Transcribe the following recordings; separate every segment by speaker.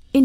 Speaker 1: verscheen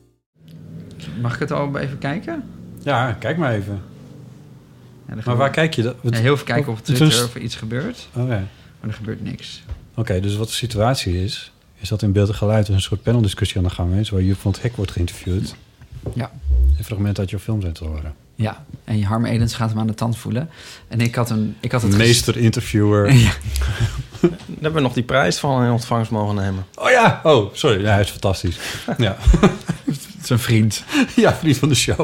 Speaker 2: Mag ik het al even kijken?
Speaker 3: Ja, kijk maar even.
Speaker 2: Ja, dan gaan
Speaker 3: Maar
Speaker 2: we-
Speaker 3: waar kijk je dan?
Speaker 2: Ja, heel veel kijken op
Speaker 3: Toen-
Speaker 2: Twitter of er iets gebeurt.
Speaker 3: Oké,
Speaker 2: Maar er gebeurt niks.
Speaker 3: Oké, dus wat de situatie is, is dat in beeld en geluid een soort paneldiscussie aan de gang is, waar Joep van het Hek wordt geïnterviewd.
Speaker 2: Ja.
Speaker 3: Een fragment uit jouw film zijn te horen.
Speaker 2: Ja, en Harm Edens gaat hem aan de tand voelen. En ik had, hem, ik had het ges-
Speaker 3: Meester interviewer.
Speaker 2: Ja.
Speaker 4: Daar hebben we nog die prijs van in ontvangst mogen nemen.
Speaker 3: Oh ja, oh, sorry. Ja, hij is fantastisch. ja.
Speaker 2: zijn vriend.
Speaker 3: ja, vriend van de show.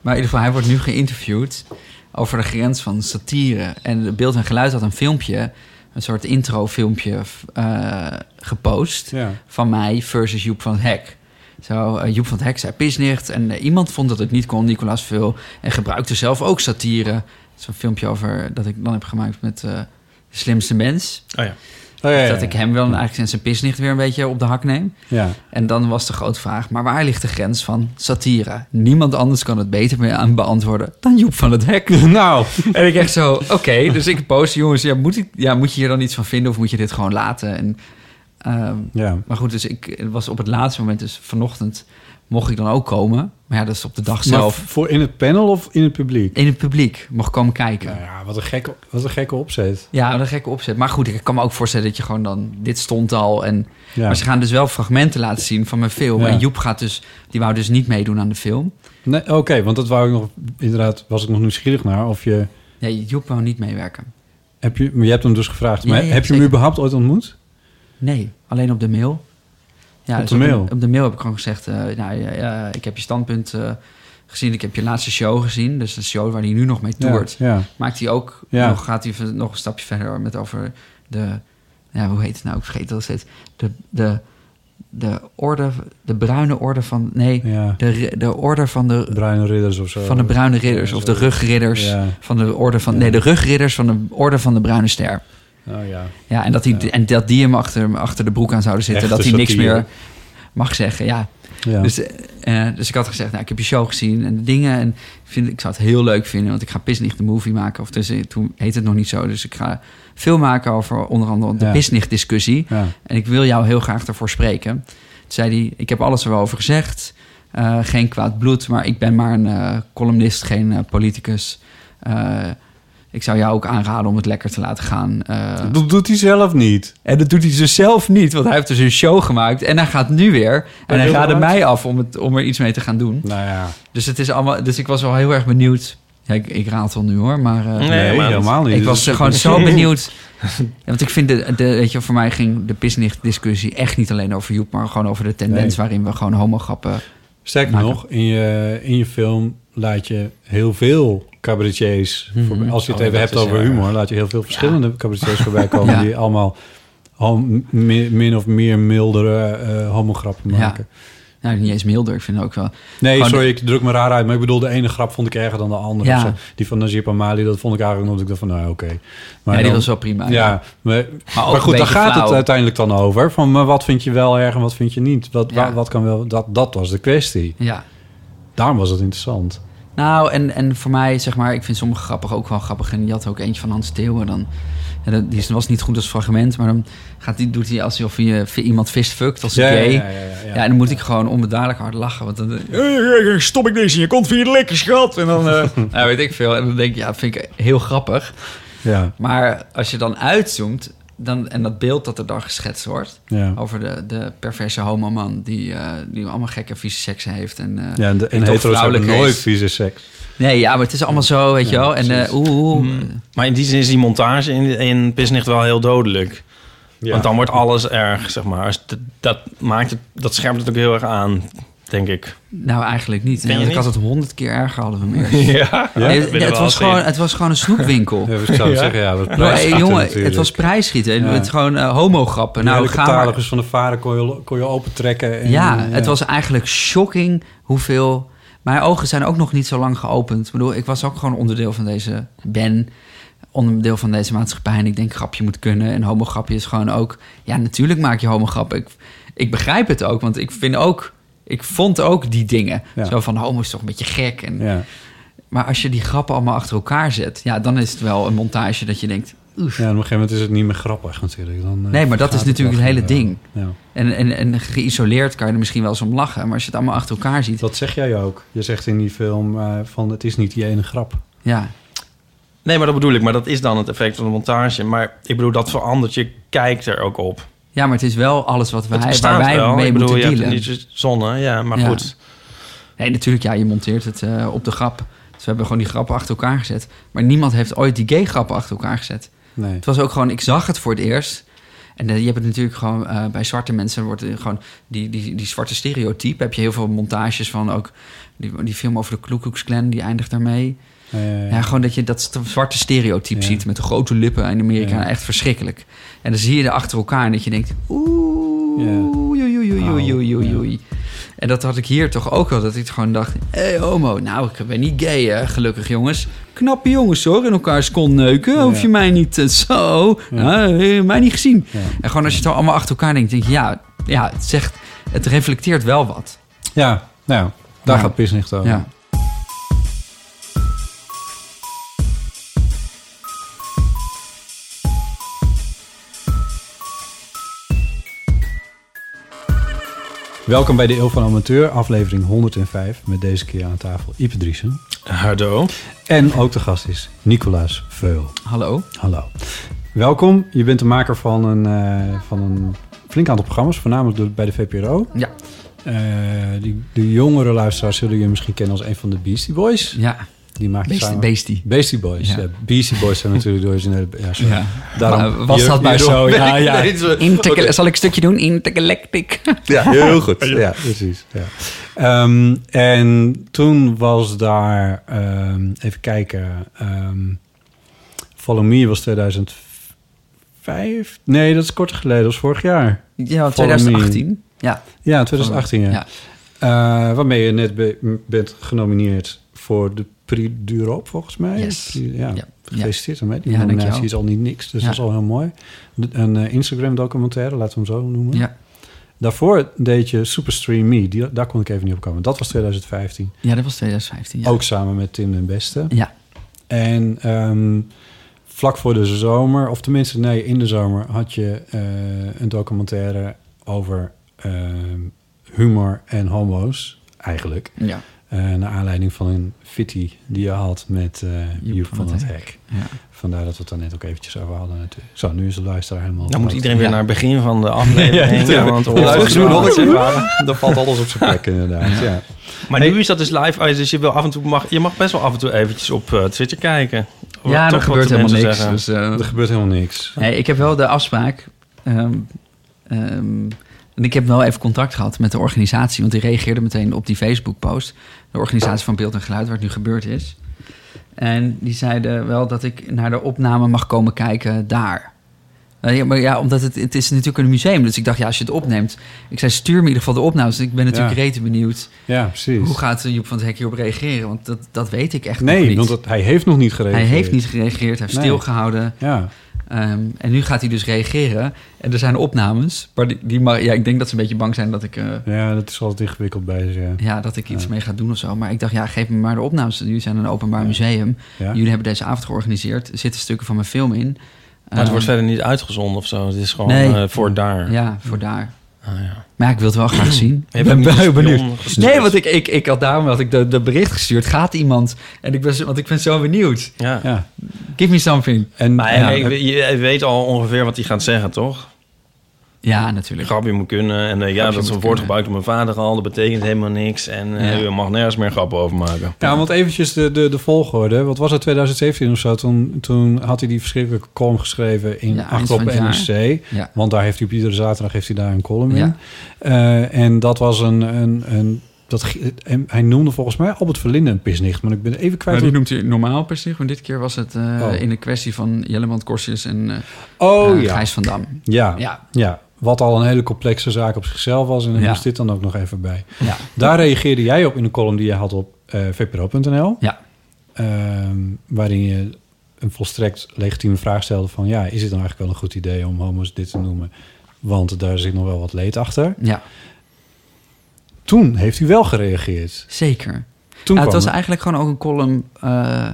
Speaker 2: Maar in ieder geval, hij wordt nu geïnterviewd over de grens van satire. En Beeld en Geluid had een filmpje, een soort intro-filmpje eh, gepost.
Speaker 3: Ja.
Speaker 2: Van mij versus Joep van het Hek. Zo, eh, Joep van het Hek zei pisnicht. En eh, iemand vond dat het niet kon, Nicolas Vul. En gebruikte zelf ook satire. Zo'n filmpje over dat ik dan heb gemaakt met eh, de slimste mens.
Speaker 4: Oh ja.
Speaker 3: Oh, ja, ja,
Speaker 2: Dat ik hem wel eigenlijk sinds zijn pisnicht weer een beetje op de hak neem.
Speaker 3: Ja.
Speaker 2: En dan was de grote vraag, maar waar ligt de grens van satire? Niemand anders kan het beter mee aan beantwoorden dan Joep van het Hek.
Speaker 3: Nou,
Speaker 2: En ik echt zo, oké, dus ik post, jongens, ja moet, ik, ja, moet je hier dan iets van vinden of moet je dit gewoon laten? En, ehm,
Speaker 3: ja.
Speaker 2: maar goed, dus ik het was op het laatste moment, dus vanochtend mocht ik dan ook komen. Maar ja, dat is op de dag zelf.
Speaker 3: Maar voor in het panel of in het publiek?
Speaker 2: in het publiek mocht komen kijken.
Speaker 3: Nou ja, wat een gekke, wat een gekke opzet.
Speaker 2: Ja, wat een gekke opzet. Maar goed, ik kan me ook voorstellen dat je gewoon dan... Dit stond al en...
Speaker 3: Ja.
Speaker 2: Maar ze gaan dus wel fragmenten laten zien van mijn film.
Speaker 3: Ja.
Speaker 2: En Joep gaat dus... Die wou dus niet meedoen aan de film.
Speaker 3: Nee, Oké, want dat wou ik nog, inderdaad, was ik nog nieuwsgierig naar. Of je,
Speaker 2: Nee, Joep wou niet meewerken.
Speaker 3: heb je, maar je hebt hem dus gevraagd.
Speaker 2: Ja,
Speaker 3: maar
Speaker 2: ja,
Speaker 3: heb je
Speaker 2: zeker.
Speaker 3: hem überhaupt ooit ontmoet?
Speaker 2: Nee, alleen op de mail. Ja,
Speaker 3: Op
Speaker 2: dus
Speaker 3: de mail?
Speaker 2: Op, de mail heb ik gewoon gezegd... eh, nou, ja, ja, ik heb je standpunt eh, gezien. Ik heb je laatste show gezien. Dus de show waar hij nu nog mee toert.
Speaker 3: Ja, ja.
Speaker 2: Maakt hij ook...
Speaker 3: Ja.
Speaker 2: Nog, gaat hij v- nog een stapje verder met over de... Ja, hoe heet het nou? Ik vergeet het al steeds. De... de de orde, de bruine orde van. Nee,
Speaker 3: Ja.
Speaker 2: de, ri- de orde van de,
Speaker 3: De Bruine Ridders of zo.
Speaker 2: van de bruine ridders.
Speaker 3: Ja,
Speaker 2: Of
Speaker 3: zo.
Speaker 2: de rugridders.
Speaker 3: Ja.
Speaker 2: Van de orde van. Nee, de rugridders van de orde van de bruine ster.
Speaker 3: Oh ja.
Speaker 2: Ja, en dat die, en dat die hem achter, achter de broek aan zouden zitten.
Speaker 3: Echte
Speaker 2: dat hij niks
Speaker 3: satire.
Speaker 2: meer mag zeggen. Ja.
Speaker 3: ja.
Speaker 2: Dus, eh, eh, dus ik had gezegd, nou, ik heb je show gezien en de dingen. En ik, vind, ik zou het heel leuk vinden, want ik ga Pisnicht de movie maken. Of dus, eh, toen heet het nog niet zo. Dus ik ga veel maken over onder andere de
Speaker 3: Ja.
Speaker 2: Pisnicht discussie.
Speaker 3: Ja.
Speaker 2: En ik wil jou heel graag daarvoor spreken. Toen zei hij, ik heb alles er wel over gezegd. Eh, geen kwaad bloed, maar ik ben maar een eh, columnist, geen eh, politicus. Eh, ik zou jou ook aanraden om het lekker te laten gaan. Eh,
Speaker 3: dat doet hij zelf niet.
Speaker 2: en dat doet hij dus zelf niet, want hij heeft dus een show gemaakt. En hij gaat nu weer. En hij
Speaker 3: heel
Speaker 2: raadde
Speaker 3: hard.
Speaker 2: mij af om, het, om er iets mee te gaan doen.
Speaker 3: Nou ja.
Speaker 2: Dus, het is allemaal, dus ik was wel heel erg benieuwd. Ja, ik, ik raadsel nu hoor, maar... eh,
Speaker 4: Nee,
Speaker 3: Nee,
Speaker 4: maar dat-
Speaker 3: helemaal niet.
Speaker 2: Ik
Speaker 3: Dat
Speaker 2: was
Speaker 3: is-
Speaker 2: gewoon zo benieuwd. Ja, Want ik vind, de, de, weet je, voor mij ging de pisnicht-discussie echt niet alleen over Joep... maar gewoon over de tendens waarin we gewoon homograppen...
Speaker 3: Sterker
Speaker 2: maken.
Speaker 3: nog, in je, in je film laat je heel veel cabaretiers...
Speaker 2: Mhm.
Speaker 3: voorbij- als je het
Speaker 4: Oh,
Speaker 3: even
Speaker 4: dat
Speaker 3: hebt
Speaker 4: is
Speaker 3: over
Speaker 4: heel
Speaker 3: humor... laat je heel veel verschillende cabaretiers voorbij komen...
Speaker 2: Ja.
Speaker 3: die allemaal al min, min of meer mildere eh homograppen
Speaker 2: Ja.
Speaker 3: maken.
Speaker 2: Nou, niet eens milder, ik vind het ook wel...
Speaker 3: Nee,
Speaker 2: Gewoon-
Speaker 3: sorry, ik druk me raar uit. Maar ik bedoel, de ene grap vond ik erger dan de andere.
Speaker 2: Ja.
Speaker 3: Of zo. Die van Najib Amali, dat vond ik eigenlijk... omdat ik dacht van, nou, oké. Maar
Speaker 2: ja, die
Speaker 3: dan-
Speaker 2: was wel prima.
Speaker 3: Ja, maar,
Speaker 2: Maar ook
Speaker 3: maar goed,
Speaker 2: een beetje
Speaker 3: daar gaat het
Speaker 2: flauw.
Speaker 3: uiteindelijk dan over. Van maar wat vind je wel erg en wat vind je niet? Wat, wa-
Speaker 2: Ja.
Speaker 3: wat kan wel, dat, dat was de kwestie.
Speaker 2: Ja.
Speaker 3: Daarom was het interessant.
Speaker 2: Nou, en, en voor mij, zeg maar, ik vind sommige grappig ook wel grappig. En je had ook eentje van Hans Theeuwen. Dan, ja, dat- die was niet goed als fragment, maar dan gaat die, doet hij alsof je v- iemand fistfuckt als
Speaker 3: Ja,
Speaker 2: een
Speaker 3: ja,
Speaker 2: gay.
Speaker 3: ja, ja, ja, ja.
Speaker 2: en dan moet ik gewoon onbedaardelijk hard lachen. Want dan
Speaker 3: Eh, Stop ik deze in je kont via je lekker schat. En dan... eh,
Speaker 2: nou, weet ik veel. En dan denk ik, ja, vind ik heel grappig.
Speaker 3: ja,
Speaker 2: Maar als je dan uitzoomt dan, en dat beeld dat er dan geschetst wordt...
Speaker 3: ja.
Speaker 2: over de, de perverse homoman die, eh, die allemaal gekke vieze seks heeft. En, eh,
Speaker 3: Ja, en, de, en
Speaker 2: toch
Speaker 3: hetero's hebben
Speaker 2: vrouwelijker
Speaker 3: nooit
Speaker 2: is.
Speaker 3: vieze seks.
Speaker 2: Nee, ja, maar het is allemaal zo, weet je
Speaker 3: Ja,
Speaker 2: wel. En eh,
Speaker 3: precies. Mm.
Speaker 2: oeh, oeh,
Speaker 4: Maar in die zin is die montage in, in Pisnicht wel heel dodelijk. Want dan wordt alles erg, zeg maar. Dus Dat, dat, maakt het, dat scherpt het ook heel erg aan, denk ik.
Speaker 2: Nou, eigenlijk niet.
Speaker 4: Ben
Speaker 2: Nee,
Speaker 4: je
Speaker 2: want ik had
Speaker 4: niet?
Speaker 2: het honderd keer erger hadden we meer.
Speaker 4: Ja,
Speaker 2: Nee, het,
Speaker 4: dat willen we
Speaker 2: het was
Speaker 4: altijd.
Speaker 2: gewoon, het was gewoon een snoepwinkel.
Speaker 3: Ja, ik zou zeggen, ja. Dat
Speaker 2: Nou, hey,
Speaker 3: prijsschieten
Speaker 2: jongen,
Speaker 3: natuurlijk.
Speaker 2: het was prijsschieten.
Speaker 3: Ja.
Speaker 2: Het gewoon eh, homograppen.
Speaker 3: Nou,
Speaker 2: Nou,
Speaker 3: de
Speaker 2: ga maar.
Speaker 3: catalogus van de vader kon je, kon je opentrekken. En,
Speaker 2: Ja,
Speaker 3: eh,
Speaker 2: het was eigenlijk shocking hoeveel... Mijn ogen zijn ook nog niet zo lang geopend. Ik bedoel, ik was ook gewoon onderdeel van deze... Ben onderdeel van deze maatschappij. En ik denk, grapje moet kunnen. En homograpje is gewoon ook... Ja, natuurlijk maak je homograp. Ik, ik begrijp het ook, want ik vind ook... Ik vond ook die dingen.
Speaker 3: Ja.
Speaker 2: Zo van, homo is toch een beetje gek. En,
Speaker 3: Ja,
Speaker 2: Maar als je die grappen allemaal achter elkaar zet... Ja, dan is het wel een montage dat je denkt... Oef.
Speaker 3: ja, op een gegeven moment is het niet meer grappig natuurlijk. Dan, eh,
Speaker 2: Nee, maar dat is
Speaker 3: gaat
Speaker 2: natuurlijk
Speaker 3: wel
Speaker 2: het hele
Speaker 3: gewoon,
Speaker 2: ding.
Speaker 3: ja. Ja.
Speaker 2: En, en, en geïsoleerd kan je er misschien wel eens om lachen. Maar als je het allemaal achter elkaar ziet...
Speaker 3: Dat zeg jij ook. Je zegt in die film eh, van het is niet die ene grap.
Speaker 2: Ja,
Speaker 4: Nee, maar dat bedoel ik. Maar dat is dan het effect van de montage. Maar ik bedoel, dat verandert. Je kijkt er ook op.
Speaker 2: Ja, maar het is wel alles wat
Speaker 4: Het
Speaker 2: wij, waar
Speaker 4: bestaat
Speaker 2: wij
Speaker 4: wel.
Speaker 2: mee
Speaker 4: ik bedoel,
Speaker 2: moeten
Speaker 4: je
Speaker 2: dealen.
Speaker 4: hebt niet zonne, ja, maar
Speaker 2: Ja.
Speaker 4: goed.
Speaker 2: Nee, natuurlijk, ja, je monteert het eh, op de grap. Dus we hebben gewoon die grappen achter elkaar gezet. Maar niemand heeft ooit die gay grappen achter elkaar gezet.
Speaker 3: Nee.
Speaker 2: Het was ook gewoon, ik zag het voor het eerst. En eh, je hebt het natuurlijk gewoon eh, bij zwarte mensen wordt er gewoon die, die, die zwarte stereotype. Heb je heel veel montages van ook die, die film over de Ku Klux Klan, die eindigt daarmee.
Speaker 3: Eh,
Speaker 2: Ja, gewoon dat je dat st- zwarte stereotype
Speaker 3: Ja.
Speaker 2: ziet met de grote lippen in Amerika.
Speaker 3: Ja.
Speaker 2: Echt verschrikkelijk. En dan zie je er achter elkaar en dat je denkt... Oeh,
Speaker 3: Ja.
Speaker 2: oei, oei, oei, oei, oei, oei, oei,
Speaker 3: Ja.
Speaker 2: oei. En dat had ik hier toch ook wel. Dat ik gewoon dacht, hé hey, homo, nou ik ben niet gay hè, gelukkig jongens. Knappe jongens hoor, in elkaars kont neuken. Hoef je mij niet eh, zo,
Speaker 3: Ja.
Speaker 2: nou, eh, mij niet gezien.
Speaker 3: Ja.
Speaker 2: En gewoon als je het allemaal achter elkaar denkt, denk je... Ja, ja het, zegt, het reflecteert wel wat.
Speaker 3: Ja, nou ja, daar
Speaker 2: Ja.
Speaker 3: gaat Pisnicht over.
Speaker 2: Ja.
Speaker 3: Welkom bij de Eeuw van Amateur, aflevering 105. Met deze keer aan tafel Ipe Driesen.
Speaker 4: Hardo.
Speaker 3: En ook de gast is Nicolaas Veul.
Speaker 2: Hallo.
Speaker 3: Hallo. Welkom. Je bent de maker van een, eh, van een flink aantal programma's, voornamelijk door- bij de VPRO.
Speaker 2: Ja.
Speaker 3: Eh, die, de jongere luisteraars zullen je misschien kennen als een van de Beastie Boys.
Speaker 2: Ja,
Speaker 3: Die maak je
Speaker 2: beest,
Speaker 3: samen.
Speaker 2: beestie.
Speaker 3: Beastie Boys.
Speaker 2: Ja.
Speaker 3: Ja. Beastie Boys zijn natuurlijk door originele... Ja, sorry.
Speaker 2: Ja.
Speaker 3: Daarom
Speaker 2: Maar was
Speaker 3: je-
Speaker 2: dat
Speaker 3: je
Speaker 2: bij
Speaker 3: zo? Ja, Ah, ja.
Speaker 2: Intergal- Zal ik een stukje doen? Intergalactic.
Speaker 3: Ja, heel goed. Ja, precies. Ja. Ehm, en toen was daar, ehm, even kijken, ehm Follow Me was 2005? Nee, dat is kort geleden, dat was vorig jaar.
Speaker 2: Ja,
Speaker 3: Follow me.
Speaker 2: 2018. Ja,
Speaker 3: Ja, 2018, ja.
Speaker 2: Ja.
Speaker 3: Eh, waarmee je net be- m- bent genomineerd voor de Prix d'Europe, volgens mij.
Speaker 2: Yes.
Speaker 3: Pri- Ja,
Speaker 2: Ja.
Speaker 3: gefeliciteerd ermee. Die
Speaker 2: Ja,
Speaker 3: nominatie
Speaker 2: dankjewel.
Speaker 3: is al niet niks, dus
Speaker 2: Ja.
Speaker 3: dat is al heel mooi. De- een eh, Instagram-documentaire, laten we hem zo noemen.
Speaker 2: ja.
Speaker 3: Daarvoor deed je Superstream Me. Die, daar kon ik even niet op komen. Dat was 2015.
Speaker 2: ja dat was 2015. Ja.
Speaker 3: Ook samen met Tim den Beste.
Speaker 2: Ja.
Speaker 3: En ehm, vlak voor de zomer, of tenminste nee, in de zomer... had je eh, een documentaire over ehm, humor en homo's, eigenlijk.
Speaker 2: Ja.
Speaker 3: Eh, naar aanleiding van een fitty die je had met eh Joep, van, het Hek.
Speaker 2: Ja.
Speaker 3: Vandaar dat we het daar net ook eventjes over hadden natuurlijk. Zo, nu is de luisteraar helemaal...
Speaker 4: Dan moet
Speaker 3: verloren.
Speaker 4: iedereen weer
Speaker 2: Ja.
Speaker 4: naar het begin van de aflevering.
Speaker 3: Ja,
Speaker 4: want
Speaker 3: ja,
Speaker 4: hoor-
Speaker 3: dat is nu nog eens Nou, even
Speaker 4: Maar
Speaker 3: Dan valt alles op zijn plek inderdaad, ja.
Speaker 4: nu is dat dus live. uit, Dus je, wil af en toe mag, je mag best wel af en toe eventjes op eh, Twitter kijken. Wat-
Speaker 2: Ja,
Speaker 4: toch
Speaker 2: er
Speaker 4: wat
Speaker 2: gebeurt
Speaker 4: de
Speaker 2: helemaal
Speaker 4: mensen
Speaker 2: niks.
Speaker 4: zeggen.
Speaker 2: Dus, eh,
Speaker 3: Er gebeurt helemaal niks.
Speaker 2: nee, ik heb wel de afspraak. ehm, ehm, en ik heb wel even contact gehad met de organisatie. Want die reageerde meteen op die Facebook-post. De organisatie van Beeld en Geluid, waar het nu gebeurd is. En die zeiden wel dat ik naar de opname mag komen kijken daar. Eh, Ja, maar ja, omdat het, het is natuurlijk een museum. Dus ik dacht, ja, als je het opneemt. Ik zei, stuur me in ieder geval de opnames. Ik ben natuurlijk
Speaker 3: Ja.
Speaker 2: rete benieuwd.
Speaker 3: Ja, precies.
Speaker 2: Hoe gaat eh, Joep van het Hek hierop reageren? Want dat, dat weet ik echt nog
Speaker 3: Nee,
Speaker 2: niet.
Speaker 3: want dat, hij heeft nog niet gereageerd.
Speaker 2: Hij heeft niet gereageerd, hij heeft
Speaker 3: Nee.
Speaker 2: stilgehouden.
Speaker 3: Ja,
Speaker 2: Ehm, en nu gaat hij dus reageren. En er zijn opnames. Maar die, die mag- ja, ik denk dat ze een beetje bang zijn dat ik, eh,
Speaker 3: Ja, dat is altijd ingewikkeld bij ze. Ja.
Speaker 2: ja, dat ik iets mee ga doen of zo. Maar ik dacht, ja, geef me maar de opnames. Jullie zijn een openbaar museum.
Speaker 3: Ja.
Speaker 2: Jullie hebben deze avond georganiseerd. Er zitten stukken van mijn film in.
Speaker 4: Maar het
Speaker 2: Ehm,
Speaker 4: wordt verder niet uitgezonden of zo. Het is gewoon
Speaker 2: Nee.
Speaker 4: eh, voor daar.
Speaker 2: Ja, voor daar.
Speaker 4: Ah, ja.
Speaker 2: Maar ja, ik wil het wel graag zien.
Speaker 4: Je hebt hem niet als spion gestuurd.
Speaker 2: Nee, want ik, ik, ik had daarom had ik de, de bericht gestuurd. Gaat iemand? En ik ben, zo- want ik ben zo benieuwd.
Speaker 4: Ja.
Speaker 3: Ja.
Speaker 2: Give me something.
Speaker 3: En,
Speaker 4: Maar
Speaker 3: ja,
Speaker 4: hij- je, je weet al ongeveer wat hij gaat zeggen, toch?
Speaker 2: Ja,
Speaker 4: Een
Speaker 2: natuurlijk.
Speaker 4: grapje moet kunnen. En eh, ja,
Speaker 2: Grapje
Speaker 4: dat is een
Speaker 2: moet
Speaker 4: woord
Speaker 2: kunnen.
Speaker 4: gebruikt door mijn vader al. Dat betekent helemaal niks. En eh,
Speaker 2: Ja.
Speaker 4: je mag nergens meer grappen over maken.
Speaker 3: Ja, want eventjes de, de, de volgorde. Wat was het, 2017 of zo? Toen, toen had hij die verschrikkelijke column geschreven in
Speaker 2: Ja, eind
Speaker 3: 8 op
Speaker 2: van het
Speaker 3: NRC.
Speaker 2: Ja.
Speaker 3: Want daar heeft hij op iedere zaterdag heeft hij daar een column in.
Speaker 2: Ja.
Speaker 3: Eh, en dat was een... een, een dat, g- en hij noemde volgens mij Albert Verlinde een pisnicht. Maar ik ben even kwijt.
Speaker 2: Maar
Speaker 3: hoe-
Speaker 2: die noemt hij normaal per zich. Want dit keer was het eh,
Speaker 3: Oh.
Speaker 2: in de kwestie van Jellemant Korsjes en eh
Speaker 3: oh
Speaker 2: eh,
Speaker 3: ja.
Speaker 2: Gijs van Dam.
Speaker 3: ja. Ja.
Speaker 2: Ja,
Speaker 3: Wat al een hele complexe zaak op zichzelf was. En dan
Speaker 2: Ja.
Speaker 3: moest dit dan ook nog even bij.
Speaker 2: ja,
Speaker 3: Daar reageerde jij op in de column die je had op eh vpro.nl.
Speaker 2: ja.
Speaker 3: Ehm, waarin je een volstrekt legitieme vraag stelde van... ja, is het dan eigenlijk wel een goed idee om homo's dit te noemen? Want daar zit nog wel wat leed achter.
Speaker 2: ja.
Speaker 3: Toen heeft u wel gereageerd.
Speaker 2: Zeker.
Speaker 3: Toen
Speaker 2: ja,
Speaker 3: kwam
Speaker 2: het was
Speaker 3: er-
Speaker 2: eigenlijk gewoon ook een column. eh,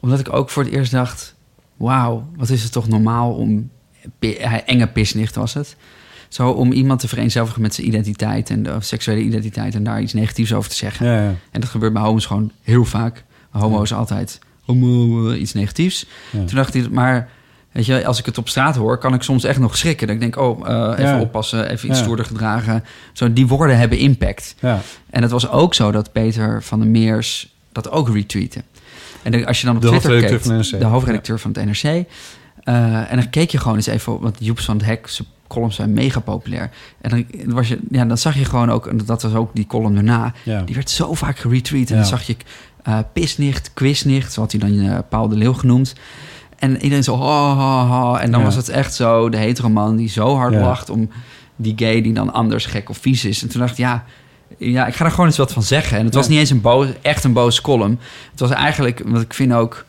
Speaker 2: omdat ik ook voor het eerst dacht: wauw, wat is het toch normaal om. pi- hij- Enge pisnicht was het. Zo om iemand te vereenzelvigen met zijn identiteit en de seksuele identiteit en daar iets negatiefs over te zeggen.
Speaker 3: Ja, ja.
Speaker 2: En dat gebeurt bij homo's gewoon heel vaak. Homo is altijd homo, eh, iets negatiefs.
Speaker 3: Ja.
Speaker 2: Toen dacht ik, maar weet je, als ik het op straat hoor, kan ik soms echt nog schrikken. Dat ik denk, oh, eh, even
Speaker 3: Ja.
Speaker 2: oppassen, even iets
Speaker 3: Ja.
Speaker 2: stoerder gedragen. Zo, die woorden hebben impact.
Speaker 3: Ja.
Speaker 2: En het was ook zo dat Peter van der Meers dat ook retweette. En dan- als je dan op
Speaker 3: De
Speaker 2: Twitter
Speaker 3: hoofdredacteur
Speaker 2: keek,
Speaker 3: van NRC.
Speaker 2: de hoofdredacteur van het NRC. eh, en dan keek je gewoon eens even op, want Joep van het Hek, zijn columns zijn mega populair. En dan, was je, ja, dan zag je gewoon ook, en dat was ook die column daarna,
Speaker 3: Ja.
Speaker 2: die werd zo vaak geretweet. En
Speaker 3: Ja.
Speaker 2: dan zag je eh, pisnicht, quiznicht, zo had hij dan eh, Paul de Leeuw genoemd. En iedereen zo, ha, ha, ha. En dan
Speaker 3: Ja.
Speaker 2: was het echt zo, de hetero man die zo hard
Speaker 3: Ja.
Speaker 2: lacht om die gay die dan anders gek of vies is. En toen dacht ik, ja, ja, ik ga er gewoon eens wat van zeggen. En het was
Speaker 3: Ja.
Speaker 2: niet eens een boos, echt een boos column. Het was eigenlijk, want ik vind ook...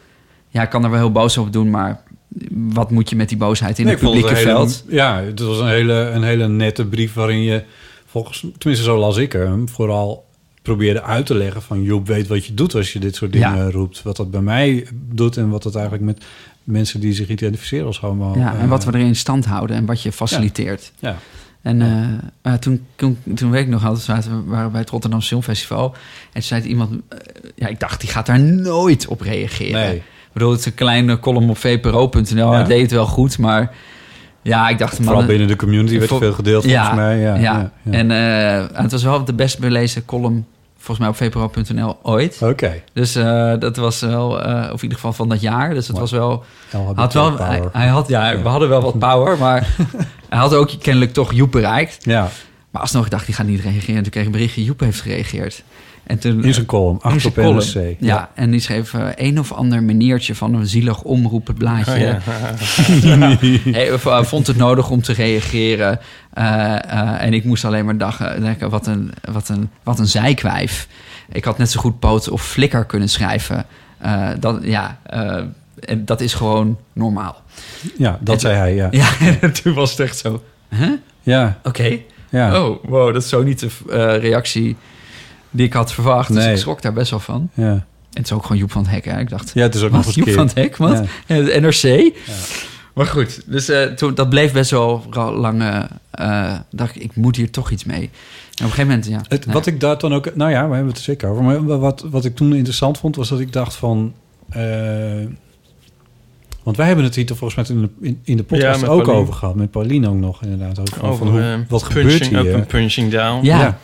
Speaker 2: Ja, ik kan er wel heel boos op doen, maar... Wat moet je met die boosheid in
Speaker 3: Nee,
Speaker 2: het
Speaker 3: ik vond
Speaker 2: publieke
Speaker 3: een hele-
Speaker 2: veld?
Speaker 3: ja, het was een hele, een hele nette brief waarin je, volgens, tenminste zo las ik hem, vooral probeerde uit te leggen van Joep weet wat je doet als je dit soort dingen
Speaker 2: Ja.
Speaker 3: roept. Wat dat bij mij doet en wat dat eigenlijk met mensen die zich identificeren als homo.
Speaker 2: Ja, en
Speaker 3: eh,
Speaker 2: wat we erin stand houden en wat je faciliteert.
Speaker 3: Ja.
Speaker 2: En eh, eh, toen, toen, toen weet ik nog altijd, zaten we waren bij het Rotterdam Filmfestival. En toen zei het iemand, eh, ja, ik dacht, die gaat daar nooit op reageren.
Speaker 3: Nee.
Speaker 2: Ik bedoel, het is een kleine column op vpro.nl.
Speaker 3: Ja.
Speaker 2: Hij deed het wel goed, maar ja, ik dacht...
Speaker 3: Vooral
Speaker 2: man,
Speaker 3: binnen de community werd
Speaker 2: Vol-
Speaker 3: veel gedeeld volgens mij. Ja, ja, ja.
Speaker 2: En eh, het was wel de best belezen column, volgens mij op vpro.nl ooit.
Speaker 3: Oké.
Speaker 2: Dus eh, dat was wel, eh, of in ieder geval van dat jaar. Dus het
Speaker 3: Mooi.
Speaker 2: was wel...
Speaker 3: LHBT
Speaker 2: Had wel,
Speaker 3: power.
Speaker 2: hij, hij had, ja, we hadden wel wat power, maar hij had ook kennelijk toch Joep bereikt.
Speaker 3: ja,
Speaker 2: Maar alsnog ik dacht, die gaat niet reageren. En toen kreeg ik een berichtje, Joep heeft gereageerd. En toen, eh,
Speaker 3: in zijn column,
Speaker 2: in
Speaker 3: acht
Speaker 2: zijn
Speaker 3: op
Speaker 2: column.
Speaker 3: NRC.
Speaker 2: Ja, en die schreef eh, een of ander maniertje van een zielig omroepend blaadje. Hij, eh, vond het nodig om te reageren. Eh, eh, en ik moest alleen maar dag, eh, denken, wat een, wat, een, wat een zijkwijf. Ik had net zo goed poot of flikker kunnen schrijven. Eh, dat, ja, eh, en dat is gewoon normaal.
Speaker 3: Ja, dat
Speaker 2: En-
Speaker 3: zei hij, ja.
Speaker 2: Ja, en toen was het echt zo. Huh? Oké.
Speaker 3: Ja, ja.
Speaker 2: Oh, wow, dat is zo niet de eh, reactie die ik had verwacht. Dus
Speaker 3: Nee.
Speaker 2: ik schrok daar best wel van.
Speaker 3: ja.
Speaker 2: En het is ook gewoon Joep van het Hek. Hè? Ik dacht,
Speaker 3: Ja, het is ook nog
Speaker 2: wat?
Speaker 3: eens
Speaker 2: Joep
Speaker 3: keer.
Speaker 2: van het Hek? Wat?
Speaker 3: Ja.
Speaker 2: En het NRC? Maar goed, dus eh, toen, dat bleef best wel ra- lang. eh, eh, dacht ik, ik moet hier toch iets mee. En op een gegeven moment, ja.
Speaker 3: Het, Wat ik daar dan ook... Nou ja, we hebben het er zeker over. Maar wat, wat ik toen interessant vond, was dat ik dacht van... eh, want wij hebben het hier toch volgens mij in de, in, in de podcast
Speaker 4: Ja, met
Speaker 3: ook
Speaker 4: Pauline.
Speaker 3: over gehad. Met Pauline ook nog inderdaad. Over, van
Speaker 4: Over
Speaker 3: hoe,
Speaker 4: eh,
Speaker 3: wat gebeurt
Speaker 4: punching up en
Speaker 3: hier?
Speaker 4: punching down.
Speaker 2: Ja.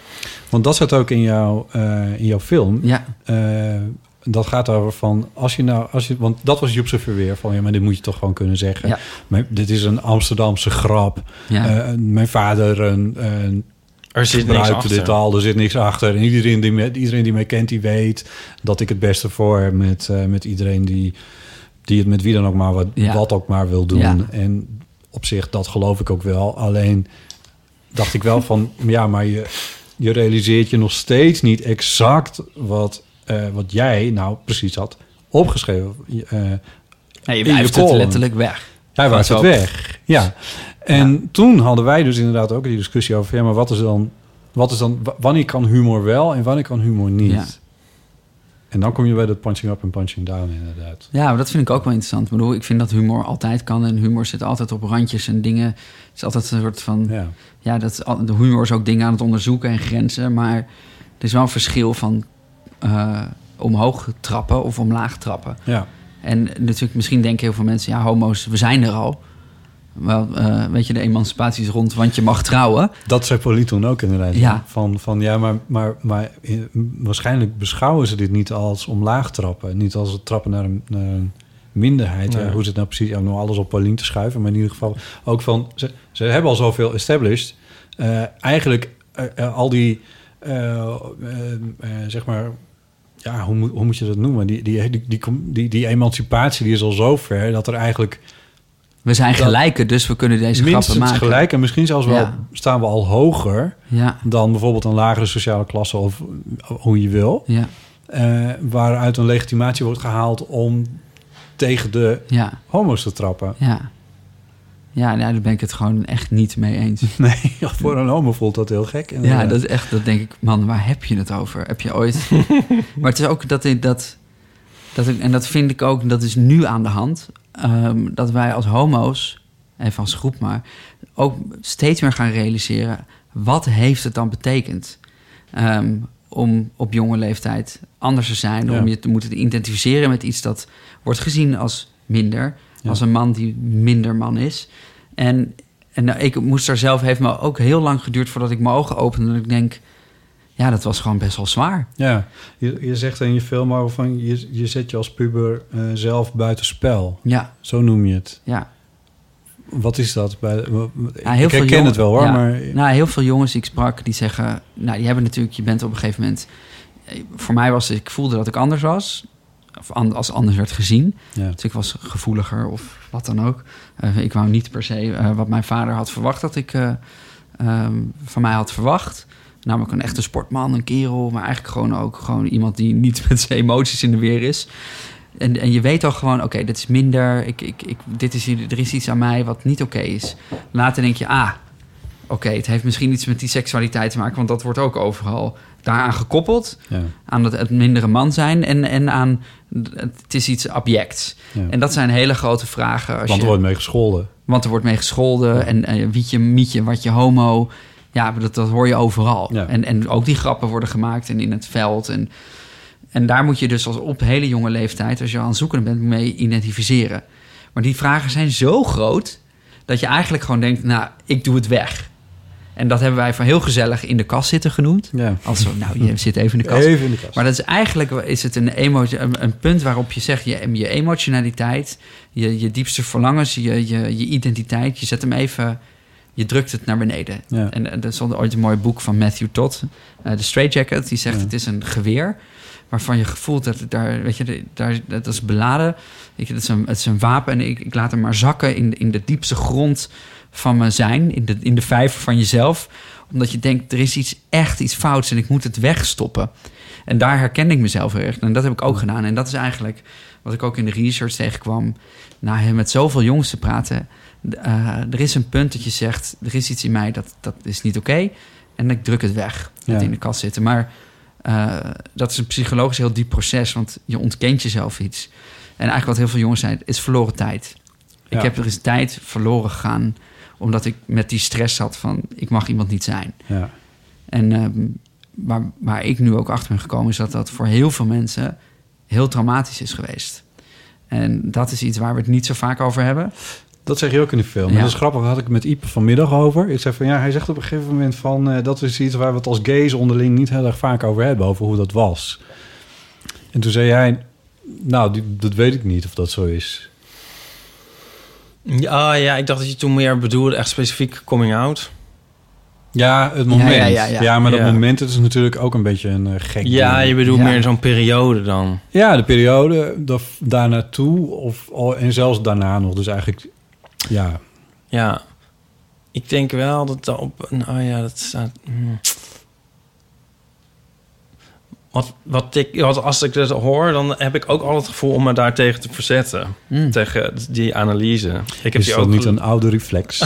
Speaker 3: Want dat zat ook in, jouw eh, in jouw film.
Speaker 2: ja,
Speaker 3: Eh, dat gaat over van als je nou als je want dat was Joep's verweer van ja maar dit moet je toch gewoon kunnen zeggen.
Speaker 2: Ja.
Speaker 3: Maar dit is een Amsterdamse grap.
Speaker 2: ja.
Speaker 3: Eh, mijn vader een, een
Speaker 4: Er zit niks
Speaker 3: gebruikte
Speaker 4: achter.
Speaker 3: dit al, er zit niks achter. En iedereen die, me, iedereen die mij kent, die weet dat ik het beste voor heb met, eh, met iedereen die, die het met wie dan ook maar wat,
Speaker 2: Ja.
Speaker 3: wat ook maar wil doen.
Speaker 2: Ja.
Speaker 3: En op zich, dat geloof ik ook wel. Alleen dacht ik wel van, ja, maar je, je realiseert je nog steeds niet exact wat, eh, wat jij nou precies had opgeschreven. Je, eh,
Speaker 2: Nee, je
Speaker 3: in je
Speaker 2: blijft het
Speaker 3: column.
Speaker 2: letterlijk weg.
Speaker 3: Hij was het
Speaker 4: wel-
Speaker 3: weg. Ja. En toen hadden wij dus inderdaad ook die discussie over... ja, maar wat is dan... Wat is dan wa- wanneer kan humor wel en wanneer kan humor niet?
Speaker 2: Ja.
Speaker 3: En dan kom je bij dat punching up en punching down inderdaad.
Speaker 2: Ja, maar dat vind ik ook wel interessant. Ik bedoel, ik vind dat humor altijd kan. En humor zit altijd op randjes en dingen. Het is altijd een soort van... Ja,
Speaker 3: Ja.
Speaker 2: dat is al- de humor is ook dingen aan het onderzoeken en grenzen. Maar er is wel een verschil van eh, omhoog trappen of omlaag trappen.
Speaker 3: ja.
Speaker 2: En natuurlijk, misschien denken heel veel mensen... Ja, homo's, we zijn er al. Wel, eh, weet je, de emancipatie is rond, want je mag trouwen.
Speaker 3: Dat zei Paulie toen ook inderdaad.
Speaker 2: Ja.
Speaker 3: Van, van ja, maar, maar, maar eh, waarschijnlijk beschouwen ze dit niet als omlaag trappen. Niet als het trappen naar een, naar een minderheid. Ja,
Speaker 4: Nee.
Speaker 3: hoe zit nou precies, ja, om nou alles op Pauline te schuiven. Maar in ieder geval ook van, ze, ze hebben al zoveel established. Eh, eigenlijk eh, eh, al die, eh, eh, eh, zeg maar, ja, hoe, moet- hoe moet je dat noemen? Die, die, die, die, die, die emancipatie die is al zo ver dat er eigenlijk
Speaker 2: We zijn
Speaker 3: Dat-
Speaker 2: gelijken, dus we kunnen deze grappen
Speaker 3: minstens
Speaker 2: maken.
Speaker 3: gelijk en misschien zelfs wel
Speaker 2: Ja.
Speaker 3: staan we al hoger
Speaker 2: Ja,
Speaker 3: dan bijvoorbeeld een lagere sociale klasse of hoe je wil.
Speaker 2: ja,
Speaker 3: eh, waaruit een legitimatie wordt gehaald om tegen de
Speaker 2: ja,
Speaker 3: homo's te trappen.
Speaker 2: ja. Ja, nou, daar ben ik het gewoon echt niet mee eens.
Speaker 3: Nee, voor een homo voelt dat heel gek.
Speaker 2: Ja, dat is echt, dat denk ik, man, waar heb je het over? Heb je ooit. maar het is ook dat ik dat. dat ik, en dat vind ik ook, dat is nu aan de hand. ehm, dat wij als homo's, even als groep maar, ook steeds meer gaan realiseren. wat heeft het dan betekend? ehm, om op jonge leeftijd anders te zijn,
Speaker 3: Ja.
Speaker 2: om je te moeten identificeren met iets dat wordt gezien als minder, als een man die minder man is. En, en nou, ik moest daar zelf, heeft me ook heel lang geduurd voordat ik mijn ogen opende. En ik denk, ja, dat was gewoon best wel zwaar.
Speaker 3: Ja, je, je zegt in je film over van je, je zet je als puber eh, zelf buitenspel.
Speaker 2: Ja,
Speaker 3: Zo noem je het.
Speaker 2: ja.
Speaker 3: Wat is dat? Bij, eh,
Speaker 2: ja
Speaker 3: ik herken
Speaker 2: Nou, jongen-
Speaker 3: het wel hoor,
Speaker 2: ja.
Speaker 3: maar
Speaker 2: Nou, heel veel jongens die ik sprak, die zeggen... Nou, die hebben natuurlijk... Je bent op een gegeven moment... eh, Voor mij was het... Ik voelde dat ik anders was. Of an- als anders werd gezien.
Speaker 3: ja.
Speaker 2: Dus ik was gevoeliger of wat dan ook. Eh, ik wou niet per se eh, wat mijn vader had verwacht dat ik eh, ehm, van mij had verwacht. Namelijk een echte sportman, een kerel, maar eigenlijk gewoon ook gewoon iemand die niet met zijn emoties in de weer is. En, en je weet al gewoon, oké, dit is minder. Ik, ik, ik, dit is, hier- er is iets aan mij wat niet oké is. Later denk je, ah, oké, het heeft misschien iets met die seksualiteit te maken, want dat wordt ook overal daaraan gekoppeld
Speaker 3: Ja,
Speaker 2: aan het, het mindere man zijn en, en aan het het is iets abjects.
Speaker 3: ja.
Speaker 2: En dat zijn hele grote vragen. Als
Speaker 3: Want er
Speaker 2: je,
Speaker 3: wordt mee gescholden.
Speaker 2: want er wordt mee gescholden en eh, wietje, mietje, wat je homo. Ja, dat, dat hoor je overal.
Speaker 3: Ja.
Speaker 2: En, en ook die grappen worden gemaakt en in het veld. En, en daar moet je dus als op hele jonge leeftijd, als je aan zoekende bent, mee identificeren. Maar die vragen zijn zo groot dat je eigenlijk gewoon denkt, nou, ik doe het weg. En dat hebben wij van heel gezellig in de kast zitten genoemd.
Speaker 3: Ja.
Speaker 2: Als zo, nou, je zit even in de kast.
Speaker 3: Even in de kast.
Speaker 2: Maar dat is eigenlijk is het een, emotio- een, een punt waarop je zegt: je, je emotionaliteit, je, je diepste verlangens, je, je, je identiteit, je zet hem even, je drukt het naar beneden.
Speaker 3: Ja.
Speaker 2: En eh, er stond ooit een mooi boek van Matthew Todd, eh The Straight Jacket, die zegt:
Speaker 3: Ja.
Speaker 2: het is een geweer. Waarvan je gevoelt dat het daar, weet je, de- daar, dat is beladen. Ik, dat is een, het is een wapen en ik, ik laat hem maar zakken in, in de diepste grond van mijn zijn, in de, in de vijver van jezelf. Omdat je denkt, er is iets echt iets fouts en ik moet het wegstoppen. En daar herkende ik mezelf heel erg. En dat heb ik ook gedaan. En dat is eigenlijk wat ik ook in de research tegenkwam. Nou, met zoveel jongens te praten. d- eh, er is een punt dat je zegt, er is iets in mij dat, dat is niet oké. En ik druk het weg,
Speaker 3: Ja.
Speaker 2: het in de kast zitten. Maar eh, dat is een psychologisch heel diep proces, want je ontkent jezelf iets. En eigenlijk wat heel veel jongens zijn, is verloren tijd.
Speaker 3: Ja.
Speaker 2: Ik heb er eens tijd verloren gegaan, omdat ik met die stress zat van, ik mag iemand niet zijn.
Speaker 3: Ja.
Speaker 2: En ehm, waar, waar ik nu ook achter ben gekomen, is dat dat voor heel veel mensen heel traumatisch is geweest. En dat is iets waar we het niet zo vaak over hebben.
Speaker 3: Dat zeg je ook in de film.
Speaker 2: Ja.
Speaker 3: En dat is grappig, daar had ik het met Iep vanmiddag over. Ik zei van ja, hij zegt op een gegeven moment van eh, dat is iets waar we het als gays onderling niet heel erg vaak over hebben, over hoe dat was. En toen zei jij, nou, die- dat weet ik niet of dat zo is.
Speaker 4: Ja, ah, ja, ik dacht dat je toen meer bedoelde, echt specifiek coming out.
Speaker 3: Ja, het moment. Ja,
Speaker 2: ja, ja, ja.
Speaker 3: maar dat
Speaker 4: Ja.
Speaker 3: moment dat is natuurlijk ook een beetje een eh, gek.
Speaker 4: Ja,
Speaker 3: ding.
Speaker 4: je bedoelt
Speaker 2: Ja.
Speaker 4: meer zo'n periode dan.
Speaker 3: ja, de periode daarf- daarnaartoe of al- en zelfs daarna nog. Dus eigenlijk, ja,
Speaker 4: Ja. Ik denk oh wel dat dat op... Nou ja, dat staat... hmm. Wat, wat ik, wat, als ik dat hoor, dan heb ik ook al het gevoel om me daartegen te verzetten. Tegen die analyse. Ik heb
Speaker 3: Hmm. Is
Speaker 4: die
Speaker 3: dat
Speaker 4: ook
Speaker 3: niet
Speaker 4: gele-
Speaker 3: een oude reflex?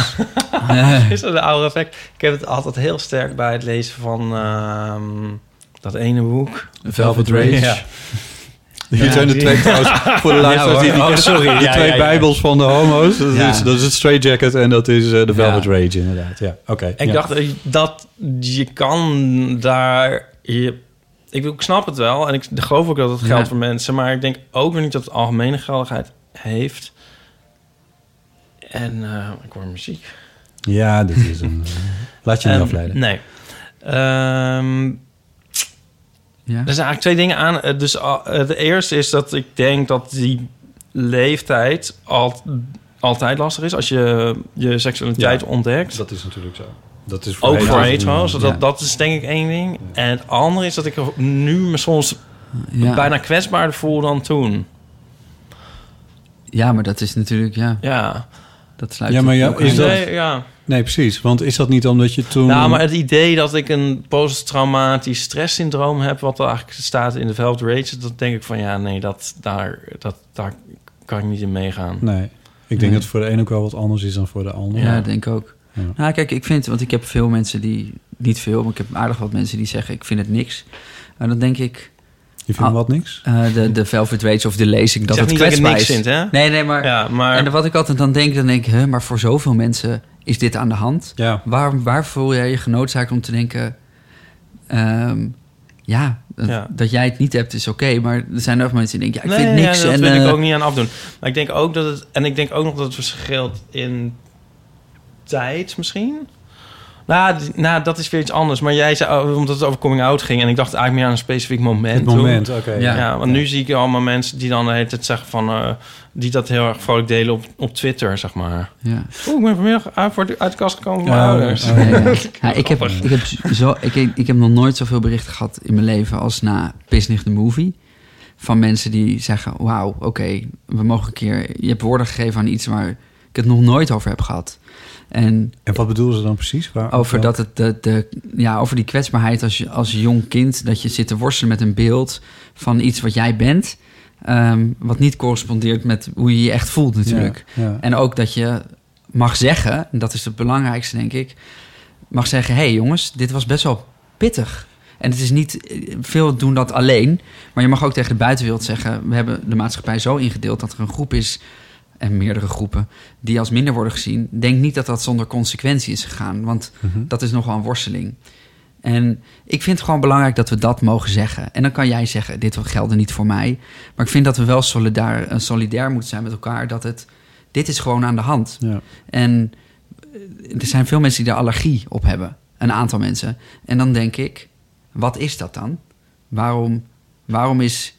Speaker 2: Eh,
Speaker 4: Is dat een oude effect? Ik heb het altijd heel sterk bij het lezen van ehm, dat ene boek.
Speaker 3: Velvet Rage.
Speaker 4: Ja.
Speaker 3: Hier
Speaker 4: Ja.
Speaker 3: zijn de twee trouwens. Voor de luisteraars die
Speaker 4: hoor.
Speaker 3: niet kennen,
Speaker 4: Oh, sorry.
Speaker 3: De
Speaker 4: Ja,
Speaker 3: twee
Speaker 4: ja, ja.
Speaker 3: bijbels van de homo's. Dat,
Speaker 2: Ja.
Speaker 3: is, dat is het Straight Jacket en dat is eh, de Velvet
Speaker 2: Ja.
Speaker 3: Rage inderdaad. Ja, oké.
Speaker 4: Ik
Speaker 3: Ja.
Speaker 4: dacht eh, dat je kan daar. Je, ik, bedoel, ik snap het wel en ik geloof ook dat het geldt
Speaker 2: Ja.
Speaker 4: voor mensen, maar ik denk ook weer niet dat het algemene geldigheid heeft. En eh, ik hoor muziek.
Speaker 3: Ja, dit is een... eh, Laat je niet
Speaker 4: Ehm,
Speaker 3: afleiden.
Speaker 4: Nee. Ehm,
Speaker 2: Ja.
Speaker 4: Er zijn eigenlijk twee dingen aan. Eh, Dus ah, eh, de eerste is dat ik denk dat die leeftijd al, altijd lastig is als je je seksualiteit
Speaker 3: Ja.
Speaker 4: ontdekt.
Speaker 3: Dat is natuurlijk zo. Dat is
Speaker 4: ook voor
Speaker 3: hetero's.
Speaker 4: hetero's. Dat,
Speaker 2: Ja.
Speaker 4: dat is denk ik één ding. En het andere is dat ik nu me soms
Speaker 2: Ja.
Speaker 4: bijna kwetsbaarder voel dan toen.
Speaker 2: ja, maar dat is natuurlijk, ja,
Speaker 4: Ja. Dus
Speaker 2: dat sluit
Speaker 3: Ja, maar ja,
Speaker 2: ook
Speaker 3: is
Speaker 2: aan.
Speaker 3: dat-
Speaker 4: Nee, ja.
Speaker 3: Nee, precies. Want is dat niet omdat je toen...
Speaker 4: Nou, maar het idee dat ik een posttraumatisch stresssyndroom heb, wat er eigenlijk staat in de Veld Rage, dat denk ik van ja, nee, dat, daar, dat, daar kan ik niet in meegaan.
Speaker 3: Nee. Ik denk
Speaker 2: Nee.
Speaker 3: dat het voor de een ook wel wat anders is dan voor de ander.
Speaker 2: Ja, denk ook.
Speaker 3: Ja.
Speaker 2: Nou, kijk, ik vind, want ik heb veel mensen die, niet veel, maar ik heb aardig wat mensen die zeggen, ik vind het niks. En dan denk ik,
Speaker 3: Je vindt
Speaker 2: Ah.
Speaker 3: wat niks?
Speaker 2: eh, de, de Velvet Rage of de lezing, dat
Speaker 4: zeg
Speaker 2: het
Speaker 4: niet dat ik
Speaker 2: kwetsbaar
Speaker 4: niks
Speaker 2: is.
Speaker 4: vind, hè?
Speaker 2: Nee, nee, maar,
Speaker 4: Ja, maar
Speaker 2: En wat ik altijd dan denk, dan denk ik, hè, maar voor zoveel mensen is dit aan de hand.
Speaker 3: Ja.
Speaker 2: Waar, waar voel jij je genoodzaakt om te denken... ehm, ja, dat,
Speaker 4: Ja.
Speaker 2: dat jij het niet hebt is oké. maar er zijn ook mensen die denken, ja, ik
Speaker 4: Nee,
Speaker 2: vind niks.
Speaker 4: Ja, dat
Speaker 2: en,
Speaker 4: wil
Speaker 2: eh,
Speaker 4: ik ook niet aan afdoen. Maar ik denk ook dat het. En ik denk ook nog dat het verschilt in tijd misschien. Nou, d- nou, dat is weer iets anders. Maar jij zei, oh, omdat het over coming out ging... en ik dacht eigenlijk meer aan een specifiek moment.
Speaker 3: Het
Speaker 4: toen.
Speaker 3: moment, oké.
Speaker 2: Ja.
Speaker 4: Ja, want nu zie ik allemaal mensen die dan de hele tijd zeggen van... eh, die dat heel erg vrolijk delen op, op Twitter, zeg maar.
Speaker 2: ja. Oh,
Speaker 4: Oeh, ik ben vanmiddag uit, voor de, uit de kast gekomen van
Speaker 3: Ja,
Speaker 4: mijn ouders.
Speaker 3: ja.
Speaker 2: Ja, ja. Ja, ik, heb, ik, heb zo, ik, ik heb nog nooit zoveel berichten gehad in mijn leven als na Pisnig the Movie. Van mensen die zeggen, wauw, oké, we mogen een keer... Je hebt woorden gegeven aan iets waar ik het nog nooit over heb gehad. En
Speaker 3: En wat bedoelen ze dan precies? Waar,
Speaker 2: Over,
Speaker 3: welk-
Speaker 2: dat het, de, de, ja, over die kwetsbaarheid als, je, als jong kind. Dat je zit te worstelen met een beeld van iets wat jij bent. ehm, wat niet correspondeert met hoe je je echt voelt natuurlijk.
Speaker 3: Ja, ja.
Speaker 2: En ook dat je mag zeggen, en dat is het belangrijkste denk ik. Mag zeggen, hé hey jongens, dit was best wel pittig. En het is niet, eh, veel doen dat alleen. Maar je mag ook tegen de buitenwereld zeggen... we hebben de maatschappij zo ingedeeld dat er een groep is... en meerdere groepen, die als minder worden gezien. Denk niet dat dat zonder consequentie is gegaan. Want dat is nogal een worsteling. En ik vind het gewoon belangrijk dat we dat mogen zeggen. En dan kan jij zeggen, dit gelden niet voor mij. Maar ik vind dat we wel solidair, eh, solidair moeten zijn met elkaar... dat het, dit is gewoon aan de hand.
Speaker 3: Ja.
Speaker 2: En eh, er zijn veel mensen die daar allergie op hebben. Een aantal mensen. En dan denk ik, wat is dat dan? Waarom, waarom, is,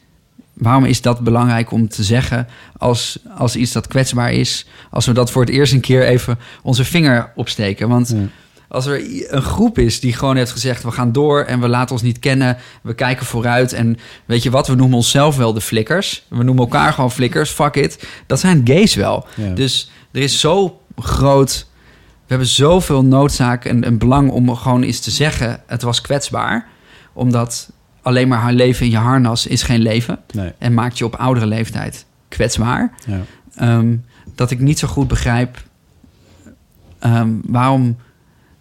Speaker 2: waarom is dat belangrijk om te zeggen als, als iets dat kwetsbaar is? Als we dat voor het eerst een keer even onze vinger opsteken. Want
Speaker 3: Ja.
Speaker 2: als er i- een groep is die gewoon heeft gezegd... we gaan door en we laten ons niet kennen, we kijken vooruit... en weet je wat, we noemen onszelf wel de flikkers. We noemen elkaar gewoon flikkers, fuck it. Dat zijn gays wel.
Speaker 3: Ja.
Speaker 2: Dus er is zo groot... We hebben zoveel noodzaak en, en belang om gewoon eens te zeggen... het was kwetsbaar. Omdat alleen maar haar leven in je harnas is geen leven.
Speaker 3: Nee.
Speaker 2: En maakt je op oudere leeftijd kwetsbaar.
Speaker 3: Ja.
Speaker 2: Ehm, dat ik niet zo goed begrijp ehm, waarom...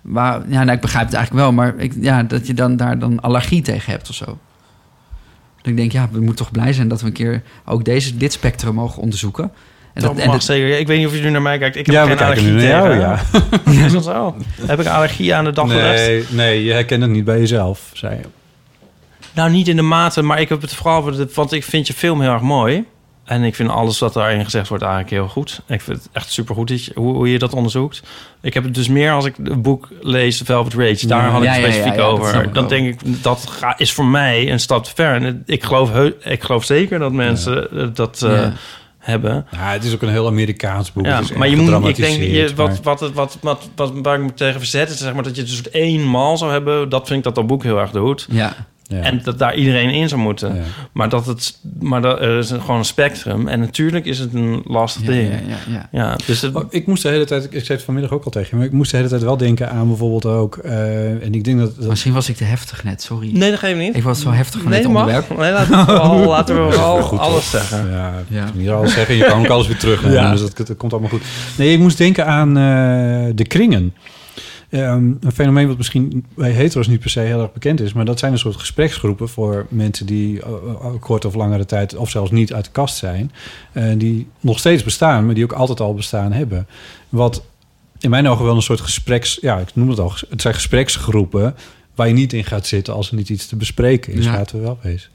Speaker 2: Waar, ja, nou, ik begrijp het eigenlijk wel, maar ik, ja, dat je dan, daar dan allergie tegen hebt of zo. Dat ik denk, ja, we moeten toch blij zijn dat we een keer ook deze, dit spectrum mogen onderzoeken. En
Speaker 4: Dat, mag zeker. Ik weet niet of je nu naar mij kijkt. Ik heb
Speaker 3: Ja, we
Speaker 4: geen
Speaker 3: kijken
Speaker 4: allergie
Speaker 3: nu naar jou,
Speaker 4: tegen.
Speaker 3: ja.
Speaker 4: Is dat zo? Heb ik allergie aan de dag
Speaker 3: Nee, nee, je herkent het niet bij jezelf, zei je.
Speaker 4: Nou, niet in de mate, maar ik heb het vooral... over de- Want ik vind je film heel erg mooi. En ik vind alles wat daarin gezegd wordt eigenlijk heel goed. Ik vind het echt supergoed dat je- hoe, hoe je dat onderzoekt. Ik heb het dus meer als ik het boek lees, Velvet Rage. Daar
Speaker 3: Ja.
Speaker 4: had ik
Speaker 2: Ja,
Speaker 4: het
Speaker 2: ja, ja,
Speaker 4: specifiek
Speaker 2: ja, dat snap
Speaker 4: over.
Speaker 2: ik
Speaker 4: Dan
Speaker 2: ook.
Speaker 4: denk ik, dat ga- is voor mij een stap te ver. En het- ik geloof, heu- ik geloof zeker dat mensen eh, dat eh,
Speaker 2: Ja.
Speaker 4: hebben.
Speaker 3: Ja, het is ook een heel Amerikaans boek.
Speaker 4: Ja,
Speaker 3: Het is
Speaker 4: maar je
Speaker 3: echt
Speaker 4: moet, ik denk,
Speaker 3: gedramatiseerd,
Speaker 4: je, wat,
Speaker 3: maar-
Speaker 4: wat, het- wat, wat, dus wat, waar ik me tegen verzet is zeg maar, dat je het een soort eenmaal zou hebben. Dat vind ik dat dat boek heel erg doet.
Speaker 2: Ja,
Speaker 3: Ja.
Speaker 4: En dat daar iedereen in zou moeten.
Speaker 3: Ja.
Speaker 4: Maar, dat het, maar dat, er is een- gewoon een spectrum. En natuurlijk is het een lastig
Speaker 2: Ja,
Speaker 4: ding.
Speaker 2: ja, ja, ja.
Speaker 4: Ja, dus het,
Speaker 3: Oh, ik moest de hele tijd, ik zei het vanmiddag ook al tegen je, maar ik moest de hele tijd wel denken aan bijvoorbeeld ook, eh, en ik denk dat, dat
Speaker 2: Misschien was ik te heftig net, sorry.
Speaker 4: nee, dat geeft niet.
Speaker 2: Ik was zo heftig van
Speaker 4: nee,
Speaker 2: dit
Speaker 4: mag.
Speaker 2: onderwerp.
Speaker 4: Nee, laten we vooral, laten we vooral
Speaker 3: Goed,
Speaker 4: alles
Speaker 3: toch?
Speaker 4: zeggen.
Speaker 3: Ja, ik
Speaker 2: Ja.
Speaker 3: kan niet alles zeggen. Je kan ook alles weer terug.
Speaker 4: Ja.
Speaker 3: Dus dat, dat komt allemaal goed. Nee, ik moest denken aan eh, de kringen. Ehm, een fenomeen wat misschien bij hetero's niet per se heel erg bekend is. Maar dat zijn een soort gespreksgroepen voor mensen die eh, eh, kort of langere tijd... of zelfs niet uit de kast zijn. eh, die nog steeds bestaan, maar die ook altijd al bestaan hebben. Wat in mijn ogen wel een soort gespreks... Ja, ik noem het al. Het zijn gespreksgroepen waar je niet in gaat zitten... als er niet iets te bespreken is.
Speaker 2: Ja.
Speaker 3: Laten we wel wezen.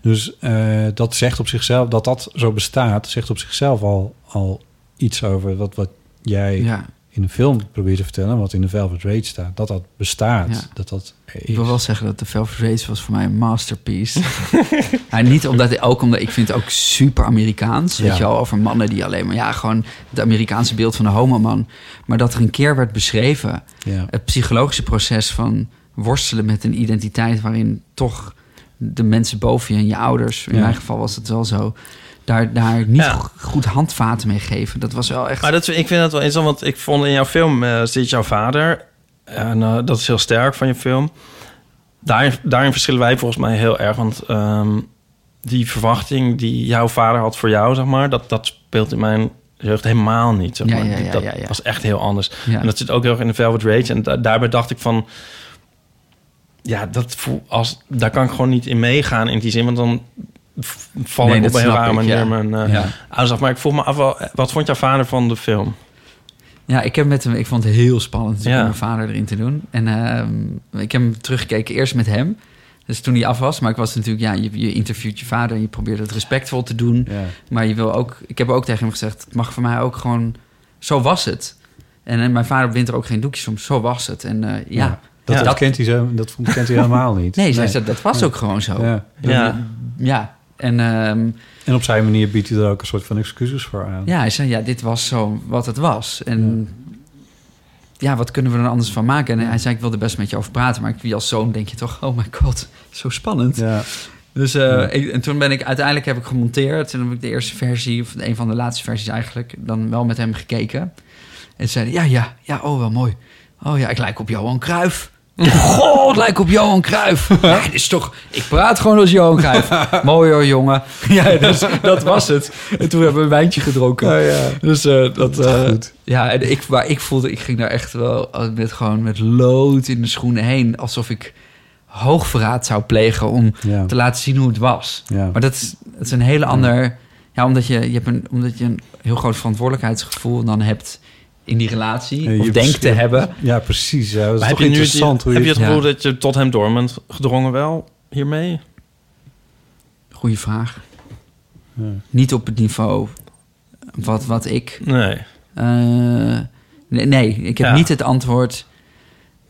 Speaker 3: Dus eh, dat zegt op zichzelf, dat dat zo bestaat, zegt op zichzelf al, al iets over dat wat jij
Speaker 2: Ja,
Speaker 3: in een film probeert te vertellen, wat in de Velvet Rage staat, dat dat bestaat,
Speaker 2: Ja.
Speaker 3: dat dat er
Speaker 2: ik
Speaker 3: is.
Speaker 2: wil wel zeggen dat The Velvet Race was voor mij een masterpiece. en niet omdat, ook omdat ik vind het ook super Amerikaans. Weet
Speaker 3: Ja.
Speaker 2: je wel, over mannen die alleen maar... Ja, gewoon het Amerikaanse beeld van de homoman. Maar dat er een keer werd beschreven...
Speaker 3: Ja.
Speaker 2: het psychologische proces van worstelen met een identiteit... waarin toch de mensen boven je en je ouders... in
Speaker 3: Ja.
Speaker 2: mijn geval was het wel zo... daar, daar niet
Speaker 4: Ja.
Speaker 2: go- goed handvaten mee geven. Dat was wel echt...
Speaker 4: Maar dat, ik vind dat wel interessant, want ik vond in jouw film eh, zit jouw vader. En eh, dat is heel sterk van je film. Daarin, daarin verschillen wij volgens mij heel erg. Want ehm, die verwachting die jouw vader had voor jou, zeg maar, dat, dat speelt in mijn jeugd helemaal niet. Zeg
Speaker 2: Ja,
Speaker 4: maar.
Speaker 2: ja, ja,
Speaker 4: dat
Speaker 2: ja, ja.
Speaker 4: was echt heel anders.
Speaker 2: Ja.
Speaker 4: En dat zit ook heel erg in de Velvet Rage. En da- daarbij dacht ik van. Ja, dat voel, als, daar kan ik gewoon niet in meegaan in die zin. Want dan v- val
Speaker 2: Nee,
Speaker 4: ik op
Speaker 2: dat
Speaker 4: een
Speaker 2: snap
Speaker 4: rare
Speaker 2: ik,
Speaker 4: manier
Speaker 2: ja.
Speaker 4: mijn eh,
Speaker 2: Ja.
Speaker 4: ouders af. Maar ik vroeg me af, wel, wat vond jouw vader van de film?
Speaker 2: Ja, ik heb met hem. Ik vond het heel spannend natuurlijk
Speaker 4: Ja.
Speaker 2: om mijn vader erin te doen. En ehm, ik heb hem teruggekeken eerst met hem. Dus toen hij af was, maar ik was natuurlijk, ja, je, je interviewt je vader en je probeert het respectvol te doen.
Speaker 3: Ja.
Speaker 2: Maar je wil ook, ik heb ook tegen hem gezegd, het mag voor mij ook gewoon, zo was het. En, eh, mijn vader bindt er ook geen doekjes om, zo was het. En eh, ja.
Speaker 3: Ja. Dat,
Speaker 4: Ja.
Speaker 3: dat kent hij zo, dat vond- kent hij helemaal niet.
Speaker 2: nee, zij zei, dat was ook gewoon zo. Ja.
Speaker 3: Ja.
Speaker 4: Ja.
Speaker 2: En ehm,
Speaker 3: En op zijn manier biedt hij er ook een soort van excuses voor aan.
Speaker 2: ja, hij zei, ja, dit was zo wat het was. En ja, wat kunnen we er anders van maken? En hij zei, ik wil er best met je over praten. Maar ik- als zoon denk je toch, oh my god, zo spannend.
Speaker 3: Ja.
Speaker 2: Dus eh, ik- en toen ben ik uiteindelijk heb ik gemonteerd. En dan heb ik de eerste versie, of een van de laatste versies eigenlijk, dan wel met hem gekeken. En zei hij, ja, ja, ja, oh wel mooi. Oh ja, ik lijk op Johan Cruijff. Goh, ik lijk op Johan Cruijff. Ja, dit is toch, ik praat gewoon als Johan Cruijff. mooi hoor, jongen. Ja, dus dat was het. En toen hebben we een wijntje gedronken. Dus eh, dat... eh, Ja, en ik, maar ik voelde, ik ging daar echt wel eh, met, gewoon met lood in de schoenen heen. Alsof ik hoogverraad zou plegen om
Speaker 3: Ja.
Speaker 2: te laten zien hoe het was.
Speaker 3: Ja.
Speaker 2: Maar dat is, dat is een hele ander... Ja, omdat je, je hebt een, omdat je een heel groot verantwoordelijkheidsgevoel dan hebt in die relatie.
Speaker 3: Eh,
Speaker 2: of
Speaker 3: je-
Speaker 2: denkt te
Speaker 3: je-
Speaker 2: hebben.
Speaker 3: Ja, precies. Ja. Dat is
Speaker 4: Maar
Speaker 3: toch
Speaker 4: heb je nu het-
Speaker 3: interessant hoe
Speaker 4: heb je het
Speaker 2: Ja.
Speaker 4: gevoel dat je tot hem door bent gedrongen wel hiermee?
Speaker 2: Goeie vraag. Niet op het niveau wat, wat ik
Speaker 4: Nee.
Speaker 2: Eh, nee, nee, ik heb
Speaker 4: Ja.
Speaker 2: niet het antwoord.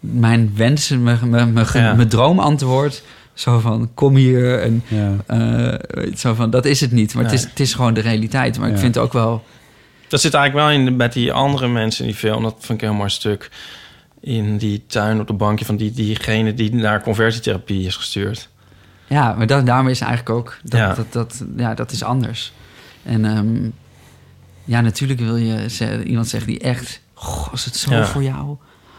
Speaker 2: Mijn wensen, mijn, mijn, mijn, ge-
Speaker 4: Ja.
Speaker 2: mijn droomantwoord. Zo van, kom hier. En,
Speaker 3: Ja.
Speaker 2: eh, zo van, dat is het niet. Maar het,
Speaker 4: Nee.
Speaker 2: is, het is gewoon de realiteit. Maar
Speaker 3: Ja.
Speaker 2: ik vind ook wel...
Speaker 4: Dat zit eigenlijk wel in de- met die andere mensen in die film. Dat vind ik een heel mooi stuk. In die tuin op de bankje van die, diegene die naar conversietherapie is gestuurd.
Speaker 2: Ja, maar dat, daarmee is eigenlijk ook... Dat,
Speaker 4: Ja.
Speaker 2: Dat, dat, ja, dat is anders. En ehm, ja, natuurlijk wil je ze- iemand zeggen die echt... Goh, is het zo
Speaker 4: Ja.
Speaker 2: voor jou?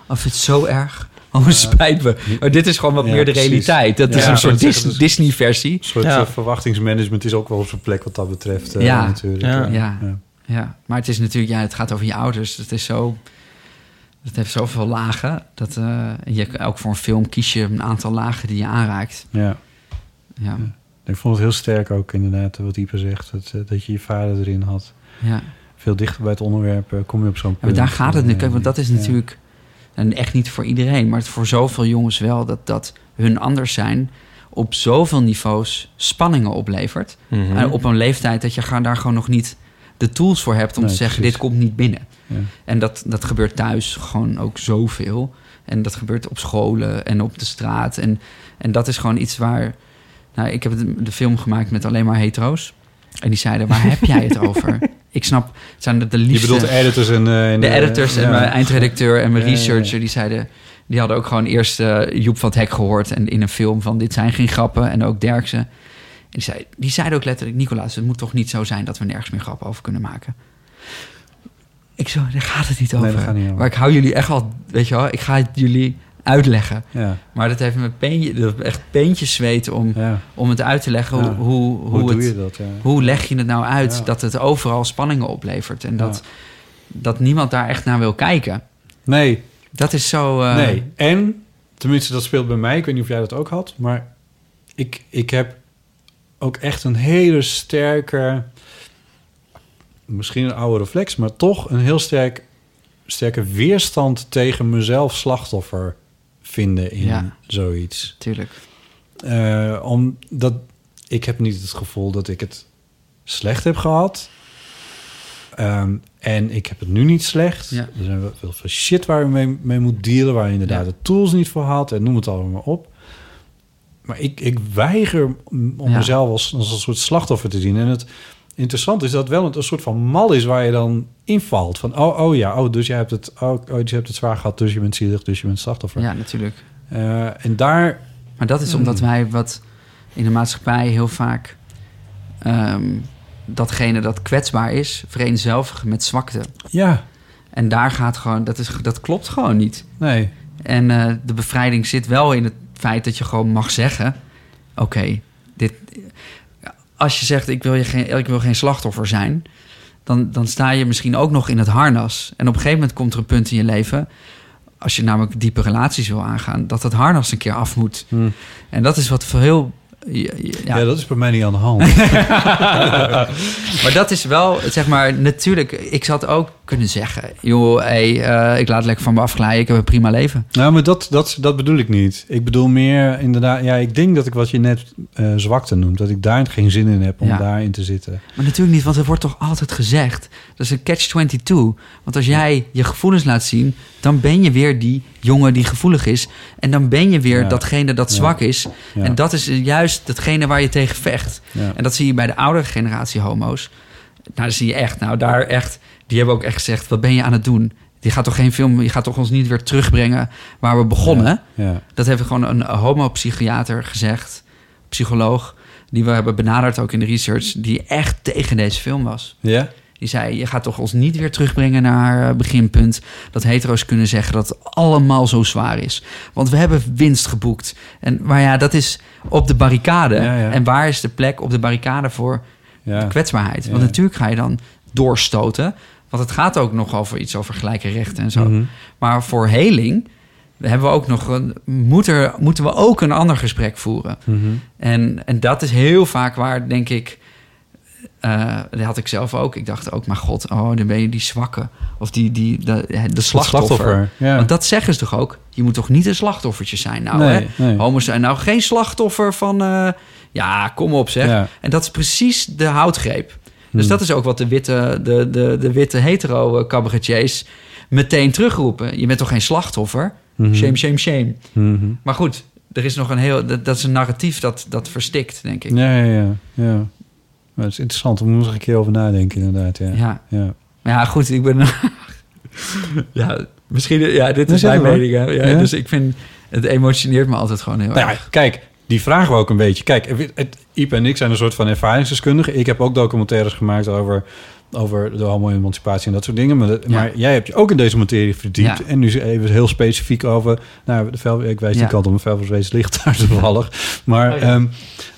Speaker 2: Of het zo erg? Oh, spijt me. Maar dit is gewoon wat
Speaker 3: Ja,
Speaker 2: meer de
Speaker 3: precies.
Speaker 2: realiteit. Dat
Speaker 3: Ja,
Speaker 2: is
Speaker 4: ja,
Speaker 2: een soort
Speaker 3: dat is- dat
Speaker 2: Dis-
Speaker 3: is-
Speaker 2: Disney-versie.
Speaker 3: Een soort
Speaker 4: Ja.
Speaker 3: eh, verwachtingsmanagement is ook wel op zijn plek wat dat betreft. eh,
Speaker 2: Ja.
Speaker 3: natuurlijk.
Speaker 4: Ja.
Speaker 2: Ja,
Speaker 3: Ja.
Speaker 2: ja. maar het is natuurlijk, ja, het gaat over je ouders. Het is zo, het heeft zoveel lagen. Dat eh, je ook voor een film kies je een aantal lagen die je aanraakt.
Speaker 3: ja.
Speaker 2: Ja,
Speaker 3: Ik vond het heel sterk ook inderdaad wat Ieper zegt. Dat, eh, dat je je vader erin had.
Speaker 2: ja.
Speaker 3: Veel dichter bij het onderwerp eh, kom je op zo'n punt.
Speaker 2: ja maar daar gaat het nu.
Speaker 3: Eh,
Speaker 2: Kijk, want dat is
Speaker 3: ja.
Speaker 2: natuurlijk, en echt niet voor iedereen, maar het voor zoveel jongens wel, dat dat hun anders zijn op zoveel niveaus spanningen oplevert.
Speaker 4: Mhm.
Speaker 2: En op een leeftijd dat je ga- daar gewoon nog niet de tools voor hebt om
Speaker 3: Nee,
Speaker 2: te zeggen,
Speaker 3: precies.
Speaker 2: dit komt niet binnen.
Speaker 3: Ja.
Speaker 2: En dat, dat gebeurt thuis gewoon ook zoveel. En dat gebeurt op scholen en op de straat. En, en dat is gewoon iets waar... Nou, ik heb het- de film gemaakt met alleen maar hetero's. En die zeiden, waar heb jij het over? Ik snap, het zijn de, de
Speaker 3: Je
Speaker 2: liefste...
Speaker 3: bedoelt de editors en... eh, en,
Speaker 2: de
Speaker 3: eh,
Speaker 2: editors en
Speaker 3: ja.
Speaker 2: mijn eindredacteur en mijn
Speaker 3: Ja, ja, ja.
Speaker 2: researcher... die zeiden, Die hadden ook gewoon eerst eh, Joep van het Hek gehoord en in een film van dit zijn geen grappen en ook Derksen. En die, zei, die zeiden ook letterlijk, Nicolaas, het moet toch niet zo zijn dat we nergens meer grappen over kunnen maken. Ik zo, daar gaat het niet
Speaker 3: Nee,
Speaker 2: over.
Speaker 3: daar gaat het niet over.
Speaker 2: Maar ik hou jullie echt al, weet je wel, ik ga het jullie uitleggen.
Speaker 3: Ja,
Speaker 2: Maar dat heeft me peentje, dat echt peentjes zweet om,
Speaker 3: ja.
Speaker 2: om het uit te leggen
Speaker 3: Ja.
Speaker 2: hoe, hoe, hoe,
Speaker 3: Hoe, doe
Speaker 2: het,
Speaker 3: je dat? Ja.
Speaker 2: hoe leg je het nou uit
Speaker 3: Ja.
Speaker 2: dat het overal spanningen oplevert en dat, dat niemand daar echt naar wil kijken?
Speaker 3: Nee,
Speaker 2: Dat is zo. eh,
Speaker 3: nee. En, tenminste, dat speelt bij mij. Ik weet niet of jij dat ook had. Maar ik, ik heb ook echt een hele sterke... Misschien een oude reflex, maar toch een heel sterk, sterke weerstand tegen mezelf slachtoffer vinden in
Speaker 2: Ja.
Speaker 3: zoiets.
Speaker 2: Tuurlijk.
Speaker 3: Eh, omdat ik heb niet het gevoel dat ik het slecht heb gehad. Ehm, en ik heb het nu niet slecht.
Speaker 2: Ja.
Speaker 3: Er zijn wel wel veel shit waar je mee, mee moet dealen... waar je inderdaad
Speaker 2: Ja.
Speaker 3: de tools niet voor had en noem het allemaal maar op. Maar ik, ik weiger om om
Speaker 2: Ja.
Speaker 3: mezelf als, als een soort slachtoffer te zien. En het interessante is dat wel een, een soort van mal is waar je dan invalt. Van, oh, oh ja, oh, dus je hebt het, oh, oh, dus je hebt het zwaar gehad... dus je bent zielig, dus je bent slachtoffer.
Speaker 2: Ja, natuurlijk.
Speaker 3: Eh, en daar
Speaker 2: Maar dat
Speaker 3: Hmm.
Speaker 2: is omdat wij wat in de maatschappij heel vaak ehm, datgene dat kwetsbaar is, vereenzelvigen met zwakte.
Speaker 3: Ja,
Speaker 2: En daar gaat gewoon, dat, is, dat klopt gewoon niet.
Speaker 3: nee.
Speaker 2: En eh, de bevrijding zit wel in het feit dat je gewoon mag zeggen: Oké, dit. Als je zegt: ik wil, je geen, ik wil geen slachtoffer zijn, dan, dan sta je misschien ook nog in het harnas. En op een gegeven moment komt er een punt in je leven. Als je namelijk diepe relaties wil aangaan, dat dat harnas een keer af moet.
Speaker 3: Hmm.
Speaker 2: En dat is wat voor heel. Ja,
Speaker 3: Ja.
Speaker 2: ja.
Speaker 3: dat is bij mij niet aan de hand.
Speaker 2: Maar dat is wel, zeg maar, natuurlijk. Ik zou het ook kunnen zeggen: joh, hey, eh, ik laat lekker van me afglijden, ik heb een prima leven.
Speaker 3: nou, maar dat, dat, dat bedoel ik niet. Ik bedoel meer inderdaad... Ja, ik denk dat ik wat je net eh, zwakte noemt... dat ik daar geen zin in heb om
Speaker 2: Ja.
Speaker 3: daarin te zitten.
Speaker 2: Maar natuurlijk niet, want er wordt toch altijd gezegd. Dat is een catch-22. Want als jij je gevoelens laat zien, dan ben je weer die jongen die gevoelig is. En dan ben je weer
Speaker 3: Ja.
Speaker 2: datgene dat
Speaker 3: Ja.
Speaker 2: zwak is.
Speaker 3: Ja.
Speaker 2: En dat is juist datgene waar je tegen vecht.
Speaker 3: Ja.
Speaker 2: En dat zie je bij de oudere generatie homo's. Nou, dat zie je echt. Nou, daar echt. Die hebben ook echt gezegd: wat ben je aan het doen? Die gaat toch geen film, je gaat toch ons niet weer terugbrengen waar we begonnen.
Speaker 3: Ja.
Speaker 2: Dat heeft gewoon een homopsychiater gezegd, psycholoog, die we hebben benaderd ook in de research, die echt tegen deze film was.
Speaker 3: Ja?
Speaker 2: Die zei, je gaat toch ons niet weer terugbrengen naar eh, beginpunt dat hetero's kunnen zeggen dat het allemaal zo zwaar is. Want we hebben winst geboekt. En, maar ja, dat is op de barricade.
Speaker 3: Ja, ja.
Speaker 2: En waar is de plek op de barricade voor
Speaker 3: Ja.
Speaker 2: kwetsbaarheid? Want
Speaker 3: Ja.
Speaker 2: natuurlijk ga je dan doorstoten. Want het gaat ook nog over iets over gelijke rechten en zo.
Speaker 3: Mhm.
Speaker 2: Maar voor heling hebben we ook nog een, moet er, moeten we ook een ander gesprek voeren.
Speaker 3: Mhm.
Speaker 2: En, en dat is heel vaak waar, denk ik. eh, dat had ik zelf ook. Ik dacht ook, maar god, oh, dan ben je die zwakke. Of die, die, de, de slachtoffer.
Speaker 3: Ja.
Speaker 2: Want dat zeggen ze toch ook? Je moet toch niet een slachtoffertje zijn? Nou,
Speaker 3: Nee,
Speaker 2: hè?
Speaker 3: nee.
Speaker 2: homo's zijn nou geen slachtoffer van... eh, ja, kom op zeg.
Speaker 3: Ja.
Speaker 2: En dat is precies de houtgreep. Dus
Speaker 3: Hmm.
Speaker 2: dat is ook wat de witte, de, de, de witte hetero eh, cabaretiers meteen terugroepen. Je bent toch geen slachtoffer?
Speaker 3: Mhm.
Speaker 2: Shame, shame, shame.
Speaker 3: Mhm.
Speaker 2: Maar goed, er is nog een heel... Dat, dat is een narratief dat, dat verstikt, denk ik.
Speaker 3: Ja, ja, ja. ja. Maar het is interessant. Daar moet ik nog een keer over nadenken inderdaad. Ja.
Speaker 2: Ja.
Speaker 3: ja.
Speaker 2: Maar ja, goed, ik ben... ja, misschien... Ja, dit
Speaker 3: Nee,
Speaker 2: is
Speaker 3: zeg
Speaker 2: mijn
Speaker 3: maar.
Speaker 2: mening. hè. Ja,
Speaker 3: Ja.
Speaker 2: Dus ik vind... Het emotioneert me altijd gewoon heel erg.
Speaker 3: Nou ja, kijk, die vragen we ook een beetje. Kijk, het, het- Iep en ik zijn een soort van ervaringsdeskundigen. Ik heb ook documentaires gemaakt over, over de homo-emancipatie en dat soort dingen. Maar, dat-
Speaker 2: Ja.
Speaker 3: maar jij hebt je ook in deze materie verdiept.
Speaker 2: Ja.
Speaker 3: En nu even heel specifiek over... Nou, de vuil, ik wijs
Speaker 2: Ja. Oh,
Speaker 3: die kant op, mijn wees ligt daar toevallig. Maar, ehm,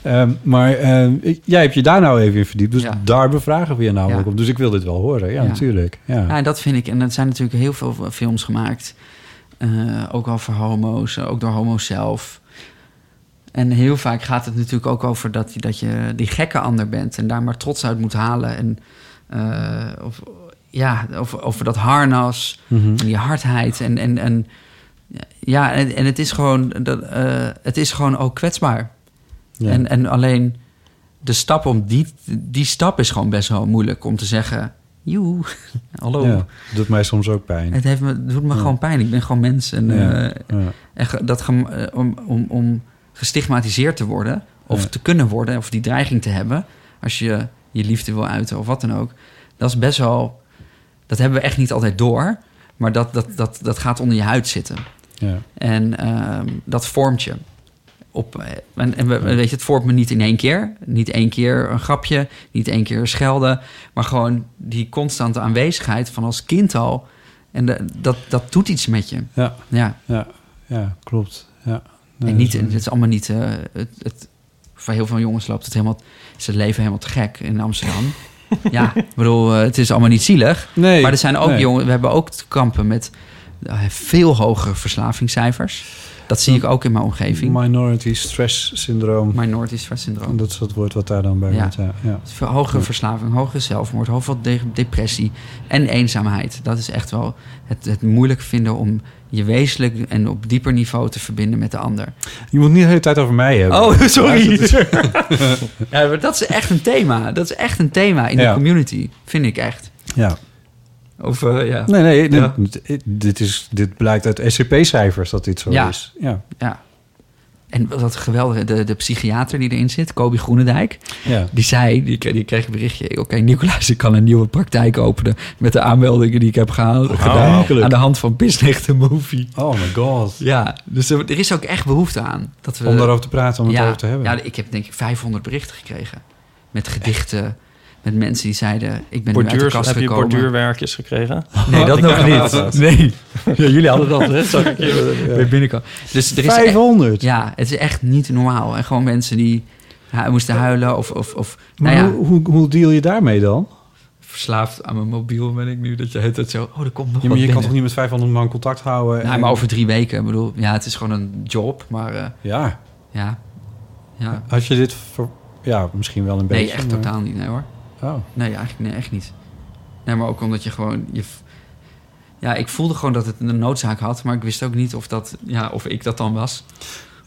Speaker 3: ehm, maar ehm, ik- jij hebt je daar nou even in verdiept. Dus
Speaker 2: Ja.
Speaker 3: daar bevragen we je namelijk
Speaker 2: Ja.
Speaker 3: op. Dus ik wil dit wel horen. Ja,
Speaker 2: Ja.
Speaker 3: natuurlijk. Ja.
Speaker 2: Ja, Nou, en dat vind ik. En er zijn natuurlijk heel veel films gemaakt. Eh, ook al voor homo's, eh, ook door homo's zelf. En heel vaak gaat het natuurlijk ook over dat, je- dat je die gekke ander bent en daar maar trots uit moet halen. En eh, of, ja, over, over dat harnas
Speaker 3: Mhm.
Speaker 2: en die hardheid. En, en, en ja, en, en het is gewoon, dat, eh, het is gewoon ook kwetsbaar.
Speaker 3: Ja.
Speaker 2: En, en alleen de stap om die, die stap is gewoon best wel moeilijk om te zeggen: joe, hallo.
Speaker 3: Ja, doet mij soms ook pijn.
Speaker 2: Het heeft me, het doet me gewoon pijn. Ik ben gewoon mens. En,
Speaker 3: Ja,
Speaker 2: eh,
Speaker 3: ja.
Speaker 2: en ge- dat gem- eh, om, om, om gestigmatiseerd te worden, of
Speaker 3: Ja.
Speaker 2: te kunnen worden, of die dreiging te hebben, als je je liefde wil uiten of wat dan ook, dat is best wel. Dat hebben we echt niet altijd door. Maar dat, dat, dat, dat gaat onder je huid zitten.
Speaker 3: Ja.
Speaker 2: En ehm, dat vormt je. Op, eh, en en we- weet je, het vormt me niet in één keer. Niet één keer een grapje, niet één keer schelden. Maar gewoon die constante aanwezigheid van als kind al. En de- dat, dat doet iets met je.
Speaker 3: Ja,
Speaker 2: Ja.
Speaker 3: ja, ja klopt. Ja. Nee,
Speaker 2: en niet,
Speaker 3: dat is-
Speaker 2: het is allemaal niet... eh, het, het, voor heel veel jongens loopt het helemaal... Is het leven helemaal te gek in Amsterdam. ja, ik bedoel, eh, het is allemaal niet zielig.
Speaker 3: Nee,
Speaker 2: maar er zijn ook
Speaker 3: nee.
Speaker 2: jongen... We hebben ook te kampen met eh, veel hogere verslavingscijfers. Dat zie ik ook in mijn omgeving.
Speaker 3: Minority stress syndroom.
Speaker 2: Minority stress syndroom.
Speaker 3: Dat is het woord wat daar dan bij
Speaker 2: Ja.
Speaker 3: hoort. Ja. Ja.
Speaker 2: Veel Hogere verslaving, hogere zelfmoord, hoeveel de- depressie en eenzaamheid. Dat is echt wel het, het moeilijk vinden om je wezenlijk en op dieper niveau te verbinden met de ander.
Speaker 3: Je moet niet de hele tijd over mij hebben.
Speaker 2: Oh, sorry. ja, maar dat is echt een thema. Dat is echt een thema in
Speaker 3: Ja.
Speaker 2: de community, vind ik echt.
Speaker 3: Ja.
Speaker 2: Of eh, ja.
Speaker 3: Nee, nee.
Speaker 2: Ja.
Speaker 3: Dit, dit, is, dit blijkt uit SCP-cijfers dat dit zo
Speaker 2: Ja.
Speaker 3: is. Ja.
Speaker 2: ja. En dat geweldige, de, de psychiater die erin zit, Kobi Groenendijk,
Speaker 3: Ja.
Speaker 2: die zei, die, kreeg- die kreeg een berichtje. Oké, Nicolaas, ik kan een nieuwe praktijk openen met de aanmeldingen die ik heb gehaald.
Speaker 3: Gedaan.
Speaker 2: Aan de hand van Business the Movie.
Speaker 3: Oh my god.
Speaker 2: Ja, dus er, er is ook echt behoefte aan. Dat we,
Speaker 3: Om daarover te praten, om het
Speaker 2: ja,
Speaker 3: over te hebben.
Speaker 2: Ja, ik heb denk ik 500 berichten gekregen. Met gedichten, met mensen die zeiden... ik ben nu uit de
Speaker 4: Borduurs,
Speaker 2: kast
Speaker 4: heb je
Speaker 2: gekomen.
Speaker 4: borduurwerkjes gekregen?
Speaker 2: Nee, dat
Speaker 4: Ik
Speaker 2: nog
Speaker 4: heb
Speaker 2: niet.
Speaker 4: dat.
Speaker 2: Nee. Ja, jullie hadden dat, hè? Zag ik hier weer binnenkomen. Dus er is echt-
Speaker 3: 500.
Speaker 2: ja, het is echt niet normaal. En gewoon mensen die hu- moesten huilen of... of, of
Speaker 3: Maar
Speaker 2: nou ja,
Speaker 3: hoe, hoe, hoe deal je daarmee dan?
Speaker 2: verslaafd aan mijn mobiel ben ik nu. Dat je het zo... Oh, er komt nog wat
Speaker 3: Ja, maar je kan
Speaker 2: binnen.
Speaker 3: toch niet met 500 man contact houden?
Speaker 2: Nou,
Speaker 3: en-
Speaker 2: maar over drie weken. Ik bedoel, ja, het is gewoon een job. Maar eh,
Speaker 3: Ja,
Speaker 2: ja... Ja,
Speaker 3: Ah. had je dit... Ver... Ja, misschien wel een
Speaker 2: nee,
Speaker 3: beetje.
Speaker 2: echt
Speaker 3: maar-
Speaker 2: totaal niet. Nee hoor.
Speaker 3: Oh.
Speaker 2: Nee, eigenlijk nee, echt niet. Nee, maar ook omdat je gewoon... Je, v- ja, ik voelde gewoon dat het een noodzaak had, maar ik wist ook niet of, dat, ja, of ik dat dan was.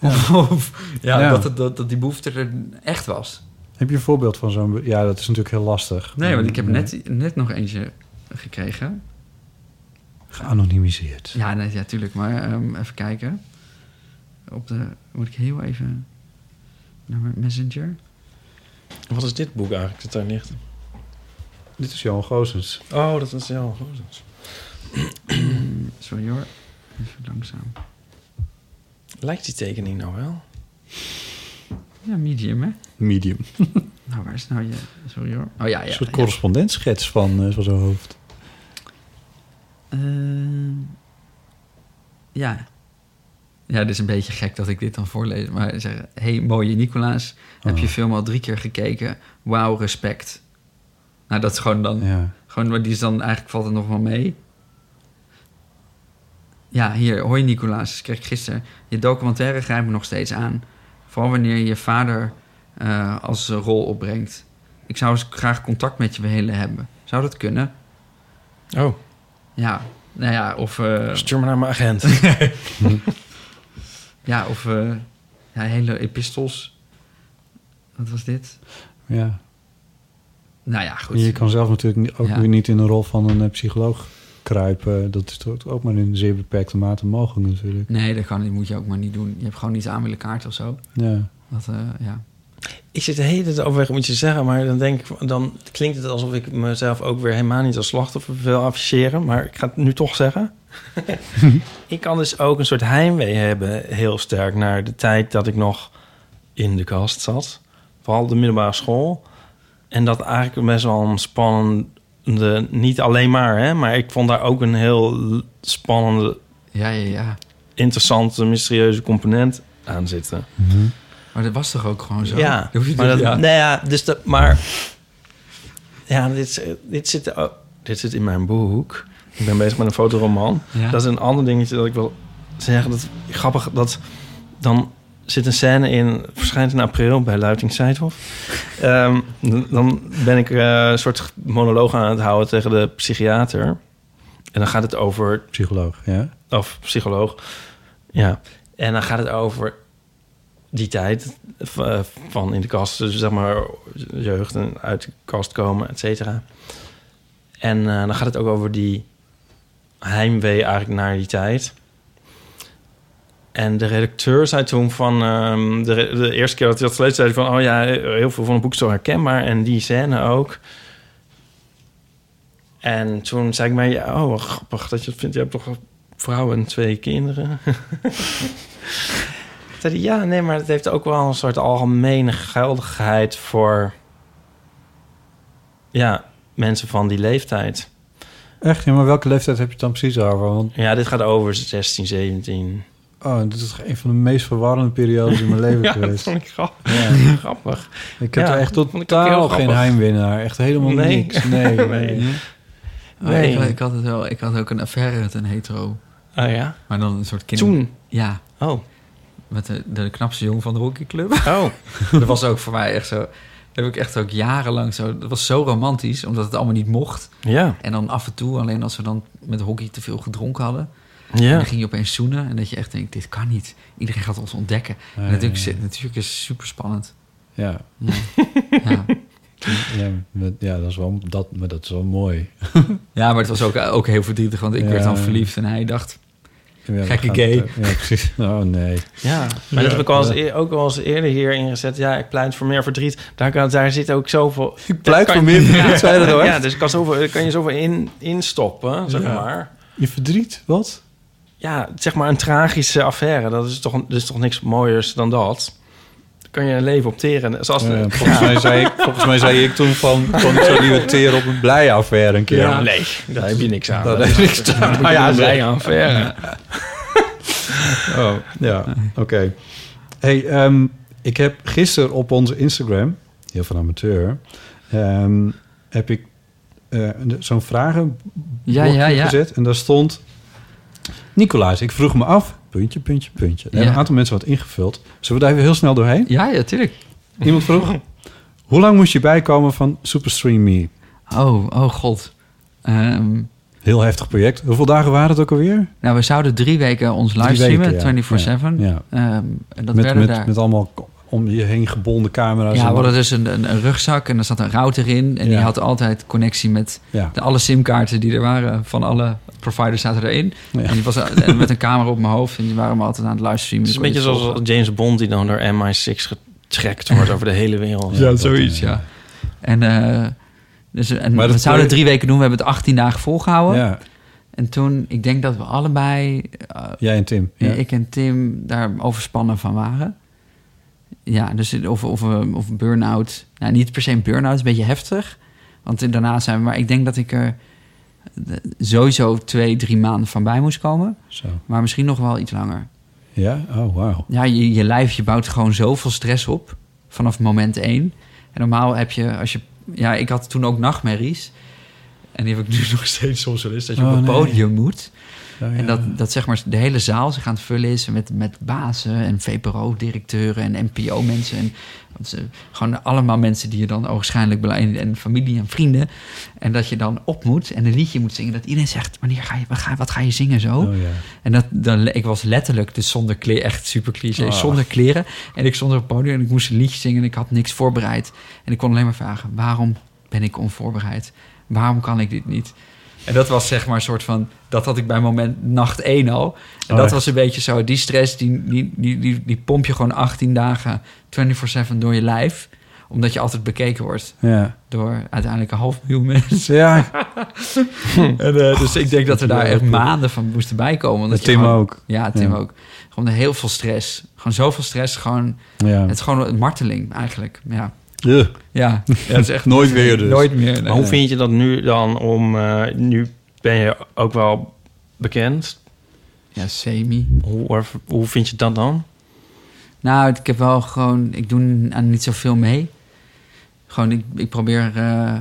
Speaker 2: Of, of- ja,
Speaker 3: Ja.
Speaker 2: Dat, het- dat, dat die behoefte er echt was.
Speaker 3: Heb je een voorbeeld van zo'n... be- Ja, dat is natuurlijk heel lastig. Eh,
Speaker 2: Nee, want ik heb net, net nog eentje gekregen.
Speaker 3: Geanonimiseerd.
Speaker 2: Ja, nee, ja, tuurlijk, maar ehm, even kijken. Op de... Moet ik heel even... Naar mijn messenger?
Speaker 4: Wat is dit boek eigenlijk, de tuinicht?
Speaker 3: Dit is Johan Goosens.
Speaker 4: Oh, dat is heel goed.
Speaker 2: Sorry hoor. Even langzaam.
Speaker 4: Lijkt die tekening nou wel?
Speaker 2: Ja, medium, hè?
Speaker 3: Medium.
Speaker 2: Nou, waar is nou je... Sorry hoor. Oh ja, ja.
Speaker 3: een soort
Speaker 2: ja.
Speaker 3: correspondentschets van, eh, van zijn hoofd.
Speaker 2: Ehm, ja. Ja, het is een beetje gek dat ik dit dan voorlees. Maar zeggen, hey, mooie Nicolaas,
Speaker 3: Oh.
Speaker 2: heb je film al drie keer gekeken? Wauw, respect. Nou, dat is gewoon dan...
Speaker 3: Ja.
Speaker 2: Gewoon, maar die is dan... Eigenlijk valt het nog wel mee. Ja, hier. Hoi Nicolaas, dat kreeg ik gisteren. Je documentaire grijpt me nog steeds aan. Vooral wanneer je je vader eh, als eh, rol opbrengt. Ik zou eens graag contact met je willen hebben. Zou dat kunnen?
Speaker 4: Oh,
Speaker 2: Ja. Nou ja, of... eh,
Speaker 4: stuur me naar mijn agent.
Speaker 2: Ja, of eh, ja, hele epistels. Wat was dit?
Speaker 3: ja.
Speaker 2: Nou ja,
Speaker 3: En Je
Speaker 2: goed.
Speaker 3: kan zelf natuurlijk ni- ook
Speaker 2: Ja.
Speaker 3: weer niet in de rol van een eh, psycholoog kruipen. Dat is toch ook maar in zeer beperkte mate mogelijk natuurlijk.
Speaker 2: Nee, dat kan, dat moet je ook maar niet doen. Je hebt gewoon niet aan willen kaarten of zo.
Speaker 3: Ja.
Speaker 2: Dat, eh, ja.
Speaker 4: Ik zit de hele tijd overweg, moet je zeggen, maar dan denk ik, dan klinkt het alsof ik mezelf ook weer helemaal niet als slachtoffer wil afficheren, maar ik ga het nu toch zeggen. ik kan dus ook een soort heimwee hebben, heel sterk, naar de tijd dat ik nog in de kast zat, vooral de middelbare school. En dat eigenlijk best wel een spannende, niet alleen maar, hè, maar ik vond daar ook een heel spannende,
Speaker 2: ja, ja, ja.
Speaker 4: interessante, mysterieuze component aan zitten.
Speaker 2: Maar dat was toch ook gewoon zo?
Speaker 4: Ja,
Speaker 2: Dat hoef je
Speaker 4: maar
Speaker 2: toch-
Speaker 4: dat,
Speaker 2: ja.
Speaker 4: Nou ja, dus dat, maar. Ja, dit, is- dit, zit, oh, dit zit in mijn boek. Ik ben bezig met een fotoroman.
Speaker 2: Ja.
Speaker 4: Dat is een ander dingetje dat ik wil zeggen. Dat, grappig, dat dan zit een scène in, verschijnt in april bij Luiting Seidhof. Ehm, dan- dan ben ik eh, een soort monoloog aan het houden tegen de psychiater. En dan gaat het over
Speaker 3: Psycholoog, ja.
Speaker 4: of psycholoog. Ja. En dan gaat het over die tijd eh, van in de kast, dus zeg maar jeugd en uit de kast komen, et cetera. En eh, dan gaat het ook over die heimwee eigenlijk naar die tijd. En de redacteur zei toen van... ehm, de, re- de eerste keer dat hij dat gelezen zei hij van... oh ja, heel veel van het boek is zo herkenbaar. En die scène ook. En toen zei ik mij... ja, oh, wat grappig dat je dat vindt. Je hebt toch vrouw en twee kinderen. Zei hij, ja, nee, maar het heeft ook wel een soort algemene geldigheid voor ja, mensen van die leeftijd.
Speaker 3: Echt? Ja, maar welke leeftijd heb je het dan precies over? Want
Speaker 4: Ja, dit gaat over 16, 17.
Speaker 3: oh, dit is een van de meest verwarrende periodes in mijn leven
Speaker 4: Ja, dat
Speaker 3: geweest.
Speaker 4: vond ik grappig.
Speaker 3: Ja.
Speaker 4: grappig.
Speaker 3: Ik heb
Speaker 4: Ja,
Speaker 3: er echt
Speaker 4: dat vond ik ook heel
Speaker 3: totaal geen
Speaker 4: grappig.
Speaker 3: heimwinnaar. Echt helemaal
Speaker 4: Nee.
Speaker 3: niks. Nee.
Speaker 4: Nee.
Speaker 2: Oh,
Speaker 4: Nee.
Speaker 2: ik, ik had het wel, ik had ook een affaire met een hetero.
Speaker 4: Oh ja?
Speaker 2: Maar dan een soort kinder...
Speaker 4: Toen.
Speaker 2: Ja,
Speaker 4: Oh.
Speaker 2: met de, de knapste jongen van de hockeyclub.
Speaker 4: Oh.
Speaker 2: dat was ook voor mij echt zo... Heb ik echt ook jarenlang zo... Dat was zo romantisch, omdat het allemaal niet mocht.
Speaker 4: Ja.
Speaker 2: En dan af en toe, alleen als we dan met hockey te veel gedronken hadden... En
Speaker 4: Ja.
Speaker 2: dan ging je opeens zoenen en dat je echt denkt, dit kan niet. Iedereen gaat ons ontdekken. En
Speaker 3: ja,
Speaker 2: natuurlijk,
Speaker 3: ja.
Speaker 2: is- natuurlijk is het super spannend.
Speaker 3: Ja.
Speaker 2: Ja.
Speaker 3: Ja, met- ja, dat is wel, dat, maar dat is wel mooi.
Speaker 2: ja, maar het was ook, ook heel verdrietig, want ik
Speaker 3: Ja.
Speaker 2: werd dan verliefd en hij dacht...
Speaker 3: Ja, we
Speaker 2: Gekke
Speaker 3: gaan
Speaker 2: gay.
Speaker 3: het, eh, Ja, precies. Oh nee.
Speaker 4: Ja, maar dat heb ik al eens eer- ook al eens eerder hier ingezet. Ja, ik pleit voor meer verdriet. Daar, kan, daar zit ook zoveel... Ik
Speaker 3: pleit voor meer verdriet, zei je dat hoor?
Speaker 4: Ja, dus kan, zoveel, kan je zoveel in, instoppen, zeg
Speaker 3: Ja.
Speaker 4: maar.
Speaker 3: Je verdriet? Wat?
Speaker 4: Ja, zeg maar een tragische affaire. Dat is toch, dat is toch niks mooiers dan dat? Dan kan je een leven opteren. dus Zoals de-
Speaker 3: volgens, Mij zei ik, volgens mij zei ik toen van... kon ik zo liever teren op een blij affaire een keer.
Speaker 4: ja, nee, daar heb je niks aan.
Speaker 3: Dat is niks te-
Speaker 4: Nou ja, zij aan verre.
Speaker 3: Oh, ja. Oké. Hey, ehm, ik heb gisteren op onze Instagram, heel van amateur, ehm, heb ik eh, zo'n vragenblokje
Speaker 2: Ja, ja, ja.
Speaker 3: gezet. En daar stond, Nicolaas, ik vroeg me af, puntje, puntje, puntje. Er hebben
Speaker 2: Ja.
Speaker 3: een aantal mensen wat ingevuld. Zullen we daar even heel snel doorheen?
Speaker 2: Ja, ja, tuurlijk.
Speaker 3: Iemand vroeg, hoe lang moest je bijkomen van Superstream Me?
Speaker 2: Oh, oh god. Ehm,
Speaker 3: Heel heftig project. Hoeveel dagen waren het ook alweer?
Speaker 2: nou, we zouden drie weken ons
Speaker 3: Drie
Speaker 2: livestreamen,
Speaker 3: weken, ja.
Speaker 2: 24-7.
Speaker 3: Ja,
Speaker 2: Ehm, en dat
Speaker 3: Met,
Speaker 2: werden
Speaker 3: met,
Speaker 2: daar...
Speaker 3: met allemaal om je heen gebonden camera's.
Speaker 2: ja,
Speaker 3: en-
Speaker 2: we hadden dus een, een, een rugzak en daar zat een router in. En die
Speaker 3: Ja.
Speaker 2: had altijd connectie met
Speaker 3: ja.
Speaker 2: de, alle simkaarten die er waren. Van alle providers zaten erin.
Speaker 3: Ja.
Speaker 2: En die was en met een camera op mijn hoofd. En die waren me altijd aan het livestreamen. Dus
Speaker 4: Het is een beetje zoals James Bond die dan door MI6 getrackt wordt over de hele wereld.
Speaker 3: Ja, zoiets,
Speaker 2: ja. En, eh, dus, en
Speaker 3: Maar
Speaker 2: we
Speaker 3: dat-
Speaker 2: zouden drie weken doen. We hebben het 18 dagen volgehouden.
Speaker 3: Ja,
Speaker 2: En toen, ik denk dat we allebei, eh,
Speaker 3: jij en Tim. Ja.
Speaker 2: ik en Tim, daar overspannen van waren. Ja, dus of, of, eh, of burn-out. Nou, niet per se een burn-out, is een beetje heftig. Want daarna zijn we, maar ik denk dat ik er eh, sowieso twee, drie maanden van bij moest komen.
Speaker 3: Zo.
Speaker 2: Maar misschien nog wel iets langer.
Speaker 3: Ja? Oh, wauw.
Speaker 2: Ja, je, je lijf, je bouwt gewoon zoveel stress op vanaf moment één. En normaal heb je, als je... Ja, ik had toen ook nachtmerries. En die heb ik nu nog steeds soms wel eens. Dat je
Speaker 3: Oh,
Speaker 2: op een
Speaker 3: nee.
Speaker 2: podium moet.
Speaker 3: Oh, ja.
Speaker 2: En dat, dat zeg maar de hele zaal zich aan het vullen is met, met bazen en VPRO-directeuren en NPO-mensen. En want ze- gewoon allemaal mensen die je dan waarschijnlijk beleid en familie en vrienden. En dat je dan op moet en een liedje moet zingen. Dat iedereen zegt, wanneer ga je, wat ga, wat ga je zingen zo?
Speaker 3: Oh, ja.
Speaker 2: En dat, dan, ik was letterlijk dus zonder kleren, echt super cliché,
Speaker 3: Ah.
Speaker 2: zonder kleren. En ik stond op het podium en ik moest een liedje zingen en ik had niks voorbereid. En ik kon alleen maar vragen, waarom ben ik onvoorbereid? Waarom kan ik dit niet? En dat was zeg maar een soort van, dat had ik bij moment nacht 1 al. En
Speaker 3: Oh,
Speaker 2: dat
Speaker 3: echt?
Speaker 2: was een beetje zo, die stress, die, die, die, die, die pomp je gewoon 18 dagen 24-7 door je lijf. Omdat je altijd bekeken wordt
Speaker 3: Ja. Dus,
Speaker 2: door uiteindelijk een half miljoen mensen.
Speaker 3: Ja,
Speaker 2: En, eh, dus ik denk dat we daar echt maanden van moesten bijkomen. omdat
Speaker 3: dat
Speaker 2: je
Speaker 3: Tim
Speaker 2: gewoon-
Speaker 3: ook.
Speaker 2: ja, Tim
Speaker 3: Ja.
Speaker 2: ook. Gewoon heel veel stress. Gewoon zoveel stress. Gewoon,
Speaker 3: Ja.
Speaker 2: het is gewoon een marteling eigenlijk. Ja.
Speaker 3: Ugh.
Speaker 2: Ja.
Speaker 3: het is echt nooit weer dus.
Speaker 2: Nooit meer.
Speaker 4: Maar
Speaker 2: nee.
Speaker 4: hoe vind je dat nu dan om... eh, nu ben je ook wel bekend.
Speaker 2: Ja, semi.
Speaker 4: Hoe, hoe vind je dat dan?
Speaker 2: Nou, het- ik heb wel gewoon... Ik doe aan niet zoveel mee. Gewoon, ik, ik probeer eh,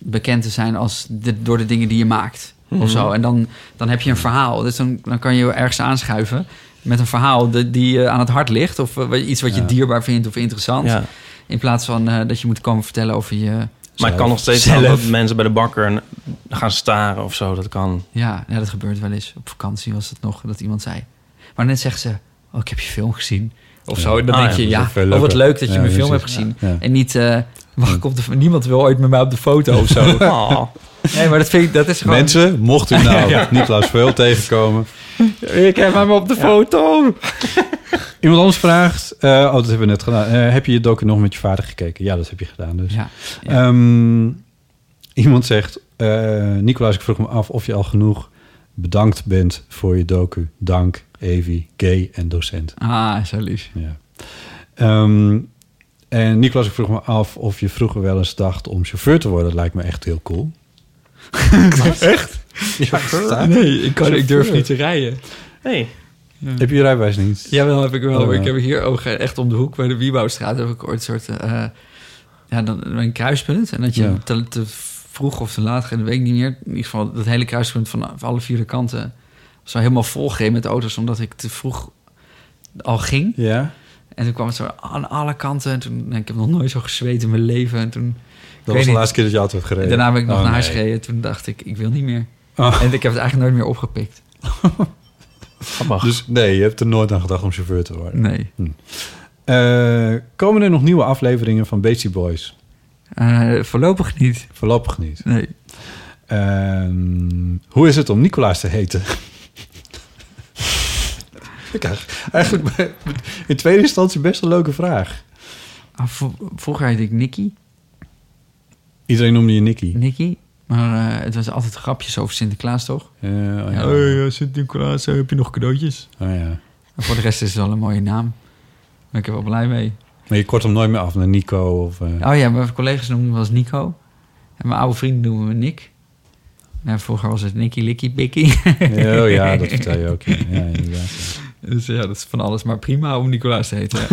Speaker 2: bekend te zijn als de- door de dingen die je maakt. Of zo. En dan, dan heb je een verhaal. Dus dan, dan kan je ergens aanschuiven met een verhaal de- die je aan het hart ligt. Of eh, iets wat je
Speaker 3: Ja.
Speaker 2: dierbaar vindt of interessant.
Speaker 4: Ja.
Speaker 2: In plaats van eh, dat je moet komen vertellen over je...
Speaker 4: Maar het kan nog steeds
Speaker 2: Zelf.
Speaker 4: wel dat mensen bij de bakker n- gaan staren of zo. Dat kan.
Speaker 2: Ja, ja, dat gebeurt wel eens. Op vakantie was het nog dat iemand zei. Maar net zegt ze: Oh, ik heb je film gezien. Of zo. En dan
Speaker 4: Ah,
Speaker 2: denk je:
Speaker 4: ja,
Speaker 3: dat is
Speaker 2: Ja,
Speaker 3: ook veel
Speaker 2: oh, wat
Speaker 3: leuker.
Speaker 2: leuk dat je
Speaker 3: Ja,
Speaker 2: mijn film hebt
Speaker 3: precies.
Speaker 2: gezien.
Speaker 3: Ja.
Speaker 2: En niet, eh wacht, komt er, niemand wil ooit met mij op de foto of zo.
Speaker 4: Oh.
Speaker 2: nee, maar dat, vind ik, dat is gewoon.
Speaker 3: Mensen, mocht u nou Niklaus Veul tegenkomen.
Speaker 2: Ik heb hem op de foto.
Speaker 3: Iemand anders vraagt, eh, oh dat hebben we net gedaan. Eh, heb je je docu nog met je vader gekeken? Ja, dat heb je gedaan dus.
Speaker 2: Ja,
Speaker 3: Ehm, iemand zegt, eh Nicolaas, ik vroeg me af of je al genoeg Bedankt bent voor je docu. Dank, Evi, gay en docent.
Speaker 2: Ah, zo lief.
Speaker 3: Ja. Ehm, en Nicolas, ik vroeg me af of je vroeger wel eens dacht om chauffeur te worden. Lijkt me echt heel cool. echt? Chauffeur?
Speaker 2: Nee, ik, kan, ik durf
Speaker 3: Chauffeur.
Speaker 2: niet te rijden.
Speaker 4: Nee.
Speaker 3: Heb je je rijbewijs niet?
Speaker 2: Jawel, heb ik wel.
Speaker 3: Oh,
Speaker 2: maar ik
Speaker 3: ja.
Speaker 2: heb hier ook eh, echt om de hoek bij de Wiebouwstraat heb ik ooit een soort... eh, ja, dan, een kruispunt. En dat je
Speaker 3: Ja.
Speaker 2: te, te vroeg of te laat gaat, dat weet ik niet meer. In ieder geval dat hele kruispunt van, van alle vier de kanten... zo helemaal volgegeven met auto's, omdat ik te vroeg al ging.
Speaker 3: Ja?
Speaker 2: En toen kwam het zo aan alle kanten. En toen, nee, ik heb nog nooit zo gezweet in mijn leven. En toen, ik
Speaker 3: Dat
Speaker 2: weet
Speaker 3: was de
Speaker 2: niet.
Speaker 3: laatste keer dat je auto hebt gereden.
Speaker 2: daarna ben ik nog
Speaker 3: Oh,
Speaker 2: naar huis
Speaker 3: nee.
Speaker 2: gereden. Toen dacht ik, ik wil niet meer.
Speaker 3: Oh.
Speaker 2: En ik heb het eigenlijk nooit meer opgepikt.
Speaker 4: Grappig.
Speaker 3: Dus nee, je hebt er nooit aan gedacht om chauffeur te worden.
Speaker 2: Nee.
Speaker 3: Eh, komen er nog nieuwe afleveringen van Beastie Boys?
Speaker 2: Eh, voorlopig niet.
Speaker 3: Voorlopig niet.
Speaker 2: Nee.
Speaker 3: Ehm, hoe is het om Nicolaas te heten? Ik krijg eigenlijk bij- in tweede instantie best een leuke vraag.
Speaker 2: Ah, v- Vroeger heette ik Nicky.
Speaker 3: Iedereen noemde je Nicky.
Speaker 2: Nicky. Maar eh, het was altijd grapjes over Sinterklaas, toch?
Speaker 3: Eh, oh ja. eh,
Speaker 2: Sinterklaas, heb je nog cadeautjes?
Speaker 3: Oh ja.
Speaker 2: voor de rest is het wel een mooie naam. Ben ik er wel blij mee.
Speaker 3: Maar je kort hem nooit meer af naar Nico of... eh,
Speaker 2: Oh ja, mijn collega's noemen me wel eens Nico. En mijn oude vrienden noemen me Nick. Nou, vroeger was het Nicky Licky Bicky.
Speaker 3: Oh ja, dat vertel je ook. Ja, ja, inderdaad.
Speaker 2: Dus ja, dat is van alles maar prima om Nicolaas te heten.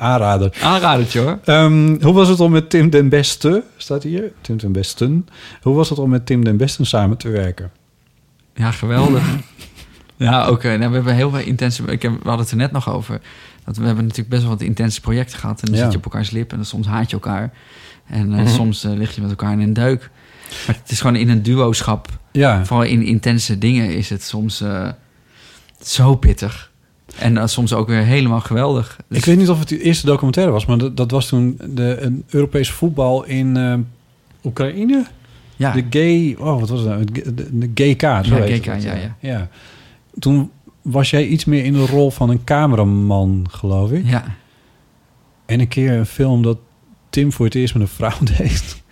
Speaker 3: Aanrader.
Speaker 2: Aanradertje hoor.
Speaker 3: Ehm, hoe was het om met Tim den Beste, staat hier, Tim den Besten. Hoe was het om met Tim den Besten samen te werken?
Speaker 2: Ja, geweldig. ja, oké. Nou, we hebben heel veel intense... Ik heb, we hadden het er net nog over. Dat we hebben natuurlijk best wel wat intense projecten gehad. En dan
Speaker 3: Ja. Mhm.
Speaker 2: zit je op elkaars lip en dan soms haat je elkaar. En eh, soms eh, lig je met elkaar in een duik. Maar het is gewoon in een duoschap.
Speaker 3: Ja,
Speaker 2: Vooral in intense dingen is het soms eh, zo pittig. En eh, soms ook weer helemaal geweldig. Dus-
Speaker 3: ik weet niet of het de eerste documentaire was, maar dat, dat was toen de, een Europees voetbal in ehm, Oekraïne.
Speaker 2: ja.
Speaker 3: De gay, oh wat was het nou? Het g- De, de GK, zo
Speaker 2: Ja,
Speaker 3: heet
Speaker 2: GK,
Speaker 3: het.
Speaker 2: ja, ja.
Speaker 3: ja. Toen was jij iets meer in de rol van een cameraman, geloof ik.
Speaker 2: ja.
Speaker 3: En een keer een film dat Tim voor het eerst met een vrouw deed.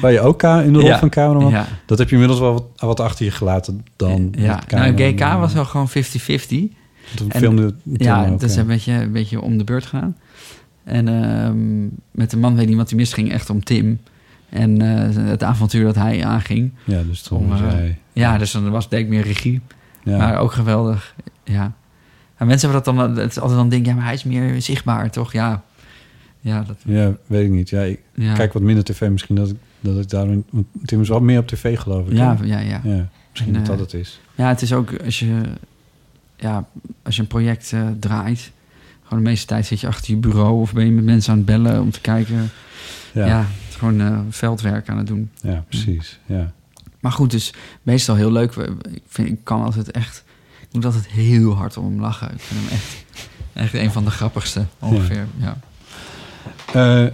Speaker 3: Waar je ook ka- in de rol
Speaker 2: Ja.
Speaker 3: van cameraman.
Speaker 2: Ja.
Speaker 3: Dat heb je inmiddels wel wat, wat achter je gelaten dan.
Speaker 2: ja.
Speaker 3: met
Speaker 2: Nou,
Speaker 3: cameraman.
Speaker 2: GK was wel gewoon 50-50.
Speaker 3: Toen
Speaker 2: en-
Speaker 3: filmde Tim
Speaker 2: Ja,
Speaker 3: ook,
Speaker 2: dat is
Speaker 3: ja.
Speaker 2: een beetje, een beetje om de beurt gedaan. En ehm, met de man weet niet wat hij misging, echt om Tim. En eh, het avontuur dat hij aanging.
Speaker 3: Ja, dus toen
Speaker 2: om,
Speaker 3: was
Speaker 2: eh,
Speaker 3: hij...
Speaker 2: Ja, dus dan was het denk ik meer regie.
Speaker 3: ja.
Speaker 2: Maar ook geweldig, ja. En mensen hebben dat dan het is altijd dan denken, ja, maar hij is meer zichtbaar, toch? Ja, ja, dat,
Speaker 3: Ja, weet ik niet. Ja, ik
Speaker 2: ja.
Speaker 3: kijk wat minder tv. Misschien dat ik, dat ik daarom... Want Tim is wel meer op tv, geloof ik.
Speaker 2: ja,
Speaker 3: hè?
Speaker 2: ja, ja.
Speaker 3: ja. Misschien
Speaker 2: En,
Speaker 3: dat
Speaker 2: eh,
Speaker 3: dat het is.
Speaker 2: Ja, het is ook als je, ja, als je een project eh, draait... gewoon de meeste tijd zit je achter je bureau... of ben je met mensen aan het bellen om te kijken. Ja,
Speaker 3: Ja, ja.
Speaker 2: het is gewoon eh, veldwerk aan het doen.
Speaker 3: precies. Ja.
Speaker 2: Maar goed, dus meestal heel leuk. We- Ik, vind, ik kan altijd echt... Ik moet altijd heel hard om hem lachen. Ik vind hem echt, echt een van de grappigste, ongeveer. Ja.
Speaker 3: Eh,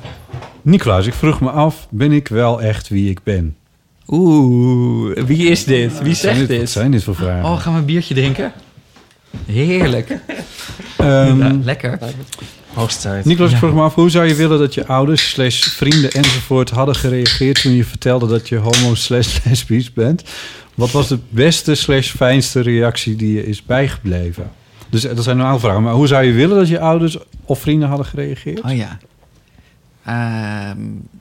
Speaker 3: Nicolaas, ik vroeg me af... ben ik wel echt wie ik ben?
Speaker 2: Oeh, wie is dit? Wie
Speaker 3: Zijn dit, wat zijn dit voor vragen?
Speaker 2: Oh, gaan we een biertje drinken? Heerlijk.
Speaker 3: Ehm,
Speaker 2: Ja, lekker.
Speaker 4: Hoogste tijd.
Speaker 3: Nicolas, ik
Speaker 2: Ja.
Speaker 3: vroeg me af, hoe zou je willen dat je ouders, slash vrienden enzovoort hadden gereageerd toen je vertelde dat je homo, slash lesbisch bent? Wat was de beste, slash fijnste reactie die je is bijgebleven? Dus eh, dat zijn normaal vragen, maar hoe zou je willen dat je ouders of vrienden hadden gereageerd?
Speaker 2: Oh ja. Ehm,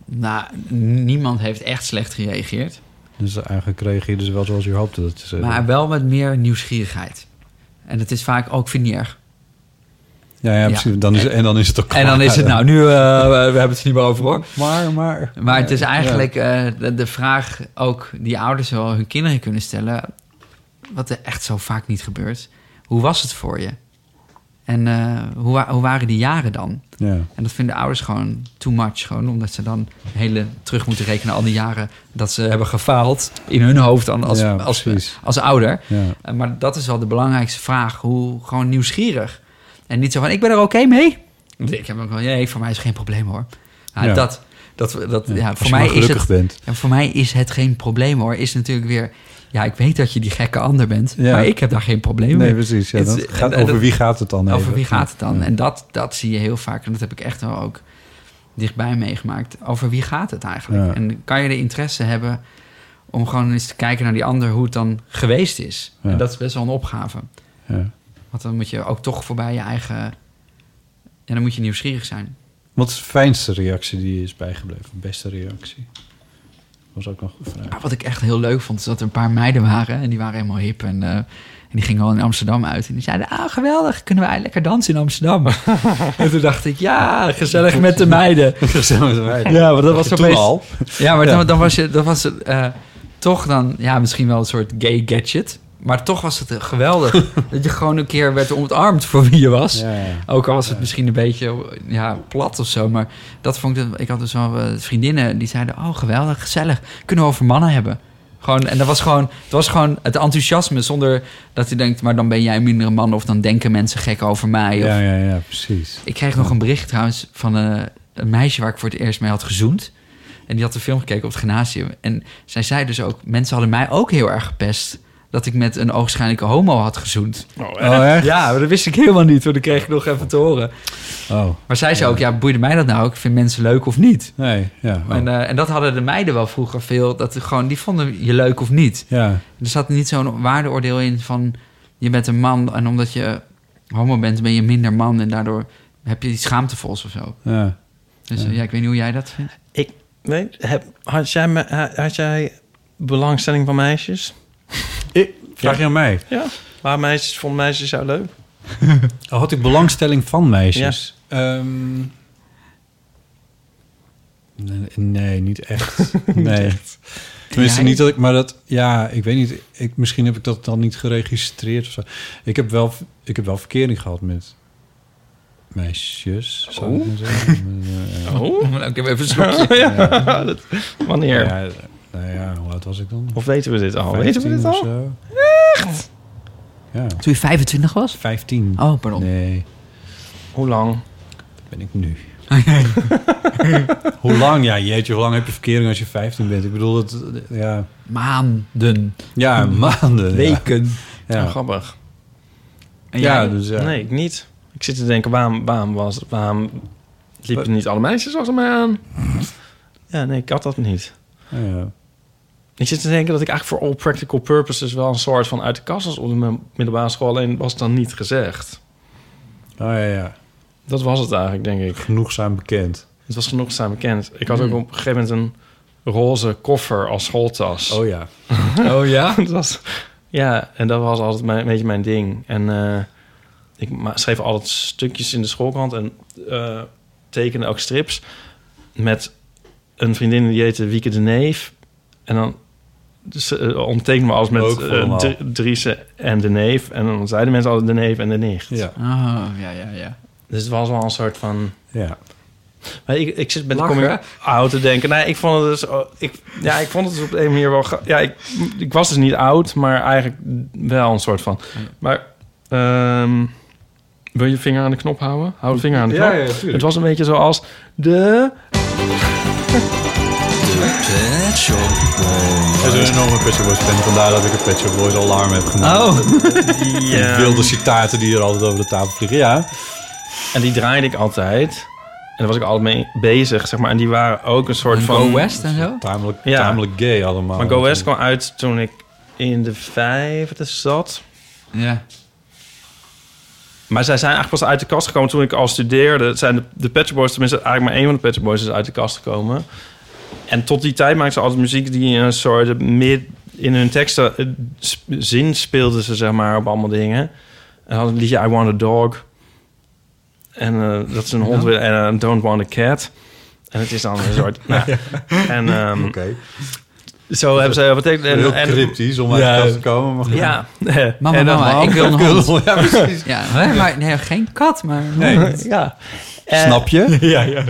Speaker 2: nou, n- niemand heeft echt slecht gereageerd.
Speaker 3: Dus eigenlijk reageerden ze wel zoals je hoopte dat ze...
Speaker 2: Maar wel met meer nieuwsgierigheid. En het is vaak ook vind je niet erg.
Speaker 3: ja, ja, precies. Dan is, en dan is het ook
Speaker 2: En dan is het, nou, nu, eh, we we hebben het er niet meer over hoor.
Speaker 3: Maar, maar...
Speaker 2: Maar het is eigenlijk eh, de, de vraag ook die ouders wel hun kinderen kunnen stellen. Wat er echt zo vaak niet gebeurt. Hoe was het voor je? En eh, hoe, wa- hoe waren die jaren dan?
Speaker 3: Ja,
Speaker 2: En dat vinden ouders gewoon too much. Gewoon omdat ze dan hele terug moeten rekenen al die jaren dat ze hebben gefaald in hun hoofd dan als,
Speaker 3: Ja,
Speaker 2: als, als,
Speaker 3: precies.
Speaker 2: ouder.
Speaker 3: ja.
Speaker 2: Eh, Maar dat is wel de belangrijkste vraag. Hoe gewoon nieuwsgierig. En niet zo van, ik ben er oké mee. Want Ik heb ook wel, nee, voor mij is het geen probleem hoor. Nou,
Speaker 3: Ja.
Speaker 2: Dat, dat, dat, ja,
Speaker 3: Als
Speaker 2: voor
Speaker 3: je maar
Speaker 2: mij is
Speaker 3: gelukkig
Speaker 2: het
Speaker 3: bent.
Speaker 2: en voor mij is het geen probleem hoor. Is natuurlijk weer. Ja, ik weet dat je die gekke ander bent.
Speaker 3: Ja.
Speaker 2: Maar ik heb daar geen probleem mee.
Speaker 3: Nee, precies. Ja,
Speaker 2: Het-
Speaker 3: dat gaat
Speaker 2: en- en
Speaker 3: over
Speaker 2: dat-
Speaker 3: wie gaat het dan
Speaker 2: Over
Speaker 3: even.
Speaker 2: wie gaat het dan?
Speaker 3: Ja.
Speaker 2: En dat, dat zie je heel vaak. En dat heb ik echt wel ook dichtbij meegemaakt. Over wie gaat het eigenlijk?
Speaker 3: Ja.
Speaker 2: En kan je de interesse hebben Om gewoon eens te kijken naar die ander hoe het dan geweest is.
Speaker 3: Ja.
Speaker 2: En dat is best wel een opgave.
Speaker 3: Ja.
Speaker 2: Want dan moet je ook toch voorbij je eigen... Ja, dan moet je nieuwsgierig zijn.
Speaker 3: Wat is de fijnste reactie die je is bijgebleven? Beste reactie? Was ook nog een vraag.
Speaker 2: Maar wat ik echt heel leuk vond, is dat er een paar meiden waren. En die waren helemaal hip. En, eh, en die gingen gewoon in Amsterdam uit. En die zeiden, ah, geweldig, kunnen wij lekker dansen in Amsterdam? en toen dacht ik, ja, gezellig met de meiden. Ja, maar dat was
Speaker 3: Toen
Speaker 2: opeens-
Speaker 3: al.
Speaker 2: Ja, maar dan, dan was je, dat was eh, toch dan, ja, misschien wel een soort gay gadget. Maar toch was het eh, geweldig dat je gewoon een keer werd omarmd voor wie je was.
Speaker 3: Ja, ja.
Speaker 2: Ook al was het misschien een beetje ja, plat of zo. Maar dat vond ik. Ik had dus wel eh, vriendinnen die zeiden: Oh, geweldig, gezellig. Kunnen we over mannen hebben? Gewoon, en dat was gewoon, het was gewoon het enthousiasme. Zonder dat je denkt: Maar dan ben jij een mindere man. Of dan denken mensen gek over mij. Of-
Speaker 3: Ja, ja, ja, precies.
Speaker 2: Ik kreeg nog een bericht trouwens van eh, een meisje waar ik voor het eerst mee had gezoend. En die had de film gekeken op het gymnasium. En zij zei dus ook: Mensen hadden mij ook heel erg gepest. Dat ik met een oogschijnlijke homo had gezoend.
Speaker 3: Oh, echt?
Speaker 2: Ja, maar dat wist ik helemaal niet. Want dat kreeg ik nog even te horen.
Speaker 3: Oh,
Speaker 2: Maar zij zei ook, ja, boeide mij dat nou? Ik vind mensen leuk of niet.
Speaker 3: nee, ja. oh.
Speaker 2: En, eh, en dat hadden de meiden wel vroeger veel. Dat er gewoon, die vonden je leuk of niet.
Speaker 3: ja,
Speaker 2: Er zat niet zo'n waardeoordeel in van... je bent een man en omdat je homo bent ben je minder man... en daardoor heb je iets schaamtevols of zo.
Speaker 3: ja.
Speaker 2: Dus eh, ja, ik weet niet hoe jij dat vindt.
Speaker 4: Ik, nee, heb, had, jij me, ha- had jij belangstelling van meisjes?
Speaker 3: Vraag je aan mij.
Speaker 4: Ja. Maar meisjes, vond meisjes jou leuk?
Speaker 3: Oh, Had ik belangstelling van meisjes? Ehm, nee, nee, niet echt. Nee. Tenminste,
Speaker 2: Jij?
Speaker 3: niet dat ik, maar dat, ja, ik weet niet. Ik, misschien heb ik dat dan niet geregistreerd of zo. Ik heb wel, ik heb wel verkering gehad met meisjes. Zou ik maar zeggen. Eh,
Speaker 4: Oh.
Speaker 2: Ik heb even een slokje.
Speaker 4: ja. dat- wanneer?
Speaker 3: ja, eh, nou ja, hoe oud was ik dan?
Speaker 4: Of weten we dit al? Weten we dit
Speaker 3: 15 of
Speaker 4: al?
Speaker 3: zo. Ja,
Speaker 2: Toen je 25 was?
Speaker 3: 15.
Speaker 2: Oh, pardon.
Speaker 3: Nee,
Speaker 4: Hoe lang?
Speaker 3: dat ben ik nu. hoe lang? Ja, jeetje, hoe lang heb je verkering als je 15 bent? Ik bedoel, dat, ja,
Speaker 2: Maanden.
Speaker 3: ja
Speaker 4: Hmm.
Speaker 3: maanden. Ja.
Speaker 2: Weken.
Speaker 4: Oh,
Speaker 3: Ja.
Speaker 4: grappig.
Speaker 2: En jij?
Speaker 3: Ja, dus ja.
Speaker 4: Nee, ik niet. Ik zit te denken, waarom, waarom, was, waarom liepen niet alle meisjes achter mij aan? Ja, nee, ik had dat niet.
Speaker 3: Ja.
Speaker 4: Ik zit te denken dat ik eigenlijk voor all practical purposes... wel een soort van uit de kast was op de mi- middelbare school. Alleen was dan niet gezegd.
Speaker 3: Oh ja, ja.
Speaker 4: Dat was het eigenlijk, denk ik.
Speaker 3: Genoegzaam bekend.
Speaker 4: Het was genoegzaam bekend. Ik had ook op een gegeven moment een roze koffer als schooltas.
Speaker 3: Oh ja.
Speaker 2: Oh ja?
Speaker 4: Dat was, ja, en dat was altijd mijn, een beetje mijn ding. En eh, ik ma- schreef altijd stukjes in de schoolkrant en eh, tekende ook strips met een vriendin die heette Wieke de Neef. En dan dus, eh, ondertekende we alles met
Speaker 3: Ook
Speaker 4: eh,
Speaker 3: allemaal.
Speaker 4: Dr- Driessen en de Neef. En dan zeiden mensen altijd de Neef en de Nicht.
Speaker 3: Ja.
Speaker 2: Oh, ja, ja, ja.
Speaker 4: Dus het was wel een soort van...
Speaker 3: Ja.
Speaker 4: Maar ik, ik zit met de
Speaker 2: Lachen,
Speaker 4: coming out te denken. Nee, ik vond het dus... oh, Ik, ja, ik vond het dus op een manier wel... gra- Ja, ik, ik was dus niet oud, maar eigenlijk wel een soort van. Maar ehm, wil je vinger aan de knop houden? Hou de vinger aan de knop.
Speaker 3: Ja, ja, tuurlijk.
Speaker 4: het was een beetje zoals de...
Speaker 3: Het is een enorme Pet Shop Boys fan. Vandaar dat ik een Pet Shop Boys alarm heb genomen.
Speaker 4: Oh,
Speaker 3: De wilde citaten die er altijd over de tafel vliegen. Ja.
Speaker 4: En die draaide ik altijd. En daar was ik altijd mee bezig, zeg maar. En die waren ook een soort
Speaker 2: En
Speaker 4: van...
Speaker 2: Go West en zo?
Speaker 3: Tamelijk,
Speaker 4: Ja.
Speaker 3: tamelijk gay allemaal.
Speaker 4: Maar Go West kwam uit toen ik in de vijfde zat.
Speaker 2: Ja.
Speaker 4: Maar zij zijn eigenlijk pas uit de kast gekomen toen ik al studeerde. Zijn de, de Pet Shop Boys, tenminste eigenlijk maar één van de Pet Shop Boys is uit de kast gekomen. En tot die tijd maakten ze altijd muziek die in een soort mid in hun teksten eh, sp- zin speelden ze zeg maar op allemaal dingen. En hadden een liedje I Want a Dog. En eh, dat ze een hond willen en eh, Don't Want a Cat. En het is dan een soort. nou, En ehm,
Speaker 3: Oké.
Speaker 4: zo hebben ze wat betekent en,
Speaker 3: Heel
Speaker 4: en-
Speaker 3: cryptisch om uit
Speaker 4: Ja.
Speaker 3: de kast te komen. Maar goed.
Speaker 4: Ja.
Speaker 2: Mama,
Speaker 4: En dan-
Speaker 2: mama, ik wil een
Speaker 3: Kul,
Speaker 2: hond.
Speaker 3: Ja, precies.
Speaker 2: Ja, hè, maar nee, geen kat, maar...
Speaker 3: Nee.
Speaker 4: Ja.
Speaker 3: Snap je? Eh, Ja, ja.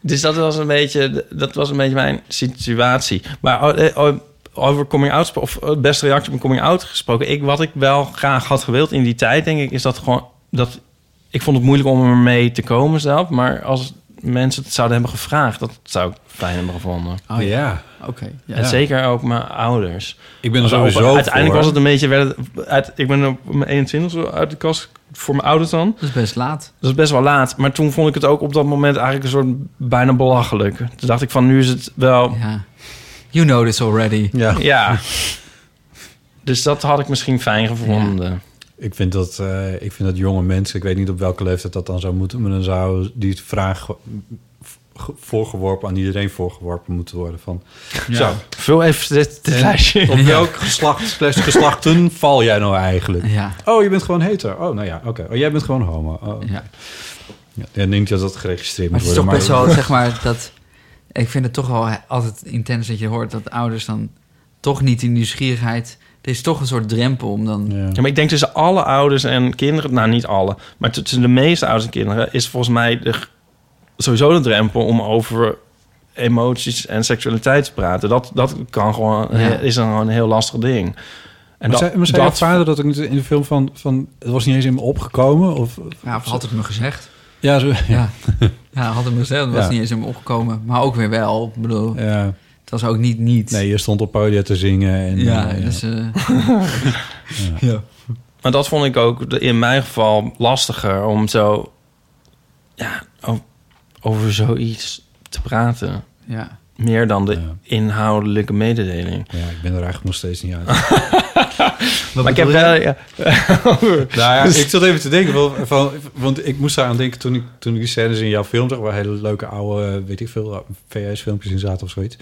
Speaker 4: Dus dat was een beetje, dat was een beetje mijn situatie. Maar eh, o- over coming out, gespro- of eh, beste reactie op een coming out gesproken. Ik, wat ik wel graag had gewild in die tijd, denk ik, is dat gewoon dat ik vond het moeilijk om ermee te komen zelf. Maar als mensen het zouden hebben gevraagd, dat zou ik fijn hebben gevonden.
Speaker 2: Oh ja,
Speaker 3: ja.
Speaker 2: oké. ja.
Speaker 4: En zeker ook mijn ouders.
Speaker 3: Ik ben er sowieso
Speaker 4: Op- uiteindelijk
Speaker 3: voor.
Speaker 4: was het een beetje, werd het- uit, ik ben op mijn 21 zo uit de kast voor mijn ouders dan.
Speaker 2: Dat is best laat.
Speaker 4: Dat is best wel laat. Maar toen vond ik het ook op dat moment eigenlijk een soort bijna belachelijk. Toen dacht ik van, nu is het wel...
Speaker 2: Ja. Je You know this already.
Speaker 3: Ja.
Speaker 4: Ja. Dus dat had ik misschien fijn gevonden.
Speaker 3: Ik vind, dat, eh, ik vind dat jonge mensen, ik weet niet op welke leeftijd dat dan zou moeten, maar dan zou die vraag ge- ge- voorgeworpen, aan iedereen voorgeworpen moeten worden. Van, Zo,
Speaker 4: Vul even dit, dit
Speaker 3: En
Speaker 4: lijstje in.
Speaker 3: Op welk geslacht slash geslachten val jij nou eigenlijk?
Speaker 2: Ja.
Speaker 3: Oh, je bent gewoon heter. Oh, nou ja, oké. Oh, jij bent gewoon homo. Oh.
Speaker 2: ja.
Speaker 3: Ja, dan denk je dat dat geregistreerd
Speaker 2: Maar
Speaker 3: moet
Speaker 2: het is
Speaker 3: worden.
Speaker 2: toch best wel, zeg maar, dat... Ik vind het toch wel altijd intens dat je hoort dat ouders dan toch niet die nieuwsgierigheid... Er is toch een soort drempel om dan...
Speaker 3: Ja.
Speaker 4: Ja, maar ik denk tussen alle ouders en kinderen, nou niet alle, maar tussen de meeste ouders en kinderen is volgens mij de, g- sowieso de drempel om over emoties en seksualiteit te praten. Dat, dat kan gewoon,
Speaker 2: Ja.
Speaker 4: is dan gewoon een heel lastig ding. En
Speaker 3: maar
Speaker 4: dat,
Speaker 3: zei, maar zei jouw vader dat ook niet in de film van, van... Het was niet eens in me opgekomen? Of,
Speaker 2: Ja, of had het me gezegd.
Speaker 3: ja, zo, ja.
Speaker 2: Ja, ja had het me gezegd. Het was
Speaker 3: Ja.
Speaker 2: niet eens in me opgekomen. Maar ook weer wel. Ik bedoel,
Speaker 3: Ja.
Speaker 2: het was ook niet niet.
Speaker 3: Nee, je stond op podia te zingen. En,
Speaker 2: ja, eh,
Speaker 3: eh,
Speaker 2: dus... eh,
Speaker 4: maar dat vond ik ook de- in mijn geval lastiger om zo ja, o- over zoiets te praten.
Speaker 2: ja.
Speaker 4: Meer dan de
Speaker 3: Ja.
Speaker 4: inhoudelijke mededeling.
Speaker 3: ja, ik ben er eigenlijk nog steeds niet uit.
Speaker 4: maar ik heb Dus- wel... ja,
Speaker 3: nou ja, ik zat even te denken, van, van, want ik moest daaraan denken toen ik, toen ik die scènes in jouw film zag, waar hele leuke oude, eh, weet ik veel, VS-filmpjes in zaten of zoiets.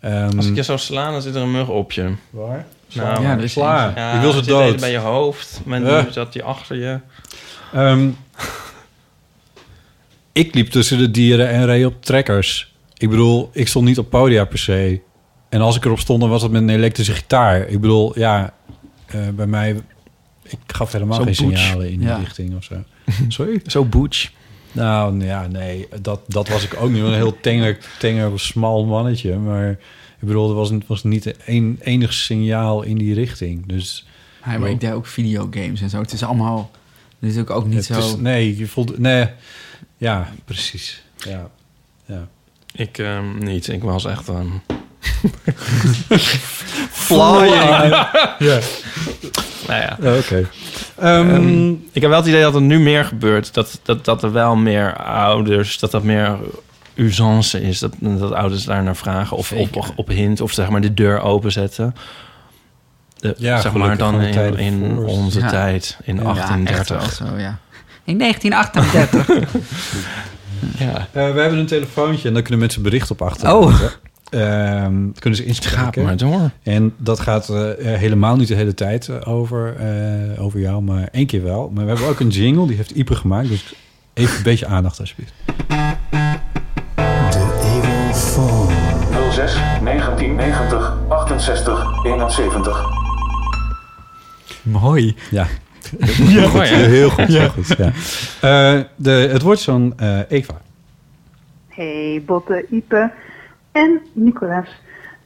Speaker 3: Ehm,
Speaker 4: Als ik je zou slaan, dan zit er een mug op je.
Speaker 3: Waar?
Speaker 4: Nou,
Speaker 2: ja, er is
Speaker 3: Klaar.
Speaker 4: Ja,
Speaker 3: ik wil ze
Speaker 4: het zit even
Speaker 3: dood.
Speaker 4: bij je hoofd. Men
Speaker 3: Ja.
Speaker 4: nu zat die achter je.
Speaker 3: Ehm, ik liep tussen de dieren en reed op trekkers. Ik bedoel, ik stond niet op podia per se. En als ik erop stond, dan was het met een elektrische gitaar. Ik bedoel, ja, eh, bij mij... Ik gaf helemaal
Speaker 4: Zo'n
Speaker 3: geen
Speaker 4: poets.
Speaker 3: signalen in die
Speaker 2: Ja.
Speaker 3: richting of zo. Sorry?
Speaker 4: Zo boetsch.
Speaker 3: Nou, ja, nee, dat, dat was ik ook niet. Een heel tenger, tenger, smal mannetje. Maar ik bedoel, er was, was niet een, enig signaal in die richting. Dus
Speaker 2: Ja, maar ik deed ook videogames en zo. Het is allemaal natuurlijk ook niet
Speaker 3: het is-
Speaker 2: zo...
Speaker 3: nee, je voelt... Nee, ja, precies. Ja.
Speaker 4: Ik ehm, niet. Ik was echt... ehm,
Speaker 3: Flying. ja, Oh,
Speaker 4: nou ja.
Speaker 3: oké. Ehm,
Speaker 4: Ehm, ik heb wel het idee dat er nu meer gebeurt. Dat, dat, dat er wel meer ouders... Dat dat meer usance is. Dat, dat ouders daar naar vragen. Of op,
Speaker 2: Zeker.
Speaker 4: op hint. Of zeg maar de deur openzetten. De,
Speaker 3: Ja,
Speaker 4: zeg maar
Speaker 3: gelukkig van
Speaker 4: dan
Speaker 3: de
Speaker 4: in,
Speaker 3: tijden
Speaker 4: in
Speaker 3: voor.
Speaker 4: onze
Speaker 2: Ja.
Speaker 4: tijd. In
Speaker 2: Ja, echt
Speaker 4: 38.
Speaker 2: wel zo, ja. In 1938.
Speaker 4: ja.
Speaker 3: eh, we hebben een telefoontje en daar kunnen mensen bericht op achter.
Speaker 2: Oh.
Speaker 3: Ehm, kunnen ze
Speaker 4: Gaat
Speaker 3: inspreken.
Speaker 4: maar door.
Speaker 3: En dat gaat eh, eh, helemaal niet de hele tijd eh, over, eh, over jou, maar één keer wel. Maar we hebben ook een jingle, die heeft Ieper gemaakt. Dus even een beetje aandacht alsjeblieft.
Speaker 5: 06 1990 68 71.
Speaker 2: Mooi.
Speaker 3: Ja,
Speaker 4: Mooi, hè?
Speaker 3: heel goed. Heel goed ja. Eh, de, het wordt zo'n eh Eva.
Speaker 6: Hey Botte, Ipe en Nicolaas.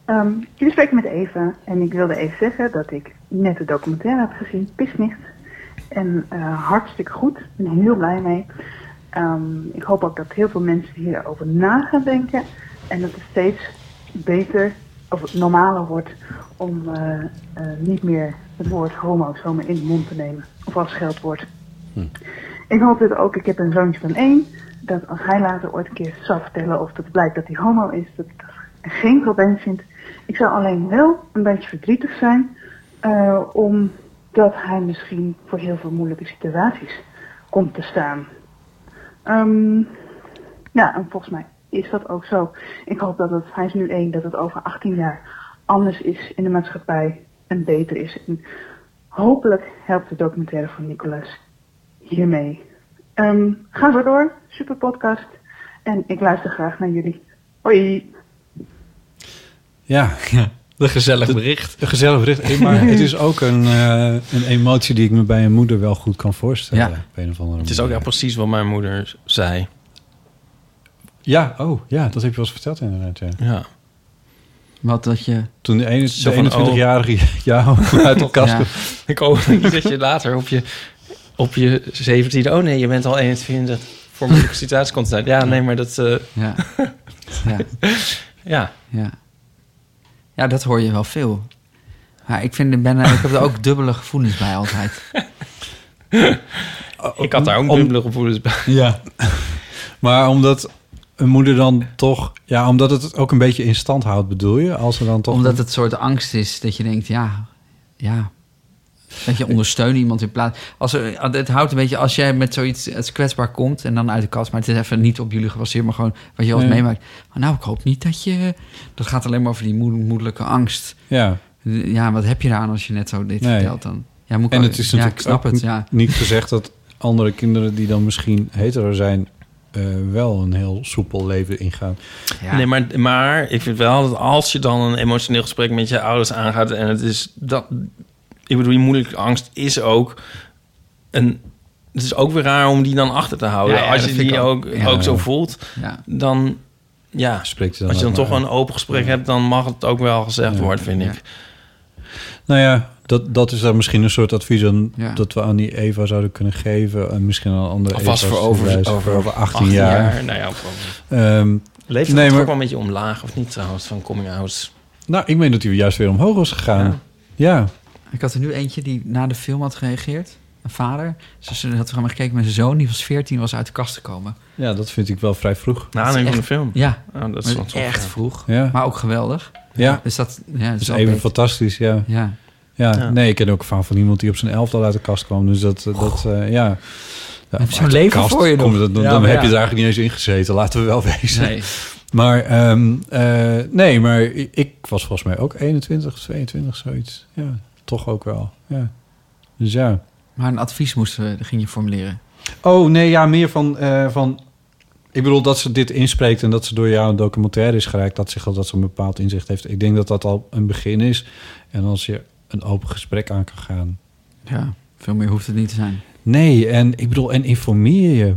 Speaker 6: Ehm jullie spreken met Eva en ik wilde even zeggen dat ik net de documentaire heb gezien, Pisnicht. En eh, hartstikke goed, ik ben er heel blij mee. Ehm, ik hoop ook dat heel veel mensen hierover na gaan denken en dat het steeds beter of normaler wordt om eh, eh, niet meer het woord homo zomaar in de mond te nemen of als scheldwoord. Ik hoop dit ook, ik heb een zoontje van één, dat als hij later ooit een keer zou vertellen of het blijkt dat hij homo is, dat ik dat geen probleem vind. Ik zou alleen wel een beetje verdrietig zijn, eh, omdat hij misschien voor heel veel moeilijke situaties komt te staan. Ehm, ja, en volgens mij is dat ook zo. Ik hoop dat het, hij is nu één, dat het over 18 jaar anders is in de maatschappij en beter is. En hopelijk helpt de documentaire van Nicolas hiermee. Ehm, ga zo door. Super podcast. En ik luister graag naar jullie. Hoi.
Speaker 3: Ja,
Speaker 2: Een gezellig bericht.
Speaker 3: Een gezellig bericht. Hey, Maar het is ook een, eh, een emotie die ik me bij een moeder wel goed kan voorstellen.
Speaker 2: Ja.
Speaker 3: Op een of andere
Speaker 4: Het is ook
Speaker 3: manier.
Speaker 4: echt precies wat mijn moeder zei.
Speaker 3: Ja, oh, ja, dat heb je wel eens verteld inderdaad. Ja.
Speaker 4: Ja.
Speaker 2: Wat dat je...
Speaker 3: Toen de, ene-
Speaker 4: Zo
Speaker 3: de
Speaker 4: van,
Speaker 3: 21-jarige jou uit de kast...
Speaker 2: oh. Ja.
Speaker 3: kwam.
Speaker 4: Ik hoop niet dat je later op je, op je 17e... Oh nee, je bent al 21. Voor moeilijke situaties komt het uit. Ja, nee, maar dat... eh,
Speaker 2: Ja. ja.
Speaker 4: ja.
Speaker 2: Ja. Ja, dat hoor je wel veel. Ja, ik, vind, ik ben, eh, ik heb er ook dubbele gevoelens bij altijd.
Speaker 4: ik had daar ook
Speaker 3: om-
Speaker 4: dubbele gevoelens bij.
Speaker 3: Ja. Maar omdat een moeder dan toch... Ja, omdat het het ook een beetje in stand houdt, bedoel je? Als ze dan toch...
Speaker 2: Omdat het een soort angst is dat je denkt, ja, ja. Dat je ondersteunt iemand in plaats. Als er, het houdt een beetje als jij met zoiets als kwetsbaar komt en dan uit de kast. Maar het is even niet op jullie gebaseerd, maar gewoon wat je altijd
Speaker 3: Nee.
Speaker 2: meemaakt. Maar nou, ik hoop niet dat je. Dat gaat alleen maar over die moed- moedelijke angst.
Speaker 3: Ja.
Speaker 2: Ja, wat heb je eraan als je net zo dit
Speaker 3: Nee.
Speaker 2: vertelt dan? Ja, moet ik
Speaker 3: En
Speaker 2: wel-
Speaker 3: het is
Speaker 2: ja,
Speaker 3: natuurlijk
Speaker 2: ik snap
Speaker 3: ook
Speaker 2: het. Ja.
Speaker 3: niet gezegd dat andere kinderen die dan misschien hetero zijn... eh, wel een heel soepel leven ingaan.
Speaker 2: Ja.
Speaker 4: Nee, maar, maar ik vind wel dat als je dan een emotioneel gesprek met je ouders aangaat... en het is dat... Ik bedoel, die moeilijke angst is ook een... Het is ook weer raar om die dan achter te houden.
Speaker 2: Ja, ja,
Speaker 4: als
Speaker 2: dat
Speaker 4: je
Speaker 2: vind
Speaker 4: die
Speaker 2: ik ook.
Speaker 4: ook,
Speaker 2: Ja.
Speaker 4: ook zo voelt,
Speaker 2: ja.
Speaker 4: dan... Ja,
Speaker 3: Spreekt ze dan
Speaker 4: als je dan
Speaker 3: ook
Speaker 4: toch
Speaker 3: maar
Speaker 4: een open gesprek hebt... dan mag het ook wel gezegd worden, vind ik.
Speaker 3: Nou ja, dat, dat is daar misschien een soort advies aan,
Speaker 2: Ja.
Speaker 3: dat we aan die Eva zouden kunnen geven. En misschien aan andere
Speaker 2: Alvast
Speaker 3: Eva's
Speaker 2: voor
Speaker 3: te
Speaker 2: over-
Speaker 3: wijzen,
Speaker 2: over
Speaker 3: voor over 18,
Speaker 4: 18
Speaker 3: jaar.
Speaker 4: Nou ja, ook wel.
Speaker 3: Ehm,
Speaker 4: Leeft
Speaker 3: Nee,
Speaker 4: het
Speaker 3: maar-
Speaker 4: ook wel een beetje omlaag of niet trouwens van coming outs?
Speaker 3: nou, ik meen dat hij juist weer omhoog was gegaan. Ja.
Speaker 4: Ja.
Speaker 2: Ik had er nu eentje die na de film had gereageerd. Een vader. Ze ze had gewoon gekeken met zijn zoon, die was 14, was uit de kast gekomen.
Speaker 3: Ja, dat vind ik wel vrij vroeg.
Speaker 4: Na aanleiding van de film.
Speaker 2: Ja,
Speaker 4: Nou, dat
Speaker 2: maar
Speaker 4: is wel tof,
Speaker 2: echt
Speaker 4: ja.
Speaker 2: vroeg.
Speaker 3: Ja.
Speaker 2: Maar ook geweldig.
Speaker 3: Ja,
Speaker 2: Dus dat, ja, dat
Speaker 3: dat
Speaker 2: is
Speaker 3: is
Speaker 2: wel
Speaker 3: even
Speaker 2: beter.
Speaker 3: fantastisch, ja.
Speaker 2: Ja.
Speaker 3: ja.
Speaker 4: Ja.
Speaker 3: Nee, ik ken ook van, van iemand die op zijn elfde al uit de kast kwam. Dus dat, eh, dat eh, ja. ja
Speaker 2: Heb je zo'n
Speaker 3: uit de
Speaker 2: leven voor je
Speaker 3: kom-
Speaker 2: nog?
Speaker 3: Dan, dan,
Speaker 2: Ja,
Speaker 3: dan
Speaker 2: maar
Speaker 3: heb je
Speaker 2: ja.
Speaker 3: er eigenlijk niet eens in gezeten, laten we wel wezen.
Speaker 2: Nee.
Speaker 3: Maar ehm, eh, nee, maar ik, ik was volgens mij ook 21, 22, zoiets. Ja, toch ook wel. Ja. Dus ja.
Speaker 2: Maar een advies moest, eh, ging je formuleren.
Speaker 3: Oh, nee, ja, meer van, eh, van... Ik bedoel, dat ze dit inspreekt en dat ze door jou een documentaire is gereikt... dat, zich, al- dat ze een bepaald inzicht heeft. Ik denk dat dat al een begin is. En als je een open gesprek aan kan gaan.
Speaker 2: Ja, veel meer hoeft het niet te
Speaker 3: Nou
Speaker 2: zijn.
Speaker 3: Nee, en ik bedoel, en informeer je.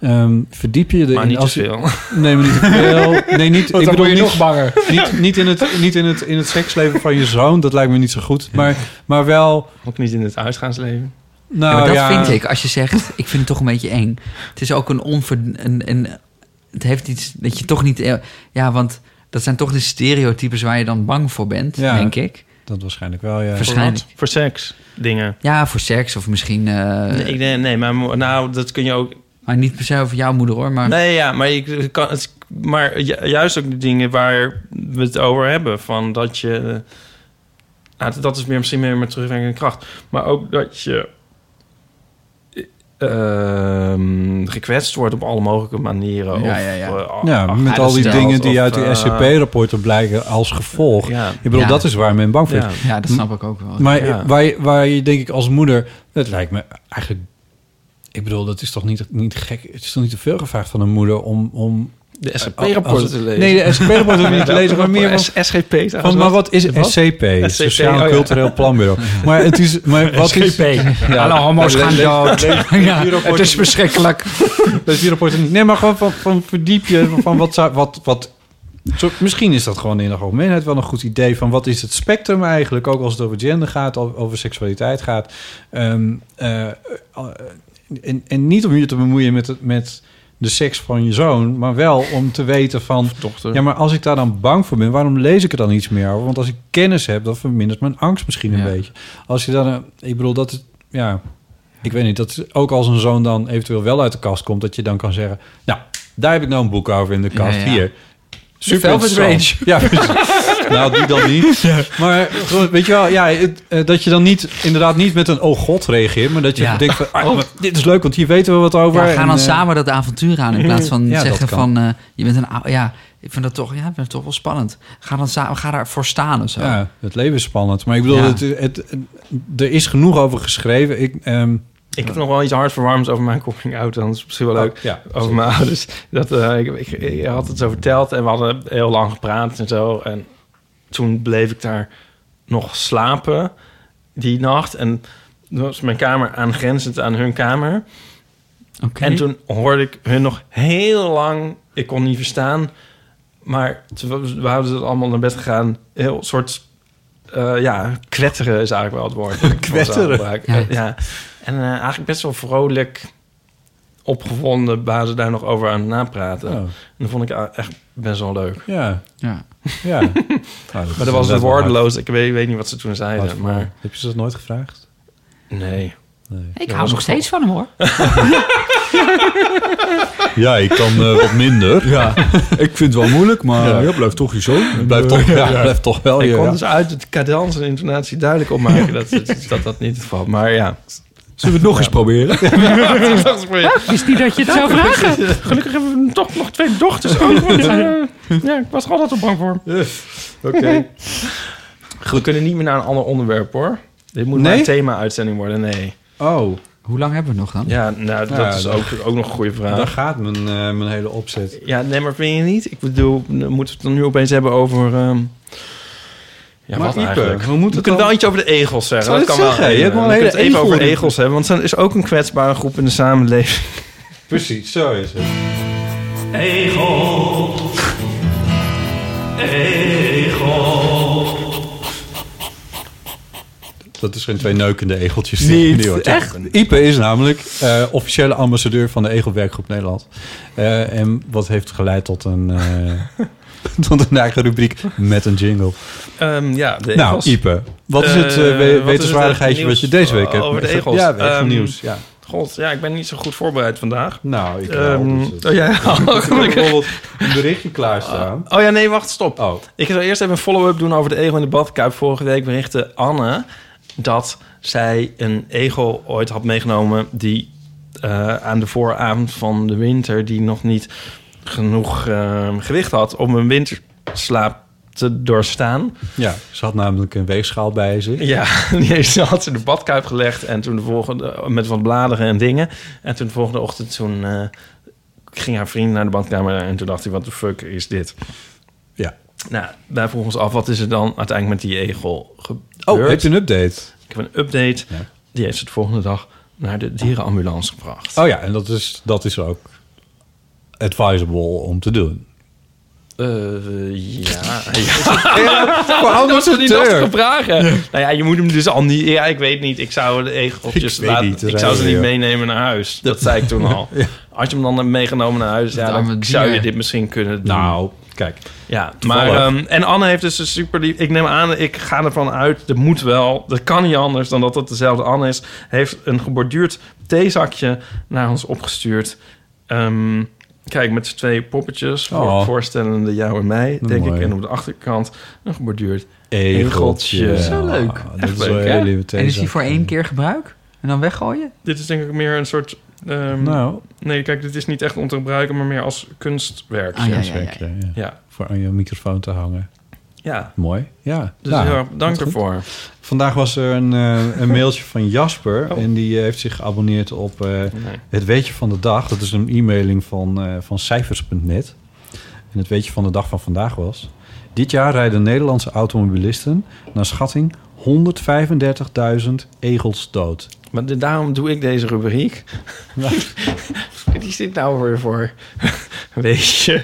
Speaker 3: Ehm, verdiep je erin.
Speaker 4: Maar niet te
Speaker 3: als je-
Speaker 4: veel.
Speaker 3: Nee, maar niet te veel. Nee, niet, ik
Speaker 7: dan
Speaker 3: bedoel,
Speaker 7: word je
Speaker 3: niet,
Speaker 7: nog banger.
Speaker 3: niet, niet, in het, niet in, het, in het seksleven van je zoon. Dat lijkt me niet zo goed. Maar, maar wel...
Speaker 4: Ook niet in het uitgaansleven.
Speaker 3: Nou,
Speaker 2: ja, maar dat
Speaker 3: ja,
Speaker 2: vind ik. Als je zegt, ik vind het toch een beetje eng. Het is ook een onver... Een, een, het heeft iets dat je toch niet... eh, Ja, want dat zijn toch de stereotypes waar je dan bang voor bent,
Speaker 3: Ja.
Speaker 2: denk ik.
Speaker 3: Dat waarschijnlijk wel, ja.
Speaker 2: Waarschijnlijk.
Speaker 4: Voor wat? Voor seks. Dingen.
Speaker 2: Ja, voor seks of misschien... eh,
Speaker 4: nee, ik, nee, nee, maar mo- nou, dat kun je ook...
Speaker 2: Maar niet per se over jouw moeder hoor, maar...
Speaker 4: Nee, ja, maar, ik, kan, het, maar ju- juist ook de dingen waar we het over hebben. Van dat je... eh, Nou, dat- dat is meer, misschien meer met terugwerkende kracht. Maar ook dat je... ehm, gekwetst wordt op alle mogelijke manieren.
Speaker 2: Ja,
Speaker 4: of,
Speaker 2: ja, ja.
Speaker 4: eh,
Speaker 3: Ja,
Speaker 4: ach-
Speaker 3: met al die
Speaker 4: aangesteld
Speaker 3: dingen die
Speaker 4: of,
Speaker 3: uit die
Speaker 4: eh,
Speaker 3: SCP-rapporten blijken als gevolg.
Speaker 4: ja.
Speaker 3: Ik bedoel,
Speaker 2: Ja.
Speaker 3: dat is waar men bang voor is.
Speaker 4: Ja.
Speaker 2: Ja, dat snap ik ook wel.
Speaker 3: Maar
Speaker 4: Ja.
Speaker 3: waar, je, waar je denk ik als moeder... Dat lijkt me eigenlijk... Ik bedoel, dat is toch niet, niet gek... Het is toch niet te veel gevraagd van een moeder om... om
Speaker 4: De
Speaker 3: als het-
Speaker 4: SGP-rapporten te lezen.
Speaker 3: Nee, de SCP-rapporten hoef je niet te lezen, maar meer van...
Speaker 4: SGP.
Speaker 3: van maar wat is
Speaker 4: Wat?
Speaker 3: SCP? Sociaal
Speaker 4: oh ja.
Speaker 3: Cultureel Planbureau. Maar het is... Maar wat is, Ja.
Speaker 7: Alle homo's gaan dood. Ja, het is verschrikkelijk.
Speaker 3: Dat is die rapport niet. Nee, maar gewoon van, van verdiep je van- van wat zou wat wat. Zo, misschien is dat gewoon in de algemeenheid wel een goed idee van wat is het spectrum eigenlijk, ook als het over gender gaat, over, over seksualiteit gaat. Ehm, eh, eh, en, en niet om je te bemoeien met, het- met de seks van je zoon, maar wel om te weten van.
Speaker 4: dochter.
Speaker 3: Ja, maar als ik daar dan bang voor ben, waarom lees ik er dan iets meer over? Want als ik kennis heb, dan vermindert mijn angst misschien een
Speaker 2: Ja.
Speaker 3: beetje. Als je dan, een- ik bedoel, dat is, ja, ik weet niet, dat is ook als een zoon dan eventueel wel uit de kast komt, dat je dan kan zeggen, nou, daar heb ik nou een boek over in de kast,
Speaker 2: Ja, ja.
Speaker 3: hier. Super
Speaker 2: Velvet
Speaker 3: interessant. Ja, precies. nou, die dan niet. Maar gewoon, weet je wel, ja, het, eh, dat je dan niet, inderdaad niet met een oh god reageert, maar dat je
Speaker 2: Ja. Oh.
Speaker 3: denkt van, ah, maar dit is leuk, want hier weten we wat over.
Speaker 2: Ja, we gaan
Speaker 3: En,
Speaker 2: dan
Speaker 3: eh,
Speaker 2: samen dat avontuur aan in plaats van
Speaker 3: Ja, dat
Speaker 2: zeggen
Speaker 3: kan.
Speaker 2: van... eh, je bent een oude... Ja, ik vind dat toch, ja, ik vind het toch wel spannend. Ga, dan samen, ga daarvoor staan of zo.
Speaker 3: Ja, het leven is spannend. Maar ik bedoel,
Speaker 2: Ja.
Speaker 3: het, het, er is genoeg over geschreven. Ik, ehm,
Speaker 4: Ik heb nog wel iets hardverwarmd over mijn coming out. Dan is het misschien wel leuk.
Speaker 3: Oh, ja.
Speaker 4: over mijn ouders. Dat, eh, ik, ik, ik had het zo verteld en we hadden heel lang gepraat en zo. En toen bleef ik daar nog slapen die nacht. En toen was mijn kamer aangrenzend aan hun kamer.
Speaker 2: Oké.
Speaker 4: En toen hoorde ik hun nog heel lang. Ik kon niet verstaan. Maar toen we hadden ze allemaal naar bed gegaan. Heel soort. eh, ja, kwetteren is eigenlijk wel het woord. dat ik voor zou
Speaker 3: Kwetteren.
Speaker 4: gebruiken.
Speaker 2: Ja.
Speaker 4: Eh, ja. En eh, eigenlijk best wel vrolijk opgewonden waren ze daar nog over aan het napraten.
Speaker 3: Oh.
Speaker 4: En dat vond ik a- echt best wel leuk.
Speaker 3: ja,
Speaker 2: Ja.
Speaker 3: ja. Nou,
Speaker 4: Maar dat was het woordeloos. Ik weet, weet niet wat ze toen zeiden. Maar
Speaker 3: Heb je ze dat nooit gevraagd?
Speaker 4: nee.
Speaker 2: Ik
Speaker 4: hou nog steeds
Speaker 2: van hem hoor.
Speaker 8: Ja, ik kan eh, wat minder.
Speaker 3: Ja.
Speaker 8: ik vind het wel moeilijk, maar
Speaker 3: Ja.
Speaker 8: ja. blijft toch je zoon. Blijft toch,
Speaker 4: Ja,
Speaker 8: ja,
Speaker 4: ja.
Speaker 8: blijft toch wel
Speaker 3: Oh,
Speaker 4: Ik
Speaker 8: je.
Speaker 4: kon
Speaker 8: ja.
Speaker 4: dus uit het cadans en intonatie duidelijk opmaken dat, dat, dat dat niet het geval Maar ja.
Speaker 8: Zullen we het nog eens proberen?
Speaker 7: Wist niet dat je het zou vragen.
Speaker 4: Gelukkig hebben we toch nog twee dochters ook. want, eh, ja, ik was er altijd al bang voor. Oké. We kunnen niet meer naar een ander onderwerp hoor. Dit moet
Speaker 2: Nee?
Speaker 4: maar een thema-uitzending worden, nee.
Speaker 3: Oh.
Speaker 2: Hoe lang hebben we nog dan?
Speaker 4: Ja, nou, dat
Speaker 3: Ja,
Speaker 4: is
Speaker 3: dat-
Speaker 4: ook, ook nog een goede vraag.
Speaker 3: Daar gaat mijn, eh, mijn hele opzet.
Speaker 4: Ja, nee, maar vind je niet? Ik bedoel, moeten we het dan nu opeens hebben over... ehm, ja,
Speaker 3: Maar
Speaker 4: wat
Speaker 3: Ipe,
Speaker 4: eigenlijk?
Speaker 3: hoe moet het
Speaker 4: we kunnen
Speaker 3: dan-
Speaker 4: wel iets over de egels zeggen.
Speaker 3: Zou
Speaker 4: Dat
Speaker 3: ik
Speaker 4: kan wel.
Speaker 3: zeggen? Je hebt wel
Speaker 4: we
Speaker 3: een
Speaker 4: kunnen
Speaker 3: hele
Speaker 4: het even over
Speaker 3: egel-
Speaker 4: egels hebben, want ze is ook een kwetsbare groep in de samenleving.
Speaker 3: Precies, zo is het.
Speaker 5: Egel. Egel.
Speaker 3: Dat is geen twee neukende egeltjes.
Speaker 8: Niet,
Speaker 3: hoor.
Speaker 8: echt?
Speaker 3: Ipe is namelijk eh, officiële ambassadeur van de Egelwerkgroep Nederland. Eh, en wat heeft geleid tot een, eh, tot een eigen rubriek met een jingle.
Speaker 4: Ehm, ja, de
Speaker 3: nou,
Speaker 4: egels.
Speaker 3: Ipe, wat is
Speaker 4: Eh,
Speaker 3: het eh,
Speaker 4: wat is
Speaker 3: we-
Speaker 4: het,
Speaker 3: wetenswaardigheidje
Speaker 4: eh,
Speaker 3: wat je deze week
Speaker 4: nieuws
Speaker 3: hebt?
Speaker 4: Over de
Speaker 3: meegemaakt?
Speaker 4: egels.
Speaker 3: Ja, Egel
Speaker 4: Ehm,
Speaker 3: nieuws. Ja.
Speaker 4: God, ja, ik ben niet zo goed voorbereid vandaag.
Speaker 3: Nou, ik wel,
Speaker 4: Ehm,
Speaker 3: dus het-
Speaker 4: oh, ja,
Speaker 3: Ik heb
Speaker 4: gelukkig.
Speaker 3: bijvoorbeeld een berichtje klaarstaan.
Speaker 4: Oh ja, nee, wacht, stop.
Speaker 3: Oh.
Speaker 4: Ik zou eerst even een follow-up doen over de egel in de badkuip. Vorige week berichtte Anne dat zij een egel ooit had meegenomen... die eh, aan de vooravond van de winter... die nog niet genoeg eh, gewicht had om een winterslaap te doorstaan.
Speaker 3: Ja, ze had namelijk een weegschaal bij zich.
Speaker 4: Ja, die heeft ze had ze in de badkuip gelegd en toen de volgende met wat bladeren en dingen. En toen de volgende ochtend toen eh, ging haar vriend naar de badkamer en toen dacht hij wat de fuck is dit?
Speaker 3: Ja. Oh,
Speaker 4: Nou, wij vroegen ons af wat is er dan uiteindelijk met die egel gebeurd?
Speaker 3: Oh, heb je een update?
Speaker 4: Ik heb een update.
Speaker 3: Ja.
Speaker 4: Die heeft ze de volgende dag naar de dierenambulance gebracht.
Speaker 3: Oh ja, en dat is, dat is ook advisable om te doen.
Speaker 4: Eh, ja, ja.
Speaker 3: Waarom
Speaker 4: dat
Speaker 3: is het
Speaker 4: was
Speaker 3: nou
Speaker 4: niet
Speaker 3: deur?
Speaker 4: lastige vragen. Nou ja, je moet hem dus al niet... Ja, ik weet niet. Ik zou de egeltjes
Speaker 3: Ik weet
Speaker 4: laten...
Speaker 3: niet, dat
Speaker 4: ik
Speaker 3: is
Speaker 4: zou ze niet
Speaker 3: weer.
Speaker 4: meenemen naar huis. Dat zei ik toen al. Als je hem dan hebt meegenomen naar huis... Ja,
Speaker 2: arme
Speaker 4: dan zou je
Speaker 2: dier.
Speaker 4: dit misschien kunnen doen.
Speaker 3: Nou, kijk.
Speaker 4: Ja,
Speaker 3: Toevallig.
Speaker 4: maar, ehm, en Anne heeft dus een super lief. Ik neem aan, ik ga ervan uit, dat moet wel. Dat kan niet anders dan dat dat dezelfde Anne is. Heeft een geborduurd theezakje naar ons opgestuurd. Ehm, kijk, met z'n twee poppetjes. voor-
Speaker 3: Oh.
Speaker 4: Voorstellende jou en mij,
Speaker 3: Wat
Speaker 4: denk
Speaker 3: mooi.
Speaker 4: ik. En op de achterkant een geborduurd
Speaker 3: Egeltje.
Speaker 4: egeltje.
Speaker 2: Zo leuk.
Speaker 3: Ah,
Speaker 4: Echt
Speaker 3: Dat is
Speaker 4: leuk,
Speaker 3: wel
Speaker 4: hè?
Speaker 3: heel lieve
Speaker 2: En is die
Speaker 3: theezak.
Speaker 2: voor één keer gebruik? En dan weggooien?
Speaker 4: Dit is denk ik meer een soort... ehm,
Speaker 3: Nou,
Speaker 4: Nee, kijk, dit is niet echt om te gebruiken, maar meer als kunstwerk.
Speaker 2: Ah, ja, ja, ja.
Speaker 3: zeker. eh, ja.
Speaker 4: ja.
Speaker 3: Voor aan je microfoon te hangen.
Speaker 4: ja.
Speaker 3: Mooi. Ja.
Speaker 4: Dus
Speaker 3: Nou,
Speaker 4: heel erg dank
Speaker 3: goed.
Speaker 4: ervoor.
Speaker 3: Vandaag was er een, eh, een mailtje van Jasper. En die eh, heeft zich geabonneerd op eh,
Speaker 4: Nee.
Speaker 3: het Weetje van de Dag. Dat is een e-mailing van, eh, van cijfers.net. En het Weetje van de Dag van vandaag was... Dit jaar rijden Nederlandse automobilisten naar schatting 135.000 egels dood.
Speaker 4: Maar de- daarom doe ik deze rubriek. Die zit nou weer voor. Weet je.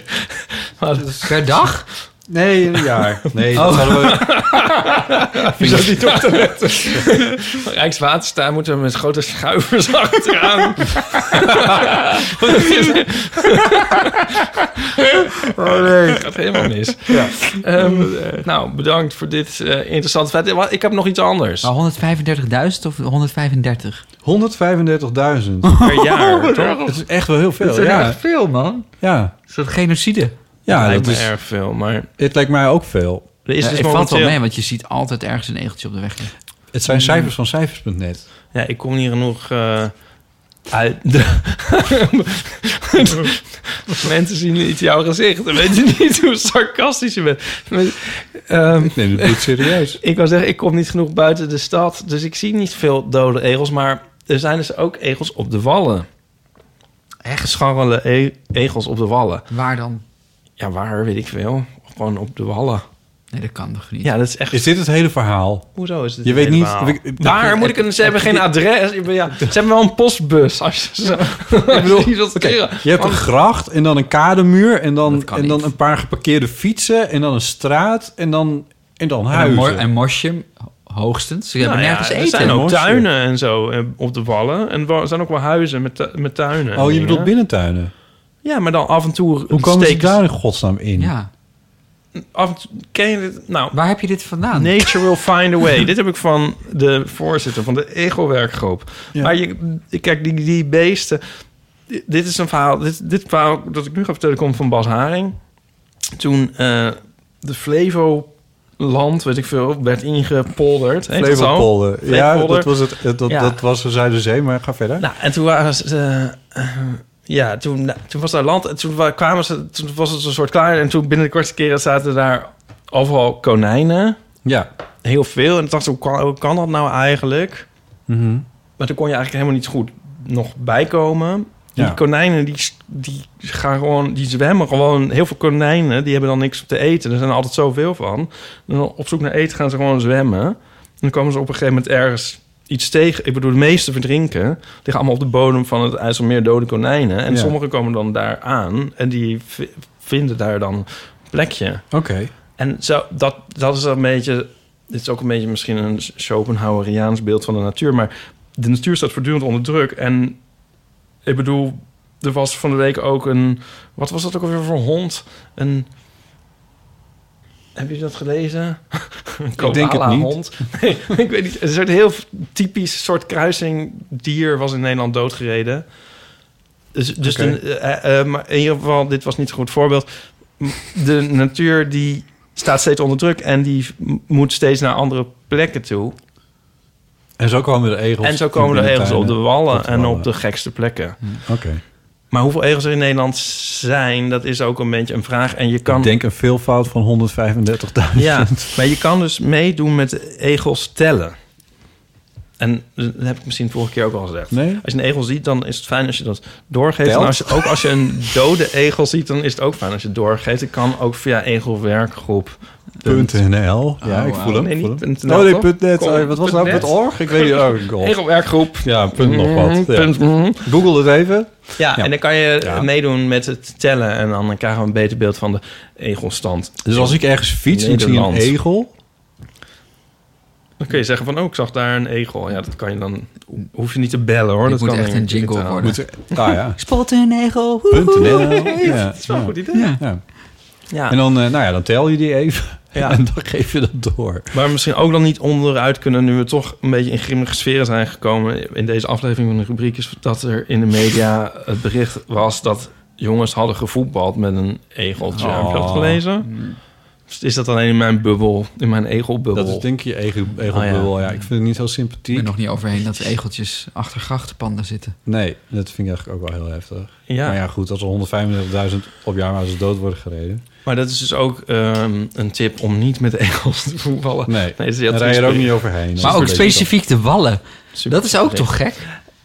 Speaker 4: Maar dat is
Speaker 2: Dus- Per dag?
Speaker 3: Nee, een jaar. Nee, dat hadden we...
Speaker 4: zo niet op te letten. Rijkswaterstaat moeten we met grote schuivers achteraan.
Speaker 3: Oh, nee.
Speaker 4: Dat gaat helemaal mis. Ehm, nou, bedankt voor dit eh, interessante feit. Maar Ik heb nog iets anders.
Speaker 2: Maar 135.000 of 135?
Speaker 3: 135.000.
Speaker 4: Per jaar, toch?
Speaker 3: Dat is echt wel heel
Speaker 2: Dat
Speaker 3: veel.
Speaker 2: is
Speaker 3: Ja,
Speaker 2: echt veel, man.
Speaker 3: ja.
Speaker 2: Is dat genocide?
Speaker 3: ja
Speaker 4: lijkt
Speaker 3: dat
Speaker 4: me
Speaker 3: is,
Speaker 4: erg veel, maar... Er
Speaker 3: het lijkt mij ook veel.
Speaker 4: is
Speaker 2: Ja,
Speaker 4: dus
Speaker 2: het valt wel
Speaker 4: momenteel-
Speaker 2: mee, want je ziet altijd ergens een egeltje op de weg. liggen.
Speaker 3: Het zijn cijfers van cijfers.net.
Speaker 4: Ja, ik kom niet genoeg eh, uit. De... Mensen zien niet jouw gezicht en weten niet hoe sarcastisch je bent. Maar, ehm,
Speaker 3: Ik neem het niet serieus.
Speaker 4: ik wou zeggen, ik kom niet genoeg buiten de stad, dus ik zie niet veel dode egels. Maar er zijn dus ook egels op de wallen. Echt scharrele e- egels op de wallen.
Speaker 2: Waar dan?
Speaker 4: Ja, waar weet ik veel. Gewoon op de wallen.
Speaker 2: Nee, dat kan toch niet?
Speaker 4: Ja, dat is echt.
Speaker 3: Is dit het hele verhaal?
Speaker 4: Hoezo is dit?
Speaker 3: Je weet niet-
Speaker 4: helemaal?
Speaker 3: ik- ik-
Speaker 4: Waar
Speaker 3: ik-
Speaker 4: moet ik een. Ze hebben geen adres. Ik ben- Ja, ze hebben wel een postbus. Als je zo. Ik bedoel,
Speaker 3: Je hebt een
Speaker 4: Oh.
Speaker 3: gracht en dan een kademuur en dan,
Speaker 2: Dat kan
Speaker 3: en dan
Speaker 2: niet.
Speaker 3: een paar geparkeerde fietsen en dan een straat en dan, en dan
Speaker 2: En, een
Speaker 3: huizen.
Speaker 2: mor- en mosje, hoogstens. Ze hebben nergens
Speaker 4: Nou er
Speaker 2: eten.
Speaker 4: zijn ook
Speaker 3: Morsje.
Speaker 4: tuinen en zo eh, op de wallen. En wa- er zijn ook wel huizen met, tu- met tuinen. en
Speaker 3: oh, je
Speaker 4: dingen.
Speaker 3: bedoelt binnentuinen.
Speaker 4: Ja, maar dan af en toe
Speaker 3: Hoe komen ze
Speaker 4: steken
Speaker 3: daar in godsnaam in?
Speaker 2: Ja.
Speaker 4: Af en toe, ken je dit? Nou,
Speaker 2: Waar heb je dit vandaan?
Speaker 4: nature will find a way. dit heb ik van de voorzitter van de Ego-werkgroep.
Speaker 3: Ja.
Speaker 4: Maar je, kijk, die, die beesten... dit is een verhaal. Dit, dit verhaal dat ik nu ga vertellen komt van Bas Haring. Toen eh, de Flevo land, weet ik veel, werd ingepolderd. Heet dat zo?
Speaker 3: Flevopolder. Ja,
Speaker 4: Flevopolder.
Speaker 3: dat was, het, dat,
Speaker 4: Ja.
Speaker 3: dat was de Zuiderzee, maar ga verder.
Speaker 4: Nou, en toen waren ze... eh, eh, ja, toen, nou, toen was daar land en toen wa- kwamen ze... Toen was het een soort klaar en toen binnen de kortste keren zaten daar overal konijnen.
Speaker 3: Ja.
Speaker 4: Heel veel. En toen dacht ik, hoe kan, hoe kan dat nou eigenlijk?
Speaker 3: Mhm.
Speaker 4: Maar toen kon je eigenlijk helemaal niet goed nog bijkomen. Die
Speaker 3: Ja.
Speaker 4: konijnen, die, die gaan gewoon, die zwemmen gewoon. Heel veel konijnen, die hebben dan niks te eten. Er zijn er altijd zoveel van. En dan op zoek naar eten gaan ze gewoon zwemmen. En dan komen ze op een gegeven moment ergens iets tegen. Ik bedoel, de meeste verdrinken. Die gaan allemaal op de bodem van het IJsselmeer dode konijnen. En
Speaker 3: Ja.
Speaker 4: sommigen komen dan daar aan. En die v- vinden daar dan een plekje.
Speaker 3: Oké.
Speaker 4: En zo, dat, dat is een beetje... Dit is ook een beetje misschien een Schopenhaueriaans beeld van de natuur. Maar de natuur staat voortdurend onder druk. En ik bedoel, er was van de week ook een... Wat was dat ook alweer voor hond? Een... Heb je dat gelezen? Een
Speaker 3: Ik denk het niet.
Speaker 4: koala-hond. Nee, ik weet niet. Een soort heel typisch soort kruising dier was in Nederland doodgereden. Dus, dus
Speaker 3: Oké.
Speaker 4: de- eh, eh, maar in ieder geval, dit was niet een goed voorbeeld. M- De natuur die staat steeds onder druk en die m- moet steeds naar andere plekken toe.
Speaker 3: En zo komen de egels.
Speaker 4: en zo komen de
Speaker 3: in
Speaker 4: egels op de
Speaker 3: tuinen.
Speaker 4: wallen
Speaker 3: Op de
Speaker 4: en
Speaker 3: wallen.
Speaker 4: op de gekste plekken.
Speaker 3: Oké.
Speaker 4: Maar hoeveel egels er in Nederland zijn, dat is ook een beetje een vraag. En je
Speaker 3: Ik
Speaker 4: kan
Speaker 3: denk een veelvoud van 135.000.
Speaker 4: Ja, maar je kan dus meedoen met de egels tellen. En dat heb ik misschien vorige keer ook al gezegd.
Speaker 3: Nee?
Speaker 4: Als je een egel ziet, dan is het fijn als je dat doorgeeft.
Speaker 3: Telt?
Speaker 4: En als je, ook als je een dode egel ziet, dan is het ook fijn als je het doorgeeft. Ik kan ook via egelwerkgroep.
Speaker 3: .nl. Ja,
Speaker 4: Oh,
Speaker 3: ik voel hem.
Speaker 4: nee,
Speaker 3: ik voel
Speaker 4: niet
Speaker 3: hem.
Speaker 4: punt nl,
Speaker 3: Oh, nee,
Speaker 4: toch?
Speaker 3: punt net.
Speaker 4: Kom,
Speaker 3: Oh, wat was
Speaker 4: punt
Speaker 3: het nou?
Speaker 4: net.
Speaker 3: Punt org? Ik weet het ook niet. Oh.
Speaker 4: Egelwerkgroep.
Speaker 3: Ja, punt nog wat. Ja.
Speaker 4: Punt, mhm.
Speaker 3: Google het even.
Speaker 4: Ja,
Speaker 3: Ja.
Speaker 4: en dan kan je
Speaker 3: Ja.
Speaker 4: meedoen met het tellen. En dan krijgen we een beter beeld van de egelstand.
Speaker 3: Dus als ik ergens fiets en ik zie een
Speaker 4: Nederland.
Speaker 3: egel...
Speaker 4: Dan kun je zeggen van, oh, ik zag daar een egel. Ja, dat kan je dan... Hoef je niet te bellen, hoor.
Speaker 2: Dit
Speaker 4: dat
Speaker 2: moet
Speaker 4: kan
Speaker 2: echt
Speaker 4: in
Speaker 2: een jingle
Speaker 4: digitaal.
Speaker 2: worden.
Speaker 3: Moet er, ah ja.
Speaker 2: Spot een egel.
Speaker 3: Punt nl. Ja,
Speaker 4: Dat is wel een
Speaker 3: ja.
Speaker 4: goed idee. Ja.
Speaker 3: Ja. En dan, eh, nou ja, dan tel je die even.
Speaker 4: Ja.
Speaker 3: En dan geef je dat door.
Speaker 4: Waar we misschien ook dan niet onderuit kunnen... nu we toch een beetje in grimmige sferen zijn gekomen... in deze aflevering van de rubriek... is dat er in de media het bericht was... dat jongens hadden gevoetbald met een egeltje. Heb je dat
Speaker 3: Oh.
Speaker 4: gelezen?
Speaker 2: Hmm.
Speaker 4: Dus is dat alleen in mijn bubbel? In mijn egelbubbel?
Speaker 3: Dat is denk ik je ego- egelbubbel.
Speaker 4: Ah,
Speaker 3: Oh, ja. ik vind het niet zo sympathiek.
Speaker 2: Ik ben nog niet overheen dat egeltjes achter grachtenpanden zitten.
Speaker 3: Nee, dat vind ik eigenlijk ook wel heel heftig.
Speaker 4: Ja.
Speaker 3: Maar ja, goed, als er 135.000 op jaarbasis dood worden gereden.
Speaker 4: Maar dat is dus ook ehm, een tip om niet met egels te voetballen.
Speaker 3: Nee,
Speaker 4: dat is heel
Speaker 3: dan rij je er
Speaker 4: triest
Speaker 3: ook niet overheen.
Speaker 2: Maar ook
Speaker 3: Dat is een beetje
Speaker 2: specifiek de wallen.
Speaker 4: Super
Speaker 2: dat is ook
Speaker 4: triest.
Speaker 2: toch gek?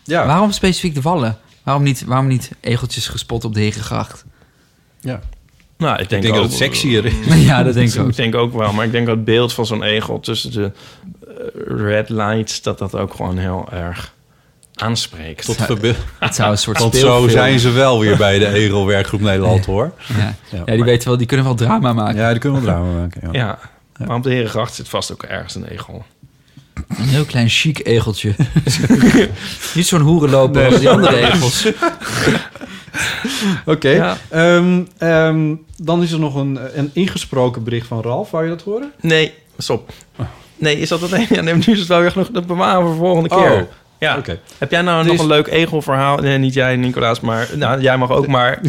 Speaker 3: Ja.
Speaker 2: Waarom specifiek de wallen? Waarom niet, waarom niet egeltjes gespot op de Herengracht?
Speaker 3: dan- Ja.
Speaker 4: Nou, ik denk,
Speaker 3: Ik denk dat
Speaker 4: ook-
Speaker 3: het sexier is.
Speaker 2: ja, dat denk ik ook.
Speaker 4: Ik denk ook wel, maar ik denk dat het beeld van zo'n egel tussen de eh, red lights, dat dat ook gewoon heel erg aanspreekt.
Speaker 3: Tot verbe-
Speaker 2: Het zou een soort
Speaker 3: Want zo
Speaker 2: speelfilm-
Speaker 3: zijn ze wel weer bij de egelwerkgroep Nederland, hoor.
Speaker 2: Ja,
Speaker 3: Ja.
Speaker 2: ja die weten wel, die kunnen wel drama maken.
Speaker 3: Ja, die kunnen we drama maken. Ja.
Speaker 4: ja. maar op de Herengracht zit vast ook ergens een egel.
Speaker 2: Een heel klein chic egeltje. Niet zo'n hoerenloper als die andere egels.
Speaker 3: Oké.
Speaker 4: Ja.
Speaker 3: ehm, ehm, dan is er nog een, een ingesproken bericht van Ralf. Wou je dat horen?
Speaker 4: Nee, stop. Nee, is dat het Ja, nee, nu is het wel weer genoeg. Dat bewaren we voor volgende
Speaker 3: Oh,
Speaker 4: keer. ja.
Speaker 3: oké.
Speaker 4: Heb jij nou
Speaker 3: Dus-
Speaker 4: nog een leuk egelverhaal? Nee, niet jij, Nicolaas, maar nou, jij mag ook. Maar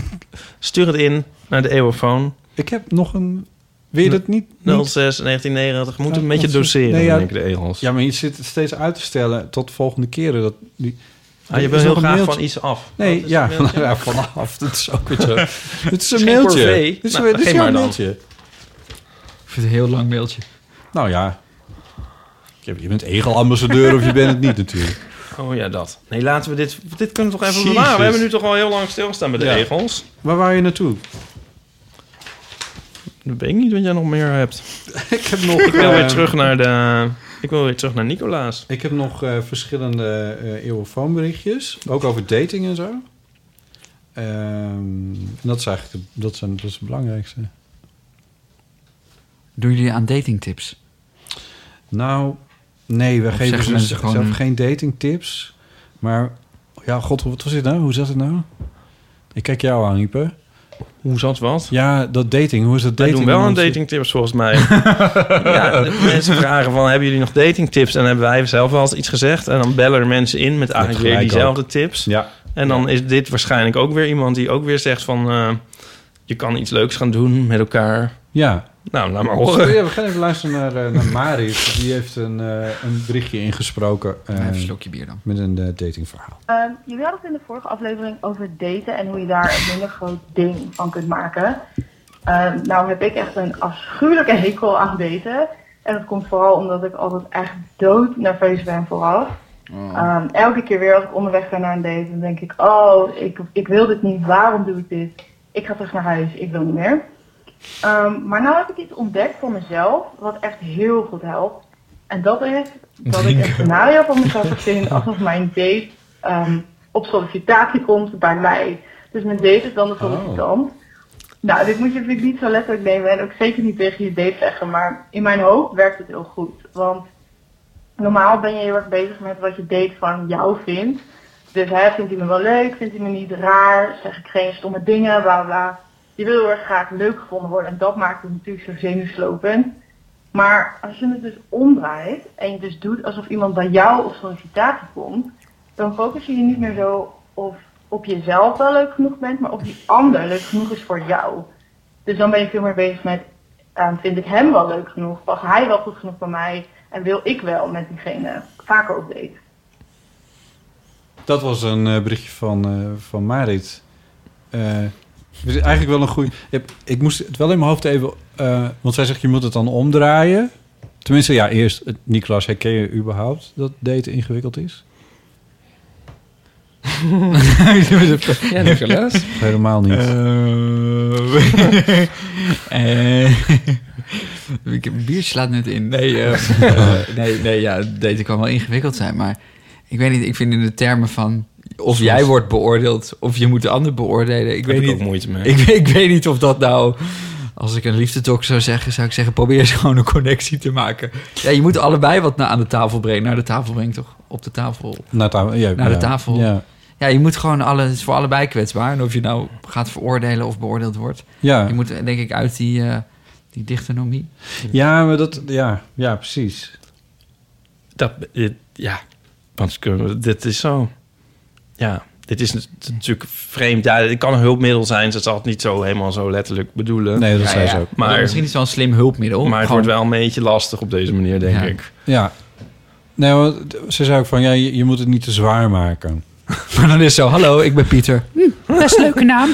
Speaker 4: stuur het in naar de eeuwofoon.
Speaker 3: Ik heb nog een... Wil je dat niet?
Speaker 4: 06
Speaker 3: niet?
Speaker 4: 1990. Moet een
Speaker 3: Ja,
Speaker 4: beetje
Speaker 3: dat-
Speaker 4: doseren,
Speaker 3: nee, ja.
Speaker 4: denk ik, de egels.
Speaker 3: Ja, maar je zit het steeds uit te stellen tot de volgende keren. Dat, die,
Speaker 4: ah, je
Speaker 3: Er
Speaker 4: wil
Speaker 3: is
Speaker 4: heel
Speaker 3: nog een
Speaker 4: graag
Speaker 3: mailtje.
Speaker 4: van iets af. Wat
Speaker 3: Nee,
Speaker 4: is
Speaker 3: ja,
Speaker 4: een mailtje?
Speaker 3: ja, vanaf. Dat is ook weer zo. Dit is een
Speaker 4: Geen
Speaker 3: mailtje.
Speaker 4: corvée.
Speaker 3: Dit is,
Speaker 4: Nou,
Speaker 3: dit is
Speaker 4: geef
Speaker 3: jouw
Speaker 4: maar dan.
Speaker 3: mailtje.
Speaker 2: Ik vind het een heel lang mailtje.
Speaker 3: Nou ja. Je je bent egelambassadeur of je bent het niet natuurlijk.
Speaker 4: Oh ja, dat. Nee, laten we dit... Dit kunnen we toch even
Speaker 3: Jezus.
Speaker 4: bewaren? We hebben nu toch al heel lang stilgestaan met de
Speaker 3: Ja.
Speaker 4: egels.
Speaker 3: Waar wou je naartoe?
Speaker 4: Dat weet ik niet wat jij nog meer hebt.
Speaker 3: Ik heb nog,
Speaker 4: Ik wil
Speaker 3: eh,
Speaker 4: weer terug naar de... Ik wil weer terug naar Nicolaas.
Speaker 3: Ik heb nog eh, verschillende eh eeuwenfoonberichtjes. Ook over dating en zo. Ehm, en dat is eigenlijk de- dat zijn, dat is het belangrijkste.
Speaker 2: Doen jullie aan datingtips?
Speaker 3: Nou, nee, we
Speaker 2: Of
Speaker 3: geven
Speaker 2: zeggen
Speaker 3: ze
Speaker 2: mensen
Speaker 3: zelf
Speaker 2: gewoon-
Speaker 3: geen datingtips. Maar, ja, god, wat was dit nou? Hoe zat het nou? Ik kijk jou aan, Ieper.
Speaker 4: Hoe zat wat?
Speaker 3: Ja, dat dating. Hoe is dat
Speaker 4: Wij
Speaker 3: dating?
Speaker 4: doen wel aan
Speaker 3: Want-
Speaker 4: datingtips volgens mij. ja, de mensen vragen van, hebben jullie nog datingtips? En dan hebben wij zelf wel eens iets gezegd. En dan bellen er mensen in met eigenlijk weer
Speaker 3: gelijk
Speaker 4: diezelfde
Speaker 3: ook.
Speaker 4: tips.
Speaker 3: Ja.
Speaker 4: En dan is dit waarschijnlijk ook weer iemand die ook weer zegt van... eh, je kan iets leuks gaan doen met elkaar.
Speaker 3: Ja.
Speaker 4: Nou, laat maar horen.
Speaker 3: Ja, we gaan even luisteren naar, eh, naar Marius. Die heeft een, eh, een berichtje ingesproken. eh,
Speaker 2: Even een slokje bier dan.
Speaker 3: Met een eh, datingverhaal.
Speaker 9: Ehm, jullie hadden het in de vorige aflevering over daten en hoe je daar een minder groot ding van kunt maken. Ehm, nou heb ik echt een afschuwelijke hekel aan daten. En dat komt vooral omdat ik altijd echt dood nerveus ben vooraf. Ehm, elke keer weer als ik onderweg ben naar een date, dan denk ik, oh, ik, ik wil dit niet, waarom doe ik dit? Ik ga terug naar huis, ik wil niet meer. Ehm, maar nou heb ik iets ontdekt voor mezelf, wat echt heel goed helpt. En dat is dat ik een scenario van mezelf verzin alsof mijn date ehm, op sollicitatie komt bij mij. Dus mijn date is dan de sollicitant. Nou, dit moet je natuurlijk niet zo letterlijk nemen en ook zeker niet tegen je date zeggen, maar in mijn hoofd werkt het heel goed. Want normaal ben je heel erg bezig met wat je date van jou vindt. Dus hè, vindt hij me wel leuk, vindt hij me niet raar, zeg ik geen stomme dingen, bla bla. Je wil heel erg graag leuk gevonden worden en dat maakt het natuurlijk zo zenuwslopend. Maar als je het dus omdraait en je dus doet alsof iemand bij jou op sollicitatie komt, dan focus je je niet meer zo of op jezelf wel leuk genoeg bent, maar of die ander leuk genoeg is voor jou. Dus dan ben je veel meer bezig met, ehm, vind ik hem wel leuk genoeg? Past hij wel goed genoeg bij mij? En wil ik wel met diegene vaker op date?
Speaker 3: Dat was een eh, berichtje van, eh, van Marit. Eh, we zijn eigenlijk wel een goede. Ik, ik moest het wel in mijn hoofd even. eh, want zij zegt, je moet het dan omdraaien. Tenminste, ja, eerst, eh, Niklas, herken je überhaupt dat daten ingewikkeld is?
Speaker 2: Ja, Nicolas.
Speaker 3: Helemaal niet.
Speaker 2: Eh, ik heb- bier slaat net in. Nee, eh, eh, nee, nee ja, daten kan wel ingewikkeld zijn. Maar ik weet niet, ik vind in de termen van... Of jij wordt beoordeeld, of je moet de ander beoordelen. Ik
Speaker 4: Heb
Speaker 2: weet
Speaker 4: ik
Speaker 2: niet,
Speaker 4: ook moeite mee.
Speaker 2: Ik, weet- ik weet niet of dat nou... Als ik een liefdedok zou zeggen, zou ik zeggen... probeer eens gewoon een connectie te maken. Ja, je moet allebei wat na- aan de tafel brengen. Naar de tafel brengen, toch? Op de tafel.
Speaker 3: Naar tafel, ja,
Speaker 2: naar de
Speaker 3: ja,
Speaker 2: tafel.
Speaker 3: ja.
Speaker 2: Ja. je moet gewoon alle, het is voor allebei kwetsbaar. En of je nou gaat veroordelen of beoordeeld wordt.
Speaker 3: Ja.
Speaker 2: Je moet denk ik uit die, eh die dichtonomie.
Speaker 3: Ja, maar dat, ja, ja, precies.
Speaker 4: Dat, dit- ja, want kunnen we- dit is zo. Ja, dit is nat- natuurlijk vreemd. Ja, het kan een hulpmiddel zijn. Ze zal het niet zo helemaal zo letterlijk bedoelen.
Speaker 3: Nee, dat
Speaker 4: ja,
Speaker 3: zei
Speaker 4: ja.
Speaker 3: ze ook.
Speaker 4: Maar,
Speaker 2: Misschien is het wel een slim hulpmiddel.
Speaker 4: Maar het
Speaker 2: Gewoon-
Speaker 4: wordt wel een beetje lastig op deze manier, denk
Speaker 2: Ja.
Speaker 4: ik.
Speaker 3: Ja. Nee, want ze zei ook van, ja, je, je moet het niet te zwaar maken.
Speaker 2: Maar dan is zo, hallo, ik ben Pieter.
Speaker 10: Best een leuke naam.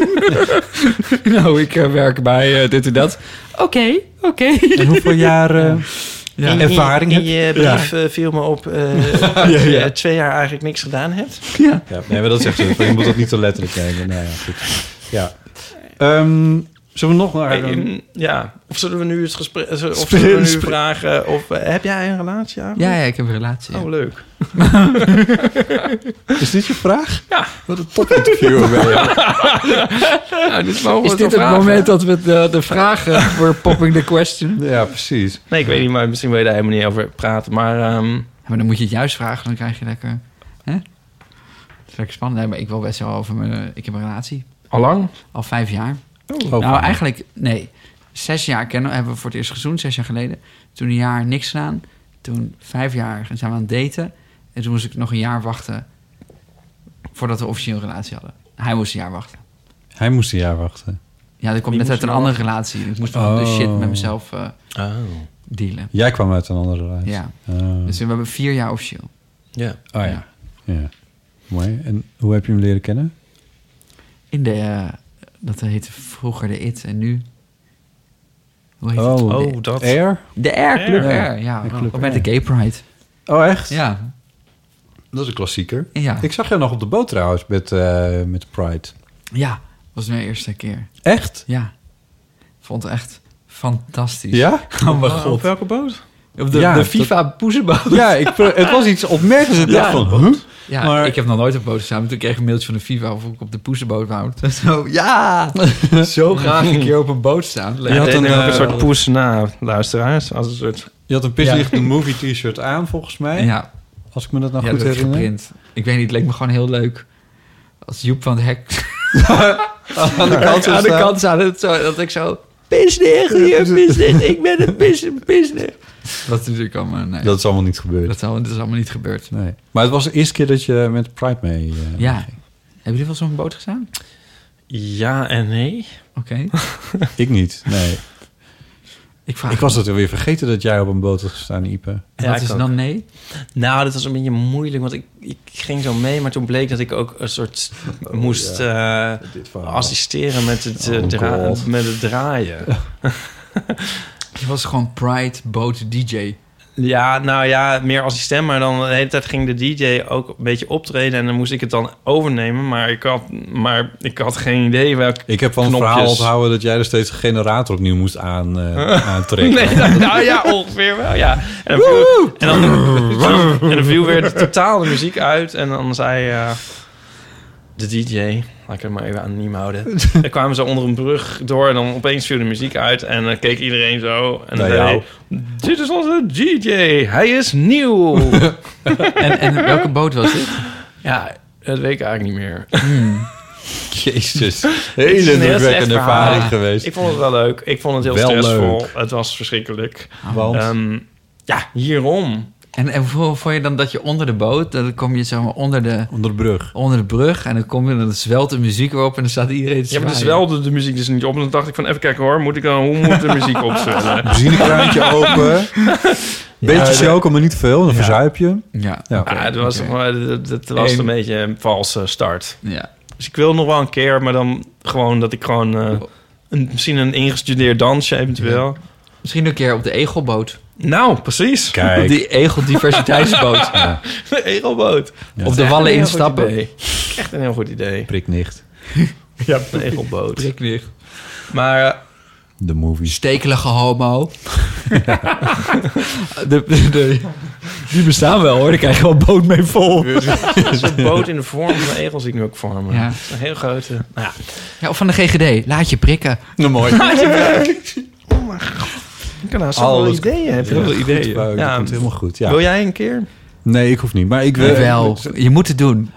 Speaker 2: nou, ik eh, werk bij eh, dit en dat.
Speaker 10: Oké, oké.
Speaker 3: En hoeveel jaar eh,
Speaker 4: In je-
Speaker 3: ervaring
Speaker 4: in
Speaker 3: heb
Speaker 4: je
Speaker 3: Ja.
Speaker 4: brief eh, viel me op eh, dat
Speaker 3: Ja, ja.
Speaker 4: je twee jaar eigenlijk niks gedaan hebt.
Speaker 2: Ja.
Speaker 3: Ja, nee, maar dat zegt ze. van, Je moet dat niet te letterlijk nemen. Nou ja, goed. Ja. Ehm, zullen we nog naar...
Speaker 4: Hey,
Speaker 3: een-
Speaker 4: mm, ja. Of zullen we nu het gesprek... eh, Of
Speaker 3: Spre-
Speaker 4: zullen we nu
Speaker 3: spre-
Speaker 4: vragen... Of, eh, heb jij een relatie eigenlijk?
Speaker 2: Ja, ja, ik heb een relatie. ja.
Speaker 4: Oh, leuk.
Speaker 3: eh, Is dit je vraag?
Speaker 4: Ja.
Speaker 3: Wat een top interview.
Speaker 4: Ja, dit mogen we
Speaker 2: Is
Speaker 4: toch
Speaker 2: dit het
Speaker 4: vragen?
Speaker 2: moment dat we de, de vragen voor popping the question?
Speaker 3: ja, precies.
Speaker 4: Nee, ik weet niet, maar misschien wil je daar helemaal niet over praten. Maar ehm,
Speaker 2: Ja, maar dan moet je het juist vragen, dan krijg je lekker... Hè? Dat is lekker spannend. Nee, maar ik wil best wel over mijn... Ik heb een relatie.
Speaker 4: allang?
Speaker 2: Al vijf jaar.
Speaker 3: Oh,
Speaker 2: nou, eigenlijk, nee. Zes jaar kennen, hebben we voor het eerst gezoend, zes jaar geleden. Toen een jaar niks gedaan. Toen vijf jaar zijn we aan het daten. En toen moest ik nog een jaar wachten voordat we officieel een relatie hadden. Hij moest een jaar wachten.
Speaker 3: Hij moest een jaar wachten.
Speaker 2: Ja, dat komt
Speaker 4: Wie
Speaker 2: net uit
Speaker 4: moest
Speaker 2: een
Speaker 4: je
Speaker 2: andere relatie. Ik moest wel
Speaker 3: Oh.
Speaker 2: de shit met mezelf eh,
Speaker 4: Oh,
Speaker 2: dealen.
Speaker 3: Jij kwam uit een andere relatie.
Speaker 2: Ja.
Speaker 3: Oh.
Speaker 2: Dus we hebben vier jaar officieel.
Speaker 4: ja.
Speaker 3: Oh ja. ja. Mooi. En hoe heb je hem leren kennen?
Speaker 2: In de, eh, dat heette vroeger de IT en nu... Hoe heet het?
Speaker 3: Oh,
Speaker 4: Oh, dat.
Speaker 3: Air?
Speaker 2: De R, Club
Speaker 3: Ja.
Speaker 2: R. Ja,
Speaker 3: De Club
Speaker 2: op met
Speaker 3: R.
Speaker 2: de Gay Pride.
Speaker 3: Oh, echt?
Speaker 2: Ja,
Speaker 3: Dat is een klassieker.
Speaker 2: ja.
Speaker 3: Ik zag jou nog op de boot trouwens met, eh, met Pride.
Speaker 2: Ja, was mijn eerste keer.
Speaker 3: Echt?
Speaker 2: Ja. Vond het echt fantastisch.
Speaker 3: Ja?
Speaker 2: Oh mijn
Speaker 4: Ah,
Speaker 2: god.
Speaker 4: Op welke boot?
Speaker 2: Op de,
Speaker 3: Ja,
Speaker 2: de
Speaker 3: dat-
Speaker 2: FIFA poezenboot.
Speaker 3: Ja, ik, het was iets opmerkelijks. Ik dacht
Speaker 2: Ja.
Speaker 3: van, huh?
Speaker 2: Ja,
Speaker 3: maar-
Speaker 2: ik heb nog nooit op boot gestaan. maar Toen kreeg ik een mailtje van de FIFA of ik op de poezenboot wou. Toen Zo, ja! Zo graag een keer op een boot staan.
Speaker 4: Je
Speaker 2: Leuk.
Speaker 4: had
Speaker 3: had
Speaker 4: een,
Speaker 3: een,
Speaker 4: een
Speaker 3: eh,
Speaker 4: soort poes na, luisteraars. Als een soort...
Speaker 3: Je had een pislichtende movie t-shirt aan, volgens mij.
Speaker 2: Ja,
Speaker 3: Als ik me dat nou
Speaker 2: ja
Speaker 3: goed
Speaker 2: dat is
Speaker 3: herinner.
Speaker 2: geprint. Ik weet niet, het leek me gewoon heel leuk. Als Joep van het Hek aan de kant, zo
Speaker 7: Aan de
Speaker 2: staan.
Speaker 7: kant
Speaker 2: staan. Dat, zo, dat ik zo... Pisnig, hier, pisnig. Ik ben een pis- pisnig. Dat is natuurlijk allemaal... Nee.
Speaker 8: Dat is allemaal niet gebeurd. Dat
Speaker 2: is allemaal, niet gebeurd.
Speaker 8: Nee.
Speaker 3: Maar het was de eerste keer dat je met Pride mee... eh,
Speaker 2: Ja. Hebben jullie wel zo'n boot gestaan?
Speaker 4: Ja en nee.
Speaker 2: Oké.
Speaker 3: Ik niet, nee.
Speaker 2: Ik, vraag
Speaker 3: ik was het weer vergeten dat jij op een boot had gestaan, Ipe.
Speaker 4: Ja, ik ook.
Speaker 2: nee?
Speaker 4: Nou, dat was een beetje moeilijk, want ik, ik ging zo mee, maar toen bleek dat ik ook een soort moest eh, assisteren met het, eh,
Speaker 2: Oh,
Speaker 4: dra-
Speaker 2: God.
Speaker 4: met het draaien.
Speaker 2: Je was gewoon Pride Boot DJ.
Speaker 4: Ja, nou ja, meer assistent, maar dan de hele tijd ging de DJ ook een beetje optreden en dan moest ik het dan overnemen, maar ik had, maar ik had geen idee welke
Speaker 3: Ik heb van het
Speaker 4: knopjes...
Speaker 3: verhaal onthouden dat jij er steeds een generator opnieuw moest aan, eh, aantrekken.
Speaker 4: Nee, nou, nou ja, ongeveer wel, ja. En dan viel, en dan, en dan viel weer de totale muziek uit. En dan zei eh, de DJ, laat ik het maar even anoniem houden. Dan kwamen ze onder een brug door en dan opeens viel de muziek uit. En dan keek iedereen zo. En dan
Speaker 2: Naar
Speaker 4: zei
Speaker 2: jou.
Speaker 4: hij, dit is onze DJ, hij is nieuw.
Speaker 2: en, en welke boot was dit?
Speaker 4: Ja, dat weet ik eigenlijk niet meer.
Speaker 8: Jezus.
Speaker 4: Het is
Speaker 8: Hele
Speaker 4: een heel slecht
Speaker 8: indrukwekkende
Speaker 4: verhaal.
Speaker 8: ervaring
Speaker 4: Ja,
Speaker 8: geweest.
Speaker 4: Ik vond het wel leuk. Ik vond het heel
Speaker 8: Wel
Speaker 4: stressvol.
Speaker 8: leuk.
Speaker 4: Het was verschrikkelijk.
Speaker 2: Want?
Speaker 4: Ehm, ja, hierom.
Speaker 2: En, en hoe vond je dan dat je onder de boot, dan kom je zeg maar onder de...
Speaker 3: Onder de brug.
Speaker 2: Onder de brug en dan kom je en dan zwelt de muziek weer op en dan staat iedereen te
Speaker 4: Ja, maar dus
Speaker 2: zwaaien.
Speaker 4: wel de, de muziek dus niet op. En dan dacht ik van, even kijken hoor, moet ik dan, hoe moet de muziek opzullen?
Speaker 3: Benzinekraantje open. Beetje
Speaker 4: Ja, Ah,
Speaker 3: choco, maar niet veel. Dan verzuip je.
Speaker 2: Ja.
Speaker 4: Ja, het was,
Speaker 3: Oké.
Speaker 4: maar dat, dat was
Speaker 3: Eén.
Speaker 4: een beetje een valse start.
Speaker 2: Ja.
Speaker 4: Dus ik wil nog wel een keer, maar dan gewoon dat ik gewoon... eh, een, misschien een ingestudeerd dansje eventueel.
Speaker 2: Misschien een keer op de egelboot.
Speaker 4: Nou, precies.
Speaker 2: Kijk. Op die egeldiversiteitsboot. Ja.
Speaker 4: De egelboot.
Speaker 2: Ja.
Speaker 4: Dat
Speaker 2: Op
Speaker 4: is
Speaker 2: de
Speaker 4: echt
Speaker 2: wallen
Speaker 4: een heel
Speaker 2: instappen.
Speaker 4: goed idee. Echt een heel goed idee.
Speaker 3: Priknicht.
Speaker 4: Ja, de egelboot.
Speaker 2: Priknicht.
Speaker 4: Maar... eh,
Speaker 3: De movie.
Speaker 2: Stekelige homo. de, de, de-
Speaker 8: Die bestaan wel hoor, daar krijg je wel een boot mee vol.
Speaker 4: Zo'n boot in de vorm van een egel zie ik nu ook voor me.
Speaker 2: Ja.
Speaker 4: Een heel grote. Nou ja.
Speaker 2: ja, of van de GGD. Laat je prikken.
Speaker 8: Nou, mooi.
Speaker 4: Ik kan nou zoveel ideeën hebben.
Speaker 3: Ja,
Speaker 4: Zoveel
Speaker 3: goed,
Speaker 4: ideeën.
Speaker 3: Buik, dat
Speaker 4: Ja.
Speaker 3: komt helemaal goed. Ja.
Speaker 4: Wil jij een keer?
Speaker 3: Nee, ik hoef niet. Maar ik wil...
Speaker 2: Jawel, je moet het doen.
Speaker 3: Ja, Zal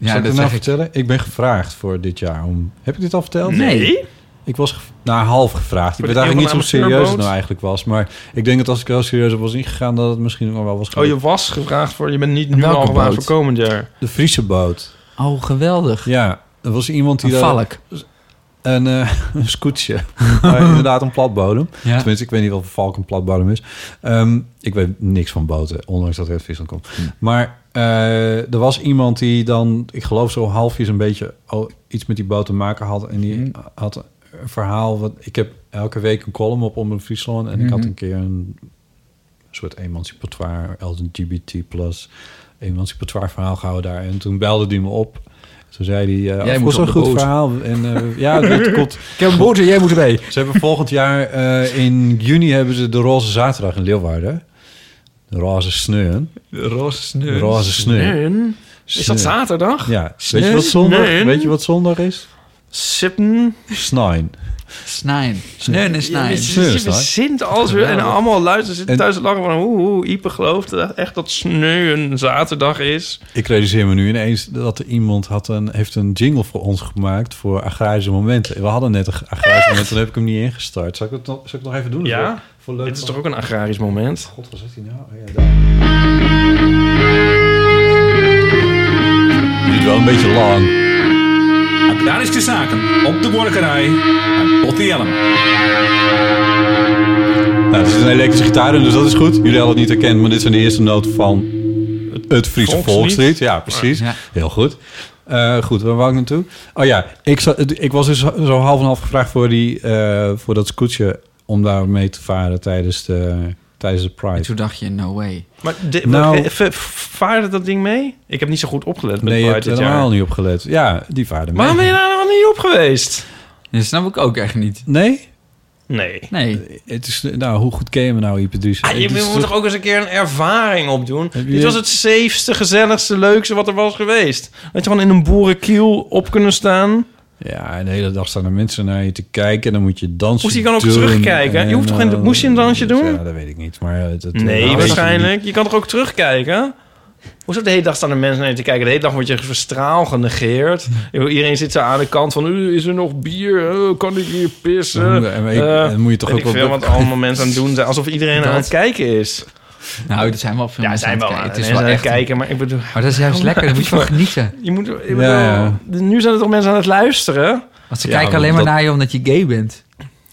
Speaker 2: Ja,
Speaker 3: ik
Speaker 2: dat
Speaker 3: dat nou
Speaker 2: zeg ik.
Speaker 3: vertellen? Ik ben gevraagd voor dit jaar om... Heb ik dit al verteld?
Speaker 2: Nee.
Speaker 3: Ik was gev- nou, half gevraagd.
Speaker 4: Voor
Speaker 3: ik weet
Speaker 4: de
Speaker 3: eigenlijk
Speaker 4: eeuw
Speaker 3: niet zo
Speaker 4: van de
Speaker 3: serieus het nou
Speaker 4: amateurboot?
Speaker 3: eigenlijk was. Maar ik denk dat als ik wel serieus op was ingegaan... dat het misschien nog wel was
Speaker 4: Oh,
Speaker 3: geweest.
Speaker 4: je was gevraagd voor, je bent niet nu
Speaker 3: Welke
Speaker 4: al gevraagd voor
Speaker 3: boot?
Speaker 4: komend jaar.
Speaker 3: De Friese boot.
Speaker 2: Oh, geweldig.
Speaker 3: Ja, er was iemand die...
Speaker 2: Een
Speaker 3: daar-
Speaker 2: valk.
Speaker 3: Een, eh, een scootje. Maar inderdaad, een platbodem.
Speaker 2: Ja.
Speaker 3: Tenminste, ik weet niet of een valk een platbodem is. Ehm, ik weet niks van boten, ondanks dat het uit Friesland komt.
Speaker 8: Hmm.
Speaker 3: Maar eh, er was iemand die dan, ik geloof zo halfjes een beetje o- iets met die boot te maken had. En die
Speaker 8: Hmm.
Speaker 3: had een verhaal. Wat, ik heb elke week een column op onder Friesland. En ik had
Speaker 8: Mhm.
Speaker 3: een keer een een soort emancipatoire, LGBT plus emancipatoire verhaal gehouden daar. En toen belde die me op. Toen zei hij, eh
Speaker 8: Jij
Speaker 3: "Oh,
Speaker 8: moet
Speaker 3: was een
Speaker 8: op de
Speaker 3: goed
Speaker 8: boot."
Speaker 3: verhaal. En eh, ja, het komt.
Speaker 8: Ik heb een boot en jij moet mee.
Speaker 3: Ze hebben volgend jaar eh, in juni hebben ze de Roze Zaterdag in Leeuwarden. De Roze Sneeuwen.
Speaker 2: De roze
Speaker 3: De
Speaker 2: sneur.
Speaker 3: Roze Sneeuw.
Speaker 4: Sneeuwen? Is dat
Speaker 3: Sneeuw.
Speaker 4: zaterdag?
Speaker 3: Ja. Weet je
Speaker 4: Sneeuwen?
Speaker 3: wat zondag, weet je wat zondag is?
Speaker 4: Sippen.
Speaker 3: Snijn.
Speaker 2: Snijn. Sneun en snijn.
Speaker 4: Je verzint alles weer. En allemaal luisteren zitten thuis te lachen van... hoe, hoe, Ipe gelooft dat echt dat sneeuwen zaterdag is.
Speaker 3: Ik realiseer me nu ineens dat er iemand had een, heeft een jingle voor ons gemaakt voor agrarische momenten. We hadden net een agrarische moment, toen heb ik hem niet ingestart. Zal ik het nog, zal ik het nog even doen?
Speaker 4: Ja?
Speaker 3: Voor leuk
Speaker 4: Dit is toch ook een agrarisch moment?
Speaker 3: God, wat zegt hij nou? Oh, ja, daar. Duurt wel een beetje lang.
Speaker 11: Agrarische zaken op de borgerij aan Pottielm.
Speaker 3: Nou, het is een elektrische gitaar, dus dat is goed. Jullie hadden het niet herkend, maar dit zijn de eerste noten van het Friese
Speaker 8: Volkslied.
Speaker 3: volkslied. Ja, precies. Heel goed. Eh, goed, waar wou ik naartoe? Oh ja, ik, zat- ik was dus zo half en half gevraagd voor, die, eh, voor dat scootje om daar mee te varen tijdens de, tijdens de Pride.
Speaker 2: Toen dacht je, no way.
Speaker 4: Maar de,
Speaker 3: Nou-
Speaker 4: maar, eh, v- vaarde dat ding mee? Ik heb niet zo goed opgelet
Speaker 3: nee,
Speaker 4: met
Speaker 3: je
Speaker 4: Pride
Speaker 3: hebt
Speaker 4: dit
Speaker 3: helemaal
Speaker 4: jaar.
Speaker 3: niet opgelet. Ja, die vaarde mee.
Speaker 4: Waarom ben je daar nog niet op geweest?
Speaker 2: Dat snap ik ook echt niet.
Speaker 3: Nee?
Speaker 4: Nee.
Speaker 2: Nee.
Speaker 3: Het is, nou, hoe goed ken je me nou, Ipedries?
Speaker 4: Ah, je moet toch ook eens een keer een ervaring opdoen.
Speaker 3: Heb je-
Speaker 4: Dit was het safeste, gezelligste, leukste wat er was geweest. Dat je gewoon in een boerenkiel op kunnen staan.
Speaker 3: Ja, en de hele dag staan er mensen naar je te kijken en dan moet je dansen
Speaker 4: Moest je dan ook
Speaker 3: doen
Speaker 4: terugkijken? Je hoeft toch geen,
Speaker 3: eh,
Speaker 4: moest je een dansje doen?
Speaker 3: Ja, dat weet ik niet, maar... Het, het-
Speaker 4: nee,
Speaker 3: nou,
Speaker 4: waarschijnlijk. Je kan toch ook terugkijken? Hoezo de hele dag staan er mensen naar je te kijken? De hele dag word je verstraal genegeerd. Iedereen zit zo aan de kant van... "Uh, is er nog bier? Uh, kan ik hier pissen? Eh,
Speaker 2: En- en- en moet je toch
Speaker 4: weet
Speaker 2: ook
Speaker 4: ik
Speaker 2: wel
Speaker 4: veel
Speaker 2: dat-
Speaker 4: wat allemaal mensen aan het doen zijn. Alsof iedereen
Speaker 2: Dat-
Speaker 4: aan het kijken is.
Speaker 2: Nou, er zijn wel veel
Speaker 4: Ja, er
Speaker 2: mensen
Speaker 4: zijn
Speaker 2: aan
Speaker 4: wel
Speaker 2: het kijken.
Speaker 4: aan
Speaker 2: Het
Speaker 4: het
Speaker 2: is
Speaker 4: mensen
Speaker 2: wel
Speaker 4: aan het
Speaker 2: echt-
Speaker 4: kijken. Maar, ik bedoel,
Speaker 2: Maar dat is juist lekker, daar moet je van genieten.
Speaker 4: Je moet, ik bedoel,
Speaker 2: ja.
Speaker 4: Nu zijn er toch mensen aan het luisteren?
Speaker 2: Want ze kijken alleen maar naar je omdat je gay bent.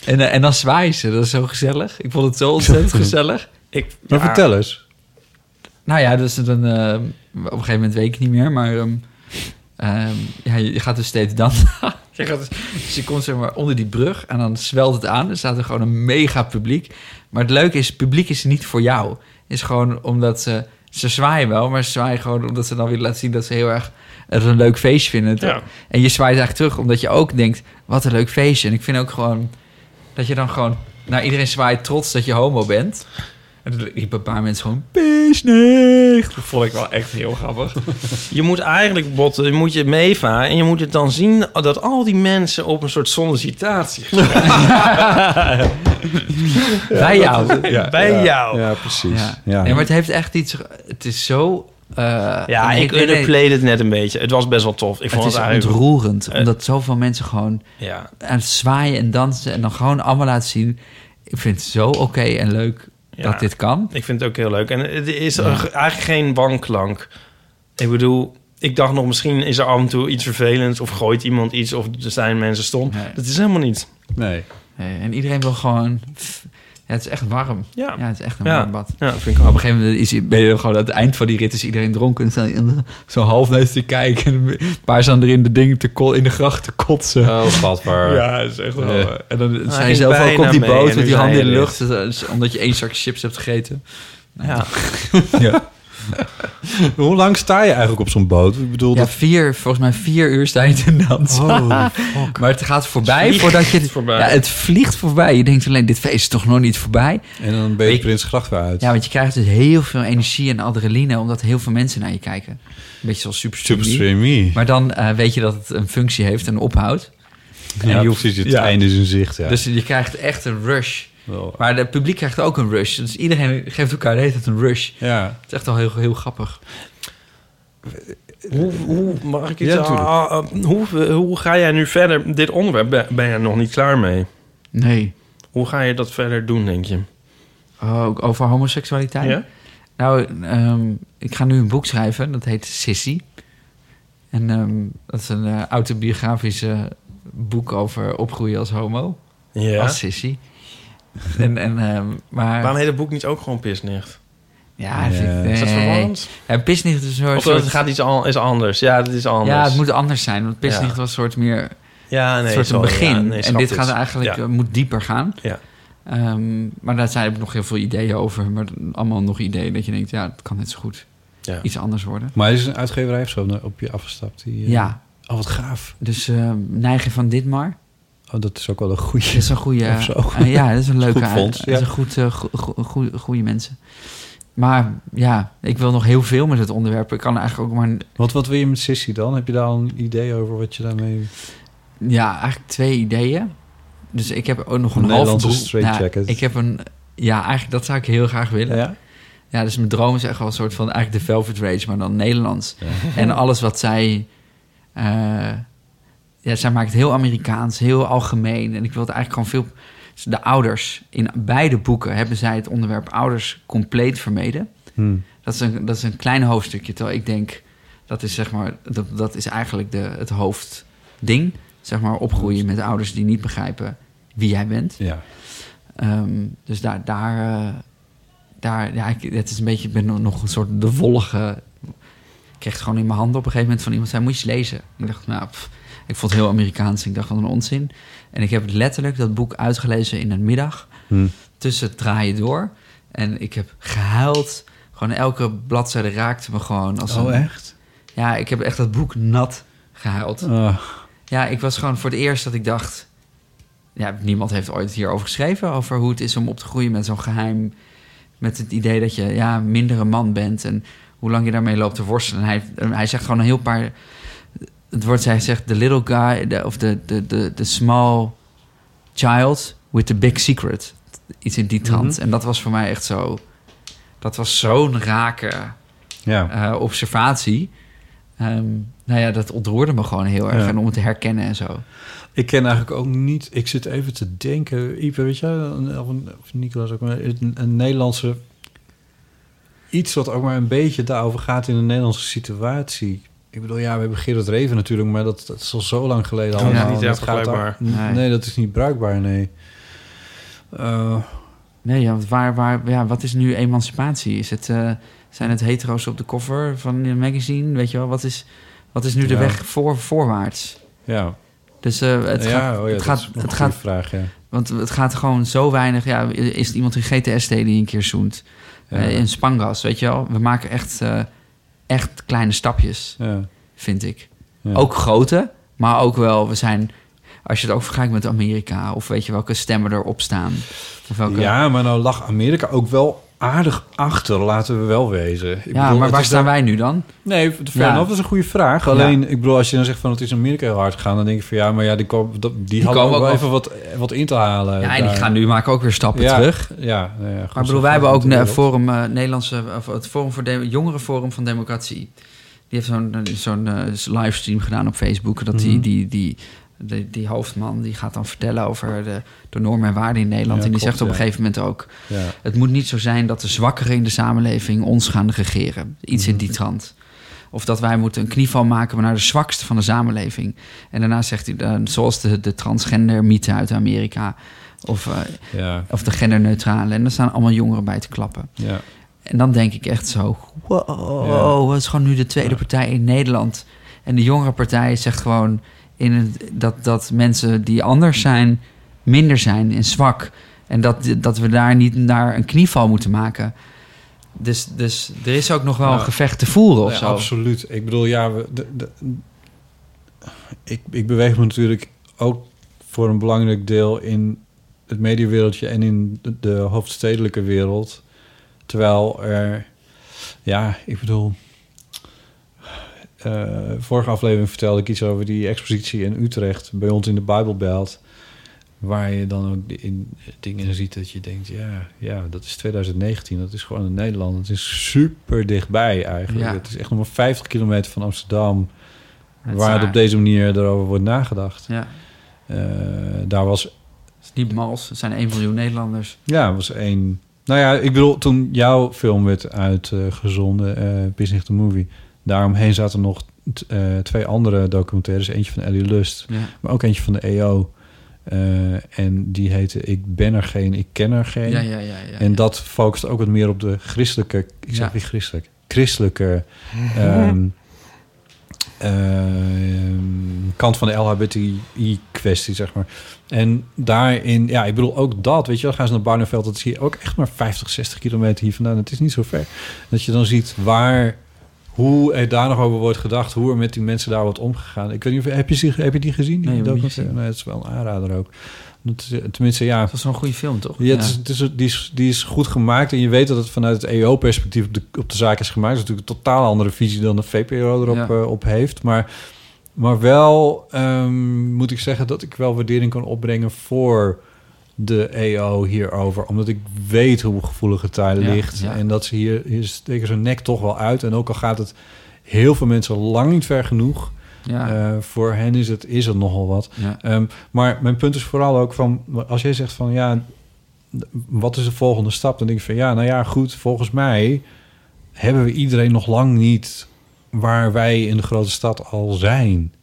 Speaker 2: En, eh, en dan zwaaien ze, dat is zo gezellig. Ik vond het zo ontzettend gezellig.
Speaker 4: Ik,
Speaker 3: Maar
Speaker 2: ja.
Speaker 3: vertel eens.
Speaker 2: Nou ja, dus dan, eh, op een gegeven moment weet ik niet meer, maar ehm, ehm, ja, je, je gaat dus steeds dan.
Speaker 4: Je gaat-
Speaker 2: dus je komt zeg maar onder die brug en dan zwelt het aan. Er staat er gewoon een mega publiek. Maar het leuke is, het publiek is niet voor jou. Is gewoon omdat ze, ze zwaaien wel, maar ze zwaaien gewoon omdat ze dan weer laten zien dat ze heel erg het een leuk feestje vinden.
Speaker 4: Ja.
Speaker 2: En je zwaait eigenlijk terug omdat je ook denkt, wat een leuk feestje. En ik vind ook gewoon dat je dan gewoon naar iedereen zwaait trots dat je homo bent. En er liepen een paar mensen gewoon Pisnicht. Dat vond ik wel echt heel grappig.
Speaker 4: Je moet eigenlijk botten, je moet je meevaren en je moet het dan zien dat al die mensen op een soort sollicitatie gaan.
Speaker 2: Bij jou.
Speaker 4: Ja, Bij ja, jou.
Speaker 3: Ja, precies.
Speaker 2: Ja.
Speaker 4: Ja.
Speaker 2: Nee, maar het heeft echt iets... Het is zo... eh,
Speaker 4: Ja,
Speaker 2: nee,
Speaker 4: ik
Speaker 2: weet- nee,
Speaker 4: underplayed het net een beetje. Het was best wel tof. Ik
Speaker 2: Het
Speaker 4: vond
Speaker 2: is
Speaker 4: het eigenlijk...
Speaker 2: ontroerend. omdat zoveel mensen gewoon
Speaker 4: Ja.
Speaker 2: aan het zwaaien en dansen... en dan gewoon allemaal laten zien... Ik vind het zo oké en leuk dat dit kan.
Speaker 4: Ik vind het ook heel leuk. En het is
Speaker 2: Ja.
Speaker 4: er eigenlijk geen wanklank. Ik bedoel, ik dacht nog misschien is er af en toe iets vervelends... of gooit iemand iets of er zijn mensen stom. Dat is helemaal niet.
Speaker 3: Nee.
Speaker 2: Nee, Eh, en iedereen wil gewoon... Ja, het is echt warm. Ja, het is echt een
Speaker 4: Ja.
Speaker 2: warm bad.
Speaker 4: Ja, vind ik
Speaker 2: Op
Speaker 4: ook.
Speaker 2: een gegeven moment is, ben je gewoon aan het eind van die rit is iedereen dronken. En staan die- zo half neus te kijken. En een paar staan er in de, ding te ko- in de gracht te kotsen.
Speaker 8: Oh, vatbaar.
Speaker 2: Ja, dat is echt wel...
Speaker 8: Ja.
Speaker 4: Oh.
Speaker 2: eh, En dan
Speaker 8: Hij
Speaker 2: zijn
Speaker 8: ging
Speaker 2: zelf ook op
Speaker 8: bijna
Speaker 2: die
Speaker 8: mee
Speaker 2: boot
Speaker 8: en
Speaker 2: met
Speaker 8: nu
Speaker 2: die handen in
Speaker 8: zei
Speaker 2: de
Speaker 8: je
Speaker 2: lucht. dat is omdat je één zak chips hebt gegeten.
Speaker 4: Ja.
Speaker 2: ja.
Speaker 3: Hoe lang sta je eigenlijk op zo'n boot? Ik bedoel,
Speaker 2: Ja,
Speaker 3: dat...
Speaker 2: vier, volgens mij vier uur sta je te dansen.
Speaker 3: Oh,
Speaker 2: maar het gaat voorbij
Speaker 3: Vliegt
Speaker 2: voordat je...
Speaker 3: voorbij.
Speaker 2: Ja, het vliegt voorbij. Je denkt alleen, dit feest is toch nog niet voorbij?
Speaker 3: En dan ben je Prins Gracht weer uit.
Speaker 2: Ja, want je krijgt dus heel veel energie en adrenaline... omdat heel veel mensen naar je kijken. Een beetje zoals Super Streamy.
Speaker 3: Superstreamy.
Speaker 2: Maar dan eh, weet je dat het een functie heeft en ophoudt.
Speaker 3: Ja, precies. Het einde is in zicht, ja.
Speaker 2: Dus je krijgt echt een rush. Maar het publiek krijgt ook een rush. Dus iedereen geeft elkaar de hele tijd een rush.
Speaker 3: Ja.
Speaker 2: Het is echt wel heel, heel grappig.
Speaker 4: Hoe, hoe, mag ik
Speaker 2: Ja,
Speaker 4: iets
Speaker 2: natuurlijk.
Speaker 4: ah, ah, hoe, hoe ga jij nu verder? Dit onderwerp ben, ben je nog niet klaar mee.
Speaker 2: Nee.
Speaker 4: Hoe ga je dat verder doen, denk je?
Speaker 2: Oh, Ook over homoseksualiteit?
Speaker 4: Ja.
Speaker 2: Nou, ehm, ik ga nu een boek schrijven. Dat heet Sissy. En ehm, dat is een eh, autobiografisch eh, boek over opgroeien als homo.
Speaker 4: Ja.
Speaker 2: Als Sissy. En, en, ehm, maar...
Speaker 4: Waarom heet het boek niet ook gewoon pisnicht?
Speaker 2: Ja, dat vind ik-
Speaker 4: Is dat
Speaker 2: nee.
Speaker 4: verwarrend?
Speaker 2: Ja, pisnicht is een soort-
Speaker 4: Of dat het
Speaker 2: soort-
Speaker 4: gaat iets an- is anders. Ja, dat is anders.
Speaker 2: Ja, het moet anders zijn. Want Pisnicht
Speaker 4: Ja.
Speaker 2: was een soort meer...
Speaker 4: Ja, Ah, nee,
Speaker 2: een soort een
Speaker 4: sorry.
Speaker 2: begin.
Speaker 4: Ja, nee,
Speaker 2: en
Speaker 4: snap
Speaker 2: dit
Speaker 4: ik.
Speaker 2: gaat eigenlijk...
Speaker 4: Ja.
Speaker 2: eh, moet dieper gaan.
Speaker 4: Ja.
Speaker 2: Ehm, maar daar zijn er nog heel veel ideeën over. Maar allemaal nog ideeën dat je denkt... Ja, het kan net zo goed
Speaker 3: Ja.
Speaker 2: iets anders worden.
Speaker 3: Maar is een uitgeverij of zo na- op je afgestapt? Die, eh,
Speaker 2: Ja.
Speaker 3: Oh, wat gaaf.
Speaker 2: Dus eh Neigen van Ditmar.
Speaker 3: Oh, dat is ook wel een goede.
Speaker 2: Dat is een goede.
Speaker 3: Of zo.
Speaker 2: eh, ja, dat is een leuke.
Speaker 3: Goed
Speaker 2: uit-
Speaker 3: fonds,
Speaker 2: Dat
Speaker 3: ja.
Speaker 2: is een goed, eh, go- go- goe- goede mensen. Maar ja, ik wil nog heel veel met het onderwerp. Ik kan eigenlijk ook maar een-
Speaker 3: Want wat wil je met Sissy dan? Heb je daar al een idee over wat je daarmee...
Speaker 2: Ja, eigenlijk twee ideeën. Dus ik heb ook nog
Speaker 3: Een
Speaker 2: een, half
Speaker 3: Nederlandse
Speaker 2: broer-
Speaker 3: straight jacket.
Speaker 2: Ik heb een... Ja, eigenlijk dat zou ik heel graag willen.
Speaker 3: Ja?
Speaker 2: Ja, dus mijn droom is echt wel een soort van... Eigenlijk de Velvet Rage, maar dan Nederlands.
Speaker 3: Ja.
Speaker 2: En alles wat zij... eh, ja, zij maakt het heel Amerikaans, heel algemeen. En ik wil het eigenlijk gewoon veel... dus De ouders, in beide boeken hebben zij het onderwerp ouders compleet vermeden.
Speaker 3: Hmm.
Speaker 2: Dat, is een, dat is een klein hoofdstukje, terwijl ik denk... Dat is, zeg maar, dat, dat is eigenlijk de, het hoofdding. Zeg maar opgroeien met ouders die niet begrijpen wie jij bent.
Speaker 3: Ja.
Speaker 2: Ehm, dus daar... daar, eh, daar ja, ik, het is een beetje... Ik ben nog- nog een soort de wollige... Ik kreeg het gewoon in mijn handen op een gegeven moment van iemand zei... Moet je eens lezen? Ik dacht, nou... pff, ik vond het heel Amerikaans. Ik dacht, wat een onzin. En ik heb letterlijk dat boek uitgelezen in een middag.
Speaker 3: Hmm.
Speaker 2: Tussen het draaien door. En ik heb gehuild. Gewoon elke bladzijde raakte me gewoon. Als
Speaker 3: Oh,
Speaker 2: een,
Speaker 3: echt?
Speaker 2: ja, ik heb echt dat boek nat gehuild.
Speaker 3: Ah.
Speaker 2: Ja, ik was gewoon voor het eerst dat ik dacht... Ja, niemand heeft ooit hierover geschreven... over hoe het is om op te groeien met zo'n geheim... met het idee dat je ja, minder een man bent... en hoe lang je daarmee loopt te worstelen. En hij, en hij zegt gewoon een heel paar... Het woord, hij zegt, the little guy... de- of the, the, the, the small child with the big secret. Iets in die trant.
Speaker 8: Mhm.
Speaker 2: En dat was voor mij echt zo... dat was zo'n raken eh, observatie. Ehm, nou ja, dat ontroerde me gewoon heel erg.
Speaker 3: Ja.
Speaker 2: En om het te herkennen en zo.
Speaker 3: Ik ken eigenlijk ook niet... Ik zit even te denken... Ipe, weet je, een- of, een- of Nicolas ook... maar Een, een Nederlandse... Iets wat ook maar een beetje daarover gaat in de Nederlandse situatie. Ik bedoel, ja, we hebben Gerard Reven natuurlijk... maar dat, dat is al zo lang geleden
Speaker 4: Dat
Speaker 3: allemaal.
Speaker 4: is niet
Speaker 3: en
Speaker 4: echt
Speaker 3: gaat daar-
Speaker 4: bruikbaar.
Speaker 3: Nee. dat is niet bruikbaar, nee. Eh,
Speaker 2: Nee, ja, want waar, waar, ja, wat is nu emancipatie? Is het, eh, zijn het hetero's op de cover van een magazine? Weet je wel, wat is, wat is nu de
Speaker 3: Ja.
Speaker 2: weg voor, voorwaarts?
Speaker 3: Ja.
Speaker 2: Dus eh, het
Speaker 3: Ja,
Speaker 2: gaat...
Speaker 3: oh ja,
Speaker 2: het
Speaker 3: dat
Speaker 2: gaat,
Speaker 3: is nog
Speaker 2: het
Speaker 3: een
Speaker 2: gaat
Speaker 3: goede vraag, ja.
Speaker 2: Want het gaat gewoon zo weinig... Ja, is er iemand in GTSD die een keer zoent?
Speaker 3: Ja.
Speaker 2: Eh, in Spangas, weet je wel? We maken echt, eh, echt kleine stapjes, vind ik.
Speaker 3: Ja.
Speaker 2: Ook grote, maar ook wel... We zijn... Als je het ook vergelijkt met Amerika... of weet je welke stemmen erop staan. Of welke,
Speaker 3: Ja, maar nou lag Amerika ook wel aardig achter, laten we wel wezen. Ik
Speaker 2: Ja, maar
Speaker 3: het
Speaker 2: waar
Speaker 3: is
Speaker 2: staan
Speaker 3: daar-
Speaker 2: wij nu dan?
Speaker 3: Nee, fair
Speaker 2: Ja.
Speaker 3: enough, dat is een goede vraag.
Speaker 2: Ja.
Speaker 3: Alleen, ik bedoel, als je dan zegt van het is in Amerika heel hard gegaan... dan denk ik van ja, maar ja, die, kwam, dat- die, hadden ook
Speaker 2: komen
Speaker 3: wel
Speaker 2: ook
Speaker 3: even wat, wat in te halen.
Speaker 2: Ja, en die
Speaker 3: daar.
Speaker 2: gaan nu maken ook weer stappen
Speaker 3: Ja,
Speaker 2: terug.
Speaker 3: Ja, nou ja, goed,
Speaker 2: maar ik
Speaker 3: zo
Speaker 2: bedoel, wij hebben
Speaker 3: gaat
Speaker 2: ook
Speaker 3: het
Speaker 2: een
Speaker 3: wereld.
Speaker 2: forum, eh, Nederlandse, of het Forum voor de, Jongerenforum van Democratie. Die heeft zo'n eh, zo'n eh, livestream gedaan op Facebook. Dat die,
Speaker 8: Mhm.
Speaker 2: die, die, die, die hoofdman die gaat dan vertellen over de, de normen en waarden in Nederland.
Speaker 8: Ja,
Speaker 2: en die
Speaker 8: klopt,
Speaker 2: zegt op een
Speaker 8: ja.
Speaker 2: gegeven moment ook:
Speaker 8: Ja.
Speaker 2: Het moet niet zo zijn dat de zwakkeren in de samenleving ons gaan regeren. Iets in die trant. Of dat wij moeten een knieval maken naar de zwakste van de samenleving. En daarna zegt hij, eh, zoals de, de transgender-mythe uit Amerika. Of, eh,
Speaker 3: Ja.
Speaker 2: of de genderneutrale. En daar staan allemaal jongeren bij te klappen.
Speaker 3: Ja.
Speaker 2: En dan denk ik echt zo... Wow,
Speaker 8: Ja.
Speaker 2: dat is gewoon nu de tweede partij in Nederland. En de jongere partij zegt gewoon... In het, dat, dat mensen die anders zijn, minder zijn en zwak. En dat, dat we daar niet naar een knieval moeten maken. Dus, dus er is ook nog wel een
Speaker 3: Ja.
Speaker 2: gevecht te voeren of
Speaker 3: Ja,
Speaker 2: zo.
Speaker 3: Absoluut. Ik bedoel, ja, we, de, de- ik, ik beweeg me natuurlijk ook voor een belangrijk deel in het mediewereldje en in de, de hoofdstedelijke wereld. Terwijl er, ja, ik bedoel. eh, vorige aflevering vertelde ik iets over die expositie in Utrecht bij ons in de Bijbelbelt. Waar je dan ook in dingen ziet dat je denkt, ja, ja, dat is 2019, dat is gewoon in Nederland. Het is super dichtbij eigenlijk.
Speaker 8: Ja.
Speaker 3: Het is echt nog maar 50 kilometer van Amsterdam,
Speaker 8: Het is
Speaker 3: waar het
Speaker 8: waar.
Speaker 3: op deze manier erover wordt nagedacht.
Speaker 2: Ja.
Speaker 3: Eh, daar was
Speaker 2: Het is niet mals, het zijn 1 miljoen Nederlanders.
Speaker 3: ja, was één. Nou ja, ik bedoel, toen jouw film werd uitgezonden, eh Business the Movie, daaromheen zaten nog t- eh, twee andere documentaires. Eentje van Ellie Lust,
Speaker 8: Ja.
Speaker 3: maar ook eentje van de EO. Eh, en die heette Ik ben er geen, ik ken er geen.
Speaker 8: Ja, ja, ja, ja,
Speaker 3: en
Speaker 8: ja.
Speaker 3: dat focust ook wat meer op de christelijke, ik zeg
Speaker 8: Ja. Mhm.
Speaker 3: weer christelijk, christelijke ehm, ehm, kant van de LHBTI-kwestie, zeg maar. En daarin, ja, ik bedoel ook dat, weet je wel, gaan ze naar Barneveld, dat is hier ook echt maar 50, 60 kilometer hier vandaan. Het is niet zo ver. Dat je dan ziet waar, hoe er daar nog over wordt gedacht, hoe er met die mensen daar wordt omgegaan. Ik weet niet of, heb je, ze- heb je die gezien? Die
Speaker 2: Nee, heb ik niet
Speaker 3: documentaire? nee, het is wel een aanrader ook. Dat is- eh, Tenminste, ja. Het
Speaker 2: was een goede film, toch?
Speaker 3: Ja, het
Speaker 2: Ja.
Speaker 3: is, het is, die, is, die is goed gemaakt. En je weet dat het vanuit het EO-perspectief op de, op de zaak is gemaakt. Dat is natuurlijk een totaal andere visie dan de VPRO erop
Speaker 8: Ja.
Speaker 3: eh, op heeft. Maar, maar wel ehm, moet ik zeggen dat ik wel waardering kan opbrengen voor de EO hierover. Omdat ik weet hoe gevoelig het daar
Speaker 8: Ja,
Speaker 3: ligt.
Speaker 8: ja.
Speaker 3: En dat ze hier, hier steken zijn nek toch wel uit. En ook al gaat het heel veel mensen lang niet ver genoeg.
Speaker 2: Ja.
Speaker 3: eh, voor hen is het, is het nogal wat.
Speaker 2: Ja.
Speaker 3: Ehm, maar mijn punt is vooral ook van... als jij zegt van ja, wat is de volgende stap? Dan denk ik van ja, nou ja, goed. Volgens mij hebben we iedereen nog lang niet... waar wij in de grote stad al zijn.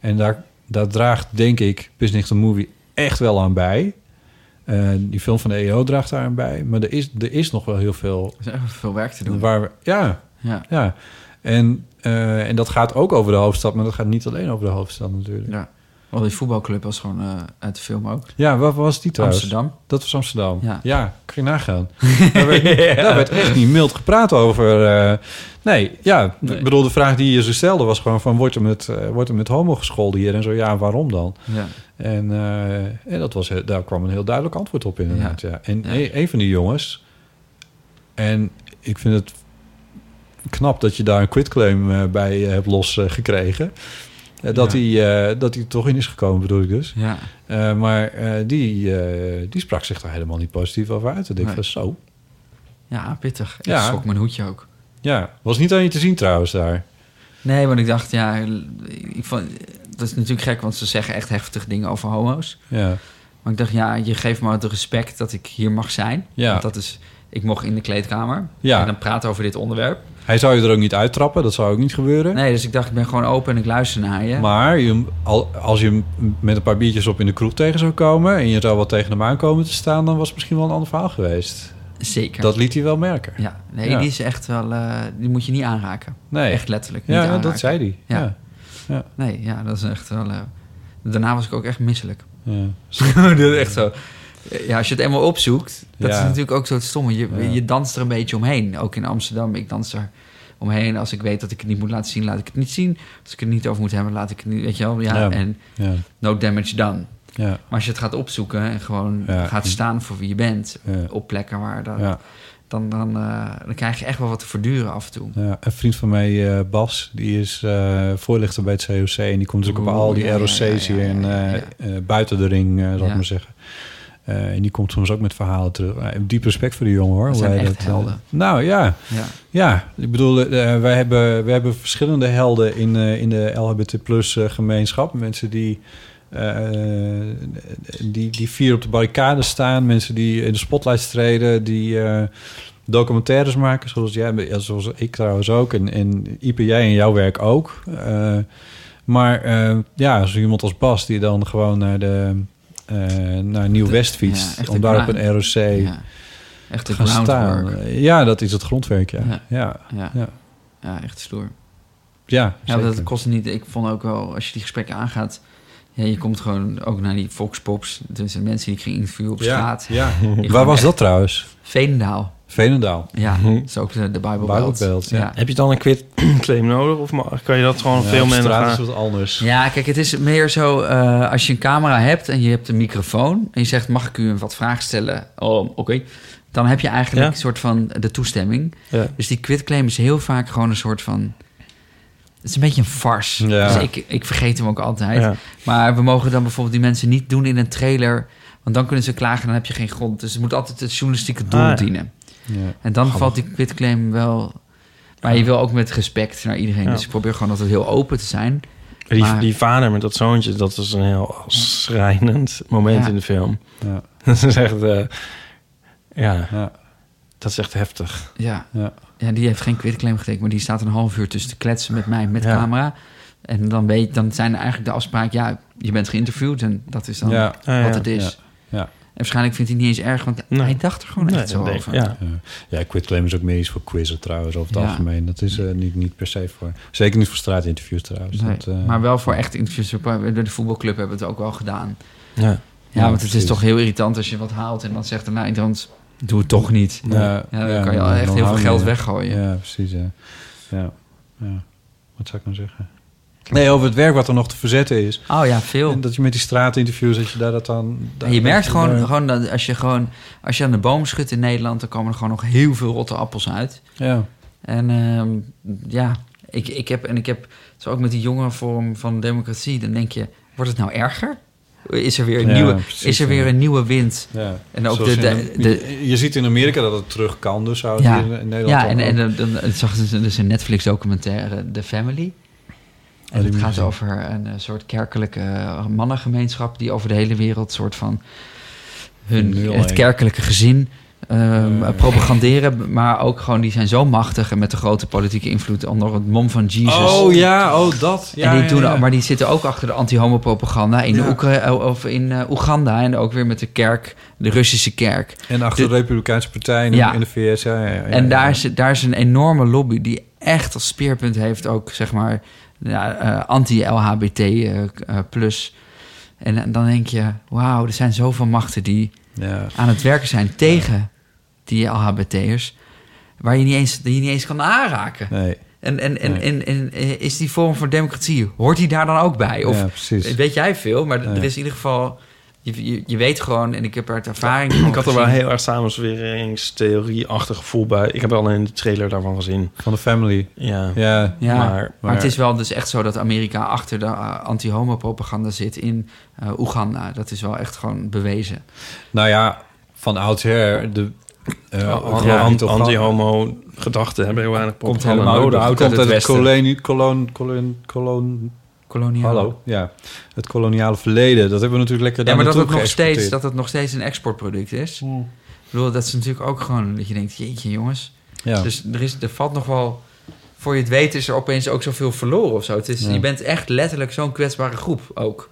Speaker 3: En daar, daar draagt, denk ik, Business the Movie echt wel aan bij... Eh, die film van de EO draagt daar aan bij. Maar er is, er is nog wel heel veel...
Speaker 2: Er is echt veel werk te doen.
Speaker 3: Waar we, ja,
Speaker 2: Ja.
Speaker 3: ja. En, eh, en dat gaat ook over de hoofdstad, maar dat gaat niet alleen over de hoofdstad natuurlijk.
Speaker 2: Ja, want die voetbalclub was gewoon eh, uit de film ook.
Speaker 3: ja wat was die trouwens?
Speaker 2: Amsterdam.
Speaker 3: Dat was Amsterdam.
Speaker 2: Ja.
Speaker 3: Ja, kan je nagaan. daar, werd, daar werd echt niet mild gepraat over. eh, nee, ja,
Speaker 2: Nee.
Speaker 3: ik bedoel, de vraag die je zo stelde was gewoon van... wordt er met, eh, wordt er met homo gescholden hier? En zo, ja, waarom dan?
Speaker 2: Ja.
Speaker 3: En, eh, en dat was, heel- daar kwam een heel duidelijk antwoord op inderdaad. Ja. En
Speaker 2: Ja.
Speaker 3: e- een van die jongens... En ik vind het knap dat je daar een quitclaim eh, bij eh, hebt losgekregen. dat,
Speaker 2: Ja.
Speaker 3: hij, eh, dat hij er toch in is gekomen, bedoel ik dus.
Speaker 2: Ja.
Speaker 3: Eh, maar eh, die, eh, die sprak zich daar helemaal niet positief over uit. Ik denk
Speaker 2: Nee.
Speaker 3: van zo.
Speaker 2: Ja, pittig. Ik
Speaker 3: Ja.
Speaker 2: schrok mijn hoedje ook.
Speaker 3: Ja, was niet aan je te zien trouwens daar.
Speaker 2: Nee, want ik dacht, ja, ik vond, dat is natuurlijk gek, want ze zeggen echt heftige dingen over homo's.
Speaker 3: Ja.
Speaker 2: Maar ik dacht, ja, je geeft me het respect dat ik hier mag zijn.
Speaker 3: Ja.
Speaker 2: Want dat is, ik mocht in de kleedkamer
Speaker 3: Ja.
Speaker 2: en dan praten over dit onderwerp.
Speaker 3: Hij zou je er ook niet uittrappen, dat zou ook niet gebeuren.
Speaker 2: Nee, dus ik dacht, ik ben gewoon open en ik luister naar je.
Speaker 3: Maar je, al- als je hem met een paar biertjes op in de kroeg tegen zou komen... en je zou wel tegen hem aankomen te staan... dan was het misschien wel een ander verhaal geweest.
Speaker 2: Zeker.
Speaker 3: Dat liet hij wel merken.
Speaker 2: Ja, nee,
Speaker 3: Ja.
Speaker 2: die is echt wel, eh, die moet je niet aanraken.
Speaker 3: Nee.
Speaker 2: Echt letterlijk.
Speaker 3: Ja,
Speaker 2: niet
Speaker 3: ja, dat
Speaker 2: aanraken.
Speaker 3: zei die.
Speaker 2: Ja.
Speaker 3: Ja.
Speaker 2: Nee, ja, dat is echt wel. eh, daarna was ik ook echt misselijk.
Speaker 3: Ja.
Speaker 2: dat is echt zo. Ja, als je het eenmaal opzoekt, dat
Speaker 3: Ja.
Speaker 2: is natuurlijk ook zo het stomme. Je,
Speaker 3: Ja.
Speaker 2: je danst er een beetje omheen. Ook in Amsterdam, ik dans er omheen. Als ik weet dat ik het niet moet laten zien, laat ik het niet zien. Als ik het niet over moet hebben, laat ik het niet. Weet je wel? Ja,
Speaker 3: Ja.
Speaker 2: En
Speaker 3: Ja.
Speaker 2: no damage done.
Speaker 3: Ja.
Speaker 2: Maar als je het gaat opzoeken en gewoon
Speaker 3: Ja.
Speaker 2: gaat staan voor wie je bent,
Speaker 3: Ja.
Speaker 2: op plekken waar dat,
Speaker 3: Ja.
Speaker 2: dan, dan, eh, dan krijg je echt wel wat te verduren af en toe.
Speaker 3: Ja, een vriend van mij, eh, Bas, die is eh, voorlichter bij het COC. En die komt natuurlijk op
Speaker 2: Oeh,
Speaker 3: al die
Speaker 2: ja, ja,
Speaker 3: ROC's hier in, eh, eh, buiten de ring, eh, zal ik
Speaker 2: Ja.
Speaker 3: maar zeggen. Eh, en die komt soms ook met verhalen terug. Eh, diep respect voor die jongen hoor.
Speaker 2: Dat
Speaker 3: hoe
Speaker 2: zijn
Speaker 3: hij
Speaker 2: echt
Speaker 3: eh,
Speaker 2: helden.
Speaker 3: nou ja.
Speaker 2: Ja.
Speaker 3: ja. ik bedoel, eh, wij, hebben, wij hebben verschillende helden in, eh, in de LGBT plus eh, gemeenschap. Mensen die, eh, die, die vier op de barricade staan. Mensen die in de spotlight streden. Die eh, documentaires maken, zoals jij, ja, zoals ik trouwens ook. En, en Ipe, jij en jouw werk ook. Eh, maar eh, ja, zo iemand als Bas die dan gewoon naar de... eh, naar Nieuw-West
Speaker 2: ja,
Speaker 3: fietst.
Speaker 2: echt
Speaker 3: om
Speaker 2: een
Speaker 3: daar op
Speaker 2: grind.
Speaker 3: een ROC
Speaker 2: Ja. Echt een groundwork.
Speaker 3: Ja, dat is het grondwerk, ja. Ja, ja.
Speaker 2: Ja.
Speaker 3: ja.
Speaker 2: Ja, echt stoer.
Speaker 3: Ja,
Speaker 2: ja
Speaker 3: zeker.
Speaker 2: dat kost niet. Ik vond ook wel, als je die gesprekken aangaat. Ja, je komt gewoon ook naar die Foxpops. Dus de mensen die ik ging interviewen op
Speaker 3: Ja,
Speaker 2: straat.
Speaker 3: ja.
Speaker 2: Die
Speaker 3: Waar
Speaker 2: gewoon
Speaker 3: was
Speaker 2: echt-
Speaker 3: dat trouwens?
Speaker 2: Veenendaal.
Speaker 3: Veenendaal.
Speaker 2: Ja,
Speaker 4: Mhm.
Speaker 2: dat is ook eh, de, de Bible
Speaker 3: Bijbelbelt,
Speaker 2: Belt.
Speaker 3: ja.
Speaker 4: Heb je dan een quit claim nodig? Of ma- kan je dat gewoon
Speaker 3: Ja,
Speaker 4: veel
Speaker 3: op
Speaker 4: minder
Speaker 3: straat
Speaker 4: gaan?
Speaker 3: is het wat anders.
Speaker 2: Ja, kijk, het is meer zo eh, als je een camera hebt en je hebt een microfoon en je zegt: mag ik u een wat vragen stellen? Oh, oké. Dan heb je eigenlijk
Speaker 4: Ja.
Speaker 2: een soort van eh, de toestemming.
Speaker 4: Ja.
Speaker 2: Dus die quitclaim is heel vaak gewoon een soort van. Het is een beetje een farce.
Speaker 4: Ja.
Speaker 2: Dus ik, ik vergeet hem ook altijd.
Speaker 4: Ja.
Speaker 2: Maar we mogen dan bijvoorbeeld die mensen niet doen in een trailer. Want dan kunnen ze klagen en dan heb je geen grond. Dus het moet altijd het journalistieke doel
Speaker 4: Ah, ja.
Speaker 2: dienen.
Speaker 4: Ja.
Speaker 2: En dan
Speaker 4: Grappig.
Speaker 2: valt die quitclaim wel... Maar je wil ook met respect naar iedereen.
Speaker 4: Ja.
Speaker 2: Dus ik probeer gewoon altijd heel open te zijn.
Speaker 4: Die,
Speaker 2: Maar-
Speaker 4: die vader met dat zoontje, dat was een heel schrijnend moment
Speaker 2: Ja.
Speaker 4: in de film.
Speaker 3: Ja.
Speaker 4: Dat is echt, eh, ja,
Speaker 3: ja,
Speaker 4: dat is echt heftig.
Speaker 2: Ja.
Speaker 3: Ja.
Speaker 2: ja, die heeft geen quitclaim getekend, maar die staat een half uur tussen te kletsen met mij met
Speaker 4: Ja.
Speaker 2: camera. En dan, weet, dan zijn eigenlijk de afspraak, ja, je bent geïnterviewd en dat is dan
Speaker 3: Ja.
Speaker 2: wat
Speaker 3: Ja, ja.
Speaker 2: het is.
Speaker 3: Ja. Ja.
Speaker 2: En waarschijnlijk vindt hij niet eens erg, want hij dacht er gewoon echt zo over.
Speaker 3: Ja. ja, quitclaim is ook meer iets voor quizzen trouwens, over het
Speaker 2: Ja.
Speaker 3: algemeen. Dat is eh, niet, niet per se voor... Zeker niet voor straatinterviews trouwens.
Speaker 2: Nee,
Speaker 3: Dat, eh,
Speaker 2: maar wel voor echt interviews. Bij de voetbalclub hebben we het ook wel gedaan.
Speaker 4: Ja.
Speaker 2: ja,
Speaker 3: Ja,
Speaker 2: want het is
Speaker 3: precies.
Speaker 2: toch heel irritant als je wat haalt en dan zegt de eindhand, doe het toch niet.
Speaker 3: Ja,
Speaker 2: dan
Speaker 3: ja,
Speaker 2: kan je al
Speaker 3: dan
Speaker 2: echt heel veel
Speaker 3: hou je-
Speaker 2: geld weggooien.
Speaker 3: Ja, precies. Ja. Ja. Ja. Wat zou ik nou zeggen? Nee, over het werk wat er nog te verzetten is.
Speaker 2: Oh ja, veel.
Speaker 3: En dat je met die straatinterviews, dat je daar dat dan...
Speaker 2: En je merkt gewoon, gewoon dat als je gewoon als je aan de boom schudt in Nederland, dan komen er gewoon nog heel veel rotte appels uit.
Speaker 3: Ja.
Speaker 2: En ehm, ja, ik, ik heb en ik heb zo ook met die jongere vorm van democratie, dan denk je, wordt het nou erger? Is er weer een
Speaker 3: Ja,
Speaker 2: nieuwe,
Speaker 3: precies,
Speaker 2: is er
Speaker 3: ja.
Speaker 2: weer een nieuwe wind?
Speaker 3: Ja.
Speaker 2: En ook
Speaker 3: Zoals
Speaker 2: de, de,
Speaker 3: in-
Speaker 2: de,
Speaker 3: je ziet in Amerika dat het terug kan, dus zou het
Speaker 2: ja,
Speaker 3: hier in Nederland
Speaker 2: ja
Speaker 3: dan
Speaker 2: en,
Speaker 3: ook-
Speaker 2: en dan, dan, dan zag ze dus een Netflix-documentaire, The Family. En
Speaker 3: Oh, die
Speaker 2: het
Speaker 3: moet ik
Speaker 2: gaat
Speaker 3: zien.
Speaker 2: over een eh, soort kerkelijke eh, mannengemeenschap die over de hele wereld soort van hun,
Speaker 3: Nul,
Speaker 2: het
Speaker 3: hè?
Speaker 2: kerkelijke gezin ehm, propaganderen. Maar ook gewoon, die zijn zo machtig en met de grote politieke invloed onder het mom van Jesus.
Speaker 3: Oh ja, oh dat. Ja,
Speaker 2: en die
Speaker 3: ja,
Speaker 2: doen,
Speaker 3: ja.
Speaker 2: Maar die zitten ook achter de anti-homo-propaganda in,
Speaker 3: Ja.
Speaker 2: Oekra- of in eh, Oeganda. En ook weer met de kerk, de Russische kerk.
Speaker 3: En achter de, Republikeinse Partij in,
Speaker 2: Ja.
Speaker 3: in de VS. Ja, ja, ja,
Speaker 2: En
Speaker 3: ja.
Speaker 2: daar, is, daar is een enorme lobby die echt als speerpunt heeft ook, zeg maar, ja, eh, anti-LHBT eh, k- eh, plus. En, eh, dan denk je, wauw, er zijn zoveel machten die
Speaker 3: Ja.
Speaker 2: aan het werken zijn tegen die LHBT'ers, waar je niet eens, die je niet eens kan aanraken.
Speaker 3: Nee.
Speaker 2: En, en, en,
Speaker 3: Nee.
Speaker 2: en, en, eh, is die vorm van democratie, hoort die daar dan ook bij? Of
Speaker 3: Ja, precies.
Speaker 2: weet jij veel, maar d-
Speaker 3: Ja.
Speaker 2: er is in ieder geval... Je, je, je weet gewoon, en ik heb uit ervaring... gewoon
Speaker 4: Ik had er wel
Speaker 2: gezien-
Speaker 4: heel erg samenzweringstheorie-achtig gevoel bij. Ik heb alleen de trailer daarvan gezien.
Speaker 3: Van de Family.
Speaker 4: Ja.
Speaker 3: Ja.
Speaker 2: Ja, maar,
Speaker 4: maar,
Speaker 2: het is wel dus echt zo dat Amerika achter de eh, anti-homo-propaganda zit in eh, Oeganda. Dat is wel echt gewoon bewezen.
Speaker 3: Nou ja, van oudsher, de eh,
Speaker 4: Oh,
Speaker 3: geloof
Speaker 4: ja,
Speaker 3: niet op-
Speaker 4: anti-homo gedachten hebben heel weinig
Speaker 3: Komt
Speaker 4: propaganda
Speaker 3: helemaal
Speaker 4: nodig.
Speaker 3: überhaupt
Speaker 4: Komt
Speaker 3: uit het,
Speaker 4: uit het
Speaker 3: kolonie, kolon, kolon, kolon,
Speaker 2: koloniaal.
Speaker 3: Hallo, ja. Het koloniale verleden. Dat hebben we natuurlijk lekker
Speaker 2: Ja,
Speaker 3: daar
Speaker 2: maar dat het,
Speaker 3: naartoe
Speaker 2: nog steeds,
Speaker 3: geëxporteerd. Hmm.
Speaker 2: dat het nog steeds een exportproduct is. Ik bedoel, dat is natuurlijk ook gewoon dat je denkt, jeetje jongens.
Speaker 3: Ja.
Speaker 2: Dus er, is, er valt nog wel, voor je het weet is er opeens ook zoveel verloren of zo. Het is,
Speaker 3: Ja.
Speaker 2: Je bent echt letterlijk zo'n kwetsbare groep ook.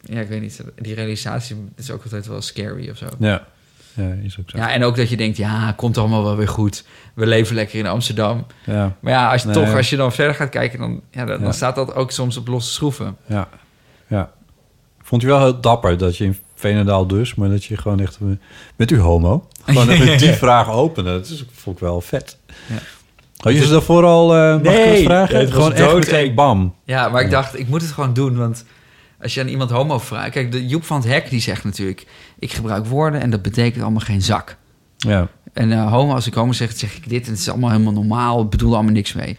Speaker 2: Ja, ik weet niet, die realisatie is ook altijd wel scary of zo.
Speaker 3: Ja. ja, is ook zo.
Speaker 2: Ja, en ook dat je denkt, ja, komt allemaal wel weer goed. We leven lekker in Amsterdam.
Speaker 3: Ja.
Speaker 2: Maar ja, als je,
Speaker 3: Nee.
Speaker 2: toch, als je dan verder gaat kijken, dan, ja, dan, dan
Speaker 3: Ja.
Speaker 2: staat dat ook soms op losse schroeven.
Speaker 3: Ja. ja. Vond je wel heel dapper dat je in Veenendaal dus, maar dat je gewoon echt... eh, Bent u homo? Gewoon even die vraag openen. Dat is, vond ik wel vet.
Speaker 2: Ja.
Speaker 3: Had je ze daarvoor al... eh mag ik
Speaker 2: Nee,
Speaker 3: wat vragen?
Speaker 2: het was
Speaker 3: gewoon echt
Speaker 2: dood.
Speaker 3: meteen bam.
Speaker 2: Ja, maar ik dacht, ik moet het gewoon doen, want als je aan iemand homo vraagt... Kijk, de Joep van het Hek die zegt natuurlijk... ik gebruik woorden en dat betekent allemaal geen zak.
Speaker 3: Ja.
Speaker 2: En eh, homo, als ik homo zeg, zeg ik dit en het is allemaal helemaal normaal. Ik bedoel er allemaal niks mee.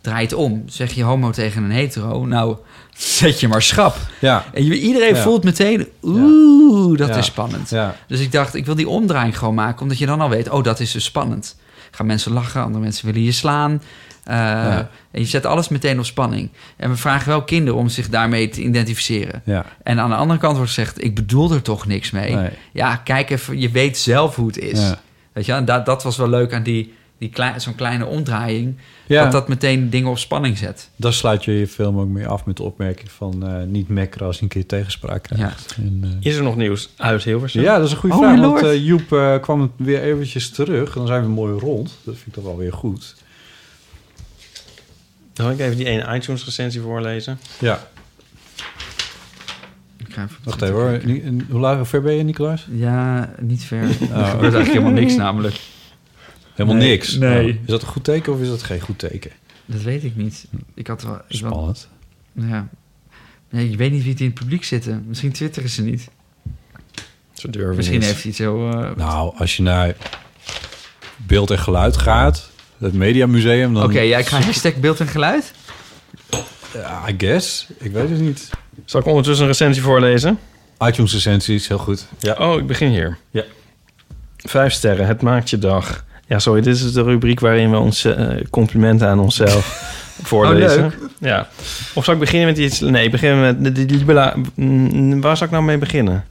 Speaker 2: Draai het om. Zeg je homo tegen een hetero, nou, zet je maar schap.
Speaker 3: Ja.
Speaker 2: En je- iedereen
Speaker 3: Ja.
Speaker 2: voelt meteen, oeh, dat
Speaker 3: Ja.
Speaker 2: is spannend.
Speaker 3: Ja.
Speaker 2: Dus ik dacht, ik wil die omdraaiing gewoon maken, omdat je dan al weet, oh, dat is dus spannend. Gaan mensen lachen, andere mensen willen je slaan. Eh,
Speaker 3: Ja.
Speaker 2: En je zet alles meteen op spanning. En we vragen wel kinderen om zich daarmee te identificeren.
Speaker 3: Ja.
Speaker 2: En aan de andere kant wordt gezegd, ik bedoel er toch niks mee.
Speaker 3: Nee.
Speaker 2: Ja, kijk even, je weet zelf hoe het is.
Speaker 3: Ja.
Speaker 2: Weet je, wel? en dat, dat was wel leuk aan die, die klei- zo'n kleine omdraaiing.
Speaker 3: Ja.
Speaker 2: Dat dat meteen dingen op spanning zet.
Speaker 3: Daar sluit je je film ook mee af met de opmerking van... eh, niet mekkeren als je een keer tegenspraak krijgt. En, eh,
Speaker 4: Is er nog nieuws uit Hilversum?
Speaker 3: Ja, dat is een goede
Speaker 4: Oh,
Speaker 3: vraag.
Speaker 4: my
Speaker 3: Want
Speaker 4: lord.
Speaker 3: eh, Joep eh, kwam weer eventjes terug. Dan zijn we mooi rond. Dat vind ik toch wel weer goed.
Speaker 4: Zal ik even die ene iTunes recensie voorlezen?
Speaker 3: Ja. Wacht even hoor. Ni- en Hoe laag- hoe ver ben je, Nicolaas?
Speaker 2: Ja, niet ver. Er gebeurt
Speaker 3: Oh.
Speaker 2: eigenlijk helemaal niks namelijk.
Speaker 3: Helemaal
Speaker 2: Nee,
Speaker 3: niks?
Speaker 2: nee.
Speaker 3: Oh, Is dat een goed teken of is dat geen goed teken?
Speaker 2: Dat weet ik niet. Ik had wel... Ik
Speaker 3: Spannend.
Speaker 2: Wel, ja. Nee, ik weet niet wie het in het publiek zitten. Misschien twitteren ze niet.
Speaker 4: Zo durven
Speaker 2: Misschien
Speaker 3: niet.
Speaker 2: heeft hij iets heel... eh,
Speaker 3: Nou, als je naar beeld en geluid gaat... Het Mediamuseum, Nou, dan...
Speaker 2: Oké, ja, ik ga hashtag beeld en geluid.
Speaker 3: Ja, Ah, I guess. Ik weet het niet.
Speaker 4: Zal ik ondertussen een recensie voorlezen?
Speaker 3: iTunes recensies, heel goed.
Speaker 4: Oh, ik begin hier.
Speaker 3: Ja.
Speaker 4: Vijf sterren, het maakt je dag. Ja, sorry, dit is de rubriek waarin we ons eh, complimenten aan onszelf voorlezen.
Speaker 11: Oh, leuk.
Speaker 4: Ja. Of zal ik beginnen met iets... Nee, beginnen met... de- die- die- bela- mm, Waar zou ik nou mee beginnen?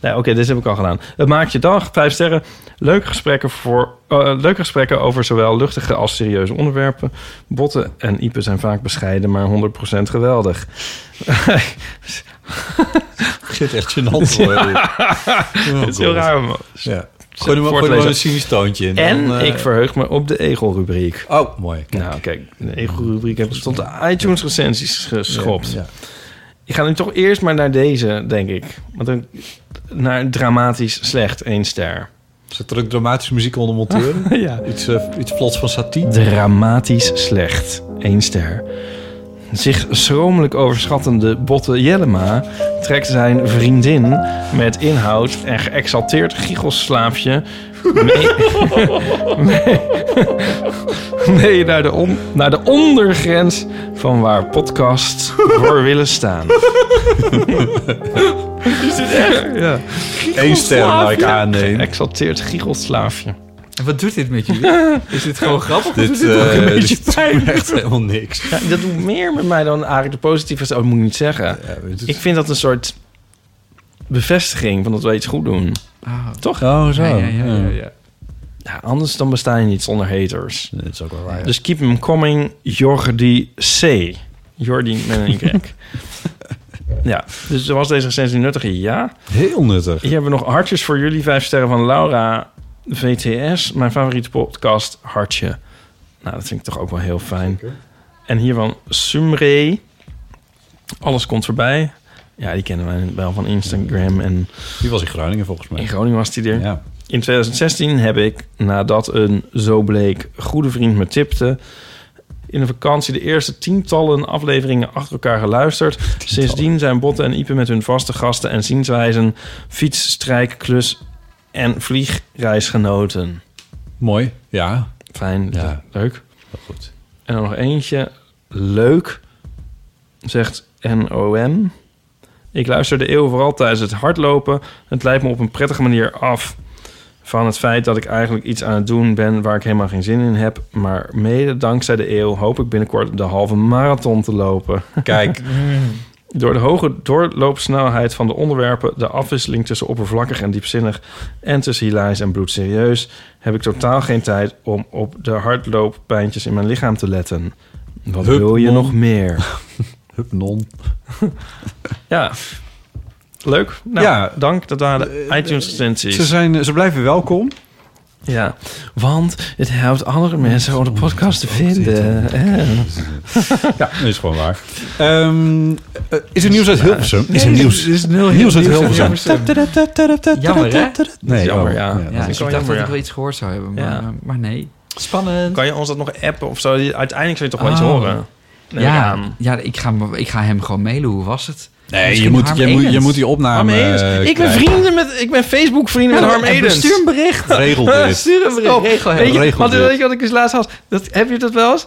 Speaker 4: Nee, oké, dit heb ik al gedaan. Het maakt je dag, vijf sterren. Leuke gesprekken, voor, eh, leuke gesprekken over zowel luchtige als serieuze onderwerpen. Botten en Ipe zijn vaak bescheiden, maar 100% geweldig.
Speaker 3: Oh, Ik zit echt gênant te worden. Oh,
Speaker 4: Het is heel
Speaker 3: God.
Speaker 4: raar. om-
Speaker 3: Ja. Gooi er maar- gooi er maar
Speaker 4: voortlezen.
Speaker 3: een cynisch toontje in.
Speaker 4: En
Speaker 3: Dan, eh,
Speaker 4: ik verheug me op de egelrubriek.
Speaker 3: Oh, mooi.
Speaker 4: Nou, kijk, de egelrubriek heb ik stond de iTunes recensies geschopt. Ik ga nu toch eerst maar naar deze, denk ik. Want dan naar dramatisch slecht, één ster.
Speaker 3: Zet er ook dramatische muziek onder monteren?
Speaker 4: ja.
Speaker 3: Iets, eh, iets vlots van Satie?
Speaker 4: Dramatisch slecht, één ster. Zich schromelijk overschattende Botte Jellema trekt zijn vriendin met inhoud en geëxalteerd giechelslaafje mee, mee, mee naar, de on- naar de ondergrens van waar podcasts voor willen staan.
Speaker 11: Is dit echt?
Speaker 4: Ja.
Speaker 3: Eén ster waar ik aanneem.
Speaker 4: Geëxalteerd giechelslaafje.
Speaker 2: En wat doet dit met jullie? Is dit gewoon grappig?
Speaker 4: Dit,
Speaker 2: of is dit ook
Speaker 4: eh,
Speaker 2: een beetje
Speaker 4: dit doet
Speaker 2: pijn?
Speaker 4: me echt
Speaker 3: helemaal niks.
Speaker 4: Ja, dat doet meer met mij dan eigenlijk de positieve. Oh, dat moet ik niet zeggen. ik vind dat een soort bevestiging van dat we iets goed doen. Toch?
Speaker 3: Oh, zo. Ja, ja, ja, ja,
Speaker 2: ja.
Speaker 4: Ja, anders dan bestaan je niet zonder haters.
Speaker 3: Dat is ook wel waar.
Speaker 4: Dus keep him coming, Jordi C. Jordi met een Y. ja, dus was deze recensie nuttig? Ja.
Speaker 3: Heel nuttig.
Speaker 4: Hier hebben we nog hartjes voor jullie. Vijf sterren van Laura VTS. Mijn favoriete podcast, Hartje. Nou, dat vind ik toch ook wel heel fijn. En hier van Sumre. Alles komt voorbij. Ja, die kennen wij wel van Instagram. En
Speaker 3: die was in Groningen volgens mij.
Speaker 4: In Groningen was die er. In 2016 heb ik, nadat een zo bleek goede vriend me tipte... in de vakantie de eerste tientallen afleveringen achter elkaar geluisterd. Sindsdien zijn Botten en Ipe met hun vaste gasten en zienswijzen... fiets, strijk, klus en vliegreisgenoten.
Speaker 3: Mooi, ja.
Speaker 4: Fijn,
Speaker 3: Ja.
Speaker 4: leuk.
Speaker 3: Goed.
Speaker 4: En dan nog eentje. Leuk, zegt NOM. Ik luister de eeuw vooral tijdens het hardlopen. Het leidt me op een prettige manier af. Van het feit dat ik eigenlijk iets aan het doen ben waar ik helemaal geen zin in heb. Maar mede dankzij de eeuw hoop ik binnenkort de halve marathon te lopen. Kijk. Door de hoge doorloopsnelheid van de onderwerpen, de afwisseling tussen oppervlakkig en diepzinnig en tussen hilarisch en bloedserieus, heb ik totaal geen tijd om op de hardlooppijntjes in mijn lichaam te letten. Wat
Speaker 3: Hup,
Speaker 4: wil je
Speaker 3: non.
Speaker 4: nog meer?
Speaker 3: Hup, non.
Speaker 4: ja, leuk. Nou,
Speaker 3: Ja. Eh,
Speaker 4: dank. Dat waren de iTunes-recensies.
Speaker 3: Ze, zijn, ze blijven welkom.
Speaker 4: Ja, want het helpt andere mensen om de podcast te vinden. En-
Speaker 3: Ja, dat is gewoon waar. Ehm, eh, is er nieuws uit Hilversum?
Speaker 4: Nee,
Speaker 3: is er nieuws,
Speaker 4: is- is nul-
Speaker 3: nieuws uit
Speaker 4: nieuws uit
Speaker 3: Hilversum?
Speaker 4: Hilversum.
Speaker 2: Jammer, hè?
Speaker 3: Nee,
Speaker 4: jammer,
Speaker 3: oh,
Speaker 4: ja.
Speaker 3: ja, dat is
Speaker 4: Ja,
Speaker 2: ik
Speaker 4: wel
Speaker 2: dacht
Speaker 4: jammer,
Speaker 2: dat
Speaker 4: ja.
Speaker 2: ik wel iets gehoord zou hebben, maar, eh,
Speaker 4: Ja.
Speaker 2: maar nee. Spannend.
Speaker 4: Kan je ons dat nog appen of zo? Uiteindelijk zul je toch wel iets
Speaker 2: Oh.
Speaker 4: horen. Neem ik
Speaker 2: ja,
Speaker 4: aan.
Speaker 2: ja ik, ga, ik ga hem gewoon mailen. Hoe was het?
Speaker 3: Nee,
Speaker 2: Misschien
Speaker 3: je moet-
Speaker 2: Harm
Speaker 3: je moet- je
Speaker 2: Edens.
Speaker 3: moet die opname, Harm Edens. eh,
Speaker 4: Ik ben vrienden met, ik ben Facebook vrienden
Speaker 2: Ja,
Speaker 4: met Harm
Speaker 2: en
Speaker 4: Edens.
Speaker 2: stuur een bericht.
Speaker 3: Regel dit.
Speaker 4: stuur een bericht.
Speaker 2: Oh, regel hem.
Speaker 4: weet, je,
Speaker 2: Regel
Speaker 4: want,
Speaker 2: dit.
Speaker 4: weet je wat ik dus laatst had? Dat, heb je dat wel eens?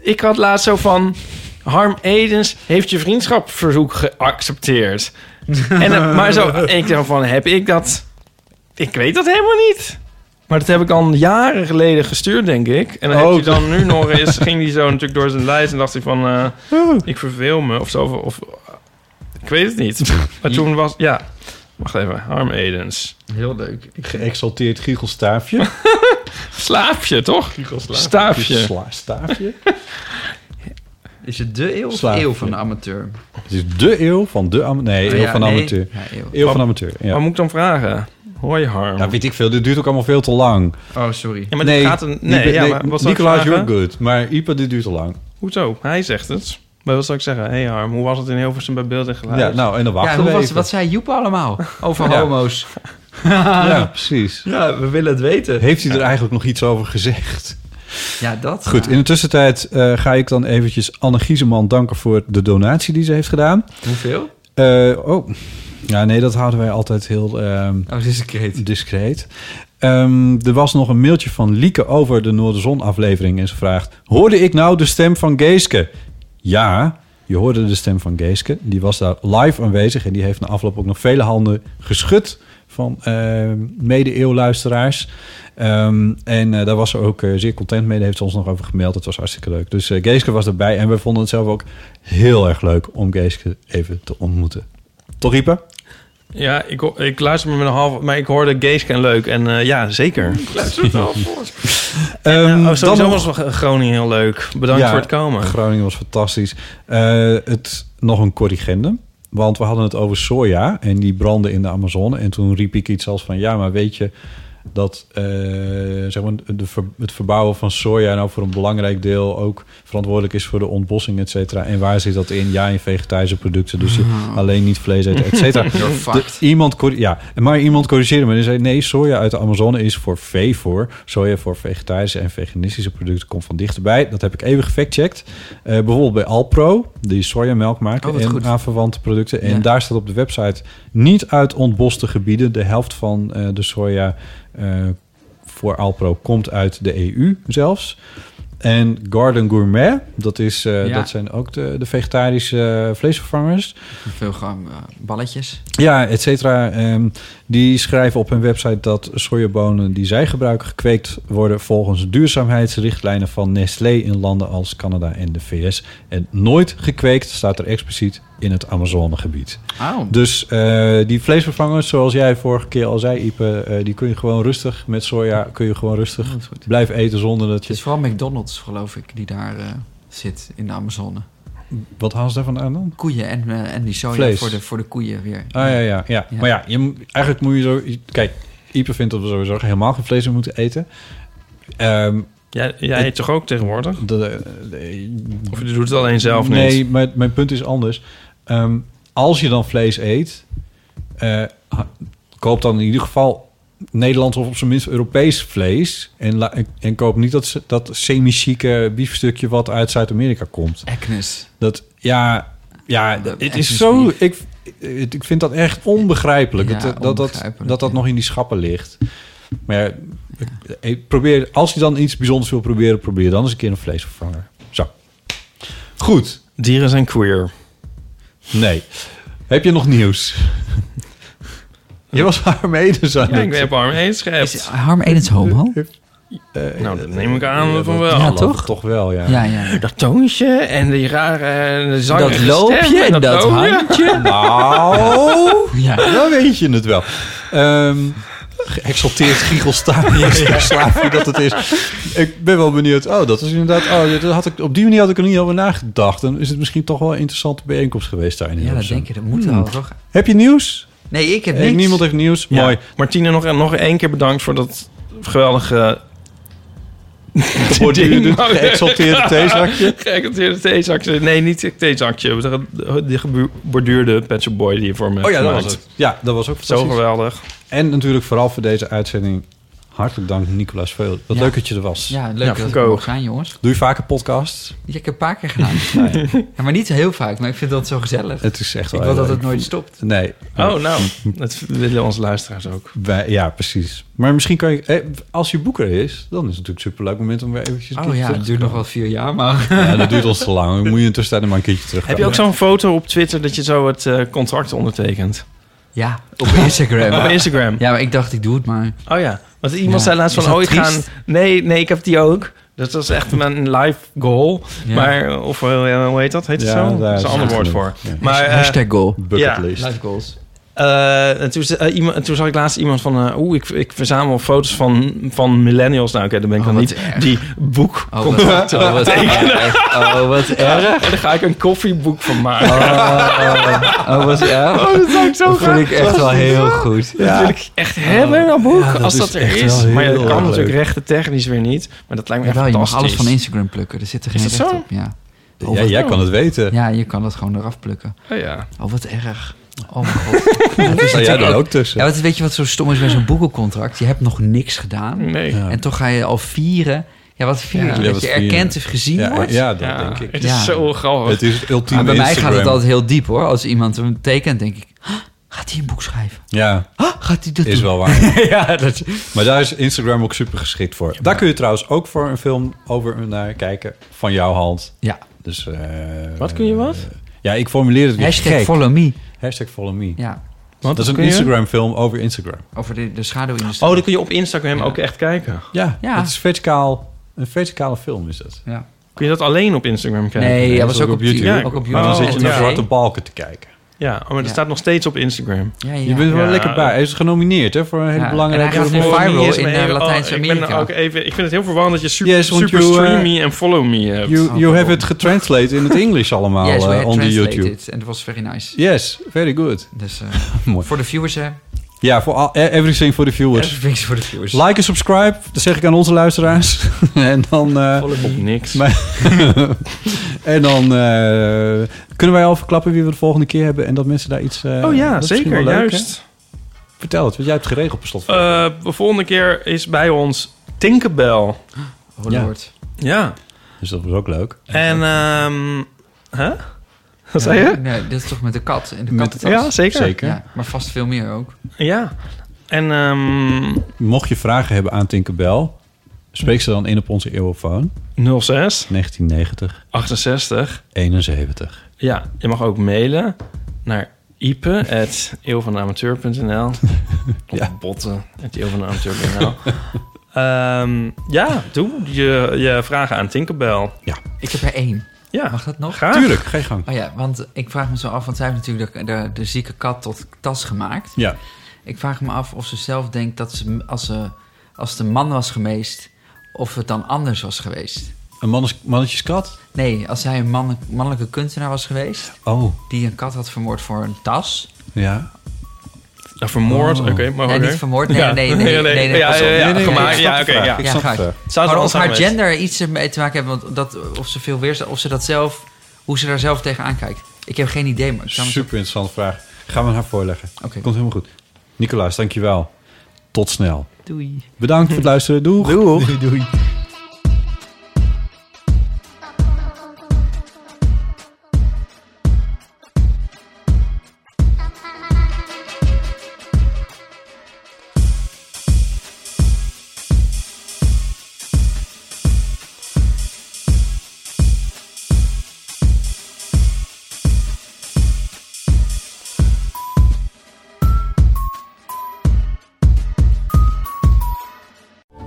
Speaker 4: Ik had laatst zo van... Harm Edens heeft je vriendschapverzoek geaccepteerd. en, dan- maar zo, en ik dacht van, heb ik dat? Ik weet dat helemaal niet. Maar dat heb ik al jaren geleden gestuurd, denk ik. En dan heb
Speaker 3: Oh.
Speaker 4: je dan nu nog eens... ging die zo natuurlijk door zijn lijst en dacht hij van... eh,
Speaker 2: Oh.
Speaker 4: ik verveel me of zo. Of, of- ik weet het niet. Maar toen was... Ja, wacht even. Harm Edens.
Speaker 2: Heel leuk.
Speaker 3: Geëxalteerd giegelstaafje.
Speaker 4: Slaapje, toch? Staafje.
Speaker 3: Sla- staafje.
Speaker 2: Is het de eeuw of
Speaker 3: Slaafje.
Speaker 2: eeuw van de amateur?
Speaker 3: Het is de eeuw van de amateur. Nee,
Speaker 2: Oh,
Speaker 3: eeuw
Speaker 2: ja,
Speaker 3: van de
Speaker 2: nee.
Speaker 3: amateur.
Speaker 2: Ja, eeuw.
Speaker 3: eeuw. van de amateur, ja.
Speaker 4: Wat moet ik dan vragen? Hoi Harm.
Speaker 3: Ja, weet ik veel. Dit duurt ook allemaal veel te lang.
Speaker 2: Oh, sorry.
Speaker 4: Ja, maar dit gaat een- nee, ja, maar wat zou ik
Speaker 3: Nicolaas,
Speaker 4: vragen?
Speaker 3: you're good. Maar Ipa, dit duurt te lang.
Speaker 4: Hoezo? Hij zegt het. Maar wat zou ik zeggen? Hé hey Harm, hoe was het in Hilversum bij beeld en geluid?
Speaker 3: Ja, nou, en dan wachten
Speaker 2: ja, hoe
Speaker 3: we
Speaker 2: was,
Speaker 3: even.
Speaker 2: wat zei Joep allemaal over
Speaker 3: Ja.
Speaker 2: homo's?
Speaker 3: Ja, precies.
Speaker 2: Ja, we willen het weten.
Speaker 3: Heeft hij er eigenlijk nog iets over gezegd?
Speaker 2: Ja, dat.
Speaker 3: Goed, in de tussentijd eh, ga ik dan eventjes Anne Giezeman danken voor de donatie die ze heeft gedaan.
Speaker 2: Hoeveel?
Speaker 3: Eh, oh, ja, nee, dat houden wij altijd heel ehm,
Speaker 2: discreet.
Speaker 3: Ehm, er was nog een mailtje van Lieke over de Noorderzon-aflevering en ze vraagt... Hoorde ik nou de stem van Geeske? Ja, je hoorde de stem van Geeske. Die was daar live aanwezig en die heeft na afloop ook nog vele handen geschud van ehm, mede-eeuwluisteraars. Ehm, en eh, daar was ze ook eh, zeer content mee. Daar heeft ze ons nog over gemaild. Het was hartstikke leuk. Dus eh, Geeske was erbij en we vonden het zelf ook heel erg leuk om Geeske even te ontmoeten. Toch, Ieper?
Speaker 4: Ja, ik, ho- ik luister me met een half... Maar ik hoorde Geeske en Leuk. En eh, ja, zeker. Ik luister het wel voor.
Speaker 3: Ehm,
Speaker 4: Oh, sowieso
Speaker 3: nog-
Speaker 4: was nog Groningen heel leuk. Bedankt
Speaker 3: Ja,
Speaker 4: voor het komen.
Speaker 3: Groningen was fantastisch. Eh, het, nog een corrigendum. Want we hadden het over soja en die brandde in de Amazone. En toen riep ik iets als van... ja, maar weet je dat eh, zeg maar de ver- het verbouwen van soja... nou voor een belangrijk deel ook verantwoordelijk is voor de ontbossing, et cetera. En waar zit dat in? Ja, in vegetarische producten. Dus je alleen niet vlees eten, et cetera.
Speaker 2: Ah. You're fucked.
Speaker 3: De- iemand, corri- ja, maar iemand corrigeerde me en zei... nee, soja uit de Amazone is voor vee voor. Soja voor vegetarische en veganistische producten komt van dichterbij. Dat heb ik even gefactcheckt. Eh, bijvoorbeeld bij Alpro, die sojamelk maken...
Speaker 2: Oh, wat
Speaker 3: en
Speaker 2: goed.
Speaker 3: aanverwante producten. En
Speaker 2: Ja.
Speaker 3: daar staat op de website... niet uit ontboste gebieden. De helft van eh, de soja eh, voor Alpro komt uit de EU zelfs. En Garden Gourmet, dat, is, eh,
Speaker 2: Ja.
Speaker 3: dat zijn ook de, de vegetarische eh, vleesvervangers.
Speaker 2: Veel gram eh, balletjes.
Speaker 3: Ja, et cetera. Ehm, die schrijven op hun website dat sojabonen die zij gebruiken gekweekt worden volgens duurzaamheidsrichtlijnen van Nestlé in landen als Canada en de VS. En nooit gekweekt staat er expliciet in het Amazonegebied.
Speaker 2: Oh.
Speaker 3: Dus eh, die vleesvervangers, zoals jij vorige keer al zei, Ipe, eh, die kun je gewoon rustig met soja kun je gewoon rustig blijven eten zonder dat
Speaker 2: Het
Speaker 3: je.
Speaker 2: is vooral McDonald's, geloof ik, die daar eh, zit in de Amazone.
Speaker 3: Wat haal ze daarvan aan dan?
Speaker 2: Koeien en, eh, en die soja
Speaker 3: Vlees.
Speaker 2: Voor, de, voor de koeien weer.
Speaker 3: Ah ja, ja, ja. Maar ja, je, moet- eigenlijk moet je zo. Kijk, Ipe vindt dat we sowieso helemaal geen vlees meer moeten eten. Ehm,
Speaker 4: Jij, jij eet toch ook tegenwoordig? of je doet het alleen zelf
Speaker 3: nee,
Speaker 4: niet?
Speaker 3: maar mijn punt is anders. Ehm, als je dan vlees eet, eh, ha- koop dan in ieder geval Nederlands of op zijn minst Europees vlees. En, la- en, en koop niet dat, se- dat semi-chique biefstukje wat uit Zuid-Amerika komt.
Speaker 2: Agnes.
Speaker 3: Dat, ja, ja het
Speaker 2: Agnes
Speaker 3: is zo... Ik, het- ik vind dat echt onbegrijpelijk.
Speaker 2: Ja,
Speaker 3: dat, dat, dat,
Speaker 2: onbegrijpelijk,
Speaker 3: dat dat nog in die schappen ligt. Maar ja, ik probeer, als je dan iets bijzonders wil proberen, probeer dan eens een keer een vleesvervanger. Zo. Goed.
Speaker 4: Dieren zijn queer.
Speaker 3: Nee. Heb je nog nieuws? Je was dus Harm Edens aan
Speaker 4: Ja,
Speaker 3: het-
Speaker 4: ik heb Harm Edens geappt.
Speaker 2: Harm Edens homo?
Speaker 4: nou, dat neem ik aan
Speaker 3: Ja,
Speaker 4: van
Speaker 3: dat-
Speaker 4: wel.
Speaker 3: ja, toch? Toch wel, ja. Ja, ja.
Speaker 4: Dat toontje en die rare eh, zang
Speaker 3: Dat
Speaker 4: en die
Speaker 3: loopje
Speaker 4: stem
Speaker 3: en dat
Speaker 4: loopje.
Speaker 3: handje. Nou, ja. dan weet je het wel. Ehm geëxalteerd giechelstaafje, ja. slaafje dat het is. Ik ben wel benieuwd. Oh, dat is inderdaad... Oh, ja, dat had ik, op die manier had ik er niet over nagedacht. Dan is het misschien toch wel een interessante bijeenkomst geweest daar in
Speaker 2: Ja, dat
Speaker 3: Hilversum.
Speaker 2: denk je. Dat moet
Speaker 3: Hmm.
Speaker 2: wel, toch?
Speaker 3: Heb je nieuws?
Speaker 2: Nee, ik heb
Speaker 3: Eh,
Speaker 2: niks.
Speaker 3: Niemand heeft nieuws.
Speaker 4: Ja.
Speaker 3: Mooi.
Speaker 4: Martine, nog, nog één keer bedankt voor dat geweldige...
Speaker 3: Borduurde,
Speaker 4: ding.
Speaker 3: geëxalteerde theezakje.
Speaker 4: Geëxalteerde theezakje. Nee, niet het theezakje. eh, De, de geborduurde Pet Shop Boy die je voor me
Speaker 3: Oh ja, dat
Speaker 4: gemaakt.
Speaker 3: was het. Ja, dat was ook
Speaker 4: Zo
Speaker 3: fantastisch.
Speaker 4: geweldig.
Speaker 3: En natuurlijk vooral voor deze uitzending... Hartelijk dank, Nicolaas Veel. Wat
Speaker 2: Ja.
Speaker 3: leuk dat je er was.
Speaker 2: Ja, leuk dat ik
Speaker 3: Coco.
Speaker 2: er mocht zijn, jongens.
Speaker 3: Doe je vaker podcasts?
Speaker 2: Ja, ik heb een paar keer gedaan. ja, maar niet heel vaak, maar ik vind dat zo gezellig.
Speaker 3: Het is echt wel
Speaker 2: Ik wil
Speaker 3: heel
Speaker 2: dat het
Speaker 3: leuk.
Speaker 2: nooit stopt.
Speaker 3: Nee.
Speaker 4: Oh, nou. Dat willen onze luisteraars ook.
Speaker 3: Wij, ja, precies. Maar misschien kan je... eh, Als je boeker is, dan is het natuurlijk een superleuk moment om weer eventjes... een
Speaker 2: Oh
Speaker 3: keertje
Speaker 2: ja,
Speaker 3: terug
Speaker 2: het
Speaker 3: te
Speaker 2: duurt nog wel vier jaar, maar...
Speaker 3: komen. Ja, dat duurt ons te lang. Dan moet je in tussentijd maar een keertje terug.
Speaker 4: Heb je ook zo'n foto op Twitter dat je zo het eh, contract ondertekent?
Speaker 2: Ja, op Instagram.
Speaker 4: Op Instagram.
Speaker 2: Ja, maar ik dacht, ik doe het maar.
Speaker 4: Oh ja, want iemand
Speaker 2: Ja.
Speaker 4: zei laatst
Speaker 2: Is
Speaker 4: van "Oh,
Speaker 2: dat
Speaker 4: ooit
Speaker 2: triest?
Speaker 4: gaan... Nee, nee, ik heb die ook. Dat was echt mijn life goal.
Speaker 2: Ja.
Speaker 4: Maar, of eh, hoe heet dat? Heet het
Speaker 2: Ja, daar
Speaker 4: zo? Dat is een
Speaker 2: is
Speaker 4: ander
Speaker 2: het
Speaker 4: woord
Speaker 2: genoeg.
Speaker 4: voor.
Speaker 2: Ja.
Speaker 4: Maar, eh,
Speaker 2: Hashtag goal.
Speaker 4: ja.
Speaker 2: Life goals.
Speaker 4: Eh, en toen, ze- eh, iemand, en toen zag ik laatst iemand van... eh, Oeh, ik, ik verzamel foto's van, van millennials. Nou, oké, dat ben ik dan
Speaker 2: Oh, wat
Speaker 4: niet. Die boek
Speaker 2: Oh,
Speaker 4: komt
Speaker 2: wat, oh, wat erg. Oh, wat erg.
Speaker 4: En daar ga ik een koffieboek van maken.
Speaker 2: Oh, wat erg.
Speaker 4: Oh, dat zou ik zo
Speaker 2: Dat
Speaker 4: graag.
Speaker 2: vind ik echt wel heel goed.
Speaker 4: Dat wil ik echt hebben, dat boek,
Speaker 2: Ja, dat
Speaker 4: als
Speaker 2: is
Speaker 4: dat er
Speaker 2: echt wel
Speaker 4: is.
Speaker 2: heel
Speaker 4: Maar ja, dat
Speaker 2: erg
Speaker 4: kan natuurlijk
Speaker 2: leuk.
Speaker 4: rechten technisch weer niet. Maar dat lijkt me echt
Speaker 2: Jawel, je mag
Speaker 4: fantastisch.
Speaker 2: alles van Instagram plukken. Er zit er
Speaker 4: Is
Speaker 2: geen
Speaker 4: dat
Speaker 2: recht
Speaker 4: zo?
Speaker 2: op. Ja.
Speaker 4: Ja,
Speaker 2: wat-
Speaker 4: jij kan het
Speaker 3: weten.
Speaker 2: Ja, je kan dat gewoon eraf plukken.
Speaker 4: Oh ja.
Speaker 2: Oh, wat erg. Oh mijn god. Dat
Speaker 3: Sta jij
Speaker 2: natuurlijk
Speaker 3: daar ook tussen?
Speaker 2: Ja, want weet je wat zo stom is bij zo'n boekencontract? Je hebt nog niks gedaan.
Speaker 4: Nee.
Speaker 3: Ja.
Speaker 2: En toch ga je al vieren. Ja, wat vieren?
Speaker 3: Ja,
Speaker 2: dat
Speaker 3: wat
Speaker 2: je
Speaker 3: vieren.
Speaker 2: erkend of gezien
Speaker 3: Ja,
Speaker 2: wordt?
Speaker 3: ja, dat Ja, denk ik. het is zo grappig. Het is het ultieme
Speaker 2: Maar Ah, bij mij
Speaker 3: Instagram.
Speaker 2: gaat het altijd heel diep hoor. Als iemand hem tekent, denk ik... "Huh, Gaat hij een boek schrijven?
Speaker 3: Ja.
Speaker 2: Huh, gaat hij dat
Speaker 3: is
Speaker 2: doen?
Speaker 3: wel waar.
Speaker 2: ja, dat...
Speaker 3: Maar daar is Instagram ook super geschikt voor. daar kun je trouwens ook voor een film over naar kijken van jouw hand.
Speaker 2: Ja.
Speaker 3: Dus, eh,
Speaker 4: Wat kun je wat?
Speaker 3: Ja, ik formuleer het weer
Speaker 2: Hashtag
Speaker 3: gek.
Speaker 2: follow me.
Speaker 3: Hashtag follow me.
Speaker 2: Ja.
Speaker 4: Wat
Speaker 3: dat is
Speaker 4: kun
Speaker 3: een
Speaker 4: je?
Speaker 3: Instagram film over Instagram.
Speaker 2: Over de, de schaduwindustrie.
Speaker 4: Oh, dan kun je op Instagram ook echt kijken.
Speaker 3: Ja,
Speaker 2: Ja.
Speaker 3: het is verticaal, een verticale film is dat.
Speaker 2: Ja.
Speaker 4: Kun je dat alleen op Instagram kijken?
Speaker 2: Nee, dat
Speaker 4: dat
Speaker 2: was
Speaker 4: is
Speaker 2: ook op YouTube.
Speaker 4: Ja,
Speaker 2: Ook op
Speaker 3: Maar dan
Speaker 2: YouTube.
Speaker 3: zit je
Speaker 2: Oh,
Speaker 3: naar
Speaker 2: ja.
Speaker 3: zwarte balken te kijken.
Speaker 4: ja, oh, maar dat
Speaker 2: Ja.
Speaker 4: staat nog steeds op Instagram.
Speaker 2: Ja, ja.
Speaker 3: Je bent er wel
Speaker 4: Ja.
Speaker 3: lekker bij. Hij is genomineerd hè, voor een hele
Speaker 2: Ja,
Speaker 3: belangrijke...
Speaker 2: en hij gaat weer
Speaker 3: Voor-
Speaker 2: viral
Speaker 4: Yes,
Speaker 2: in,
Speaker 4: maar
Speaker 2: eh,
Speaker 4: even- oh, Ik, ben
Speaker 2: Latijns-Amerika.
Speaker 4: er ook even, ik vind het heel verwarrend dat je super,
Speaker 3: Yes, want
Speaker 4: super
Speaker 3: you, eh,
Speaker 4: stream me en follow me eh, hebt.
Speaker 3: You, you have it getranslate in het Engels allemaal
Speaker 2: Yes, we
Speaker 3: eh,
Speaker 2: had
Speaker 3: on the
Speaker 2: translated
Speaker 3: YouTube.
Speaker 2: it And it was very nice.
Speaker 3: Yes, very good.
Speaker 2: Dus eh,
Speaker 3: Mooi.
Speaker 2: voor de viewers, hè.
Speaker 3: Ja, voor al- e, everything for the viewers.
Speaker 2: Everything's voor de viewers.
Speaker 3: Like en subscribe, dat zeg ik aan onze luisteraars. en dan... eh,
Speaker 4: Op niks.
Speaker 3: maar- en dan eh, kunnen wij al verklappen wie we de volgende keer hebben... en dat mensen daar iets... eh,
Speaker 4: oh ja,
Speaker 3: dat is misschien
Speaker 4: zeker,
Speaker 3: wel leuk,
Speaker 4: juist.
Speaker 3: hè? Vertel het, want jij hebt het geregeld per slot.
Speaker 4: Eh, de volgende keer is bij ons Tinkerbell.
Speaker 2: Oh
Speaker 3: Ja.
Speaker 2: lord.
Speaker 4: Ja.
Speaker 3: Dus dat was ook leuk.
Speaker 4: En, ehm hè? Wat
Speaker 2: Ja,
Speaker 4: zei je?
Speaker 2: Nee, dit is toch met de kat. En de
Speaker 3: Met-
Speaker 2: kattentas.
Speaker 4: ja, zeker. Zeker.
Speaker 2: Ja, maar vast veel meer ook.
Speaker 4: Ja. En, ehm
Speaker 3: Mocht je vragen hebben aan Tinkerbell... spreek ze dan in op onze eeuwofoon.
Speaker 4: 06
Speaker 3: 1990
Speaker 4: 68.
Speaker 3: 71.
Speaker 4: Ja, je mag ook mailen naar ipe.eeuwvanamateur.nl Of botten.eeuwvanamateur.nl Ehm Ja, doe je, je vragen aan Tinkerbell.
Speaker 3: Ja.
Speaker 2: Ik heb er één.
Speaker 4: Ja.
Speaker 2: Mag dat nog?
Speaker 4: Graag.
Speaker 3: Tuurlijk, geen Ah. gang.
Speaker 2: Oh ja, want ik vraag me zo af, want zij heeft natuurlijk de, de, de zieke kat tot tas gemaakt.
Speaker 3: Ja.
Speaker 2: Ik vraag me af of ze zelf denkt dat ze, als, ze, als het een man was geweest, of het dan anders was geweest.
Speaker 3: Een mannes- mannetjeskat?
Speaker 2: Nee, als hij een man- mannelijke kunstenaar was geweest,
Speaker 3: Oh,
Speaker 2: die een kat had vermoord voor een tas.
Speaker 3: ja.
Speaker 4: Ja, Nou, vermoord,
Speaker 3: Oh.
Speaker 4: oké. maar
Speaker 2: Nee,
Speaker 4: oké.
Speaker 2: niet vermoord. Nee,
Speaker 4: Ja.
Speaker 2: nee, nee, nee, nee, nee,
Speaker 4: ja,
Speaker 2: pas
Speaker 4: ja,
Speaker 2: op.
Speaker 4: ja,
Speaker 2: Nee, nee,
Speaker 4: gemaakt.
Speaker 2: nee,
Speaker 4: ja,
Speaker 2: ik
Speaker 4: oké.
Speaker 2: snap het
Speaker 4: ja.
Speaker 2: wel. Ik snap het wel. maar
Speaker 4: Zou het er
Speaker 2: of
Speaker 4: anders
Speaker 2: haar
Speaker 4: geweest?
Speaker 2: gender iets ermee te maken hebben, want dat, of ze veel weerstand, of ze dat zelf, hoe ze daar zelf tegenaan kijkt. Ik heb geen idee, maar ik zou
Speaker 3: Super interessante vraag. Gaan we haar voorleggen.
Speaker 2: Oké.
Speaker 3: Komt helemaal goed. Nicolaas, dankjewel. Tot snel.
Speaker 2: Doei.
Speaker 3: Bedankt voor het luisteren. Hm. Doeg.
Speaker 2: Doei. doei.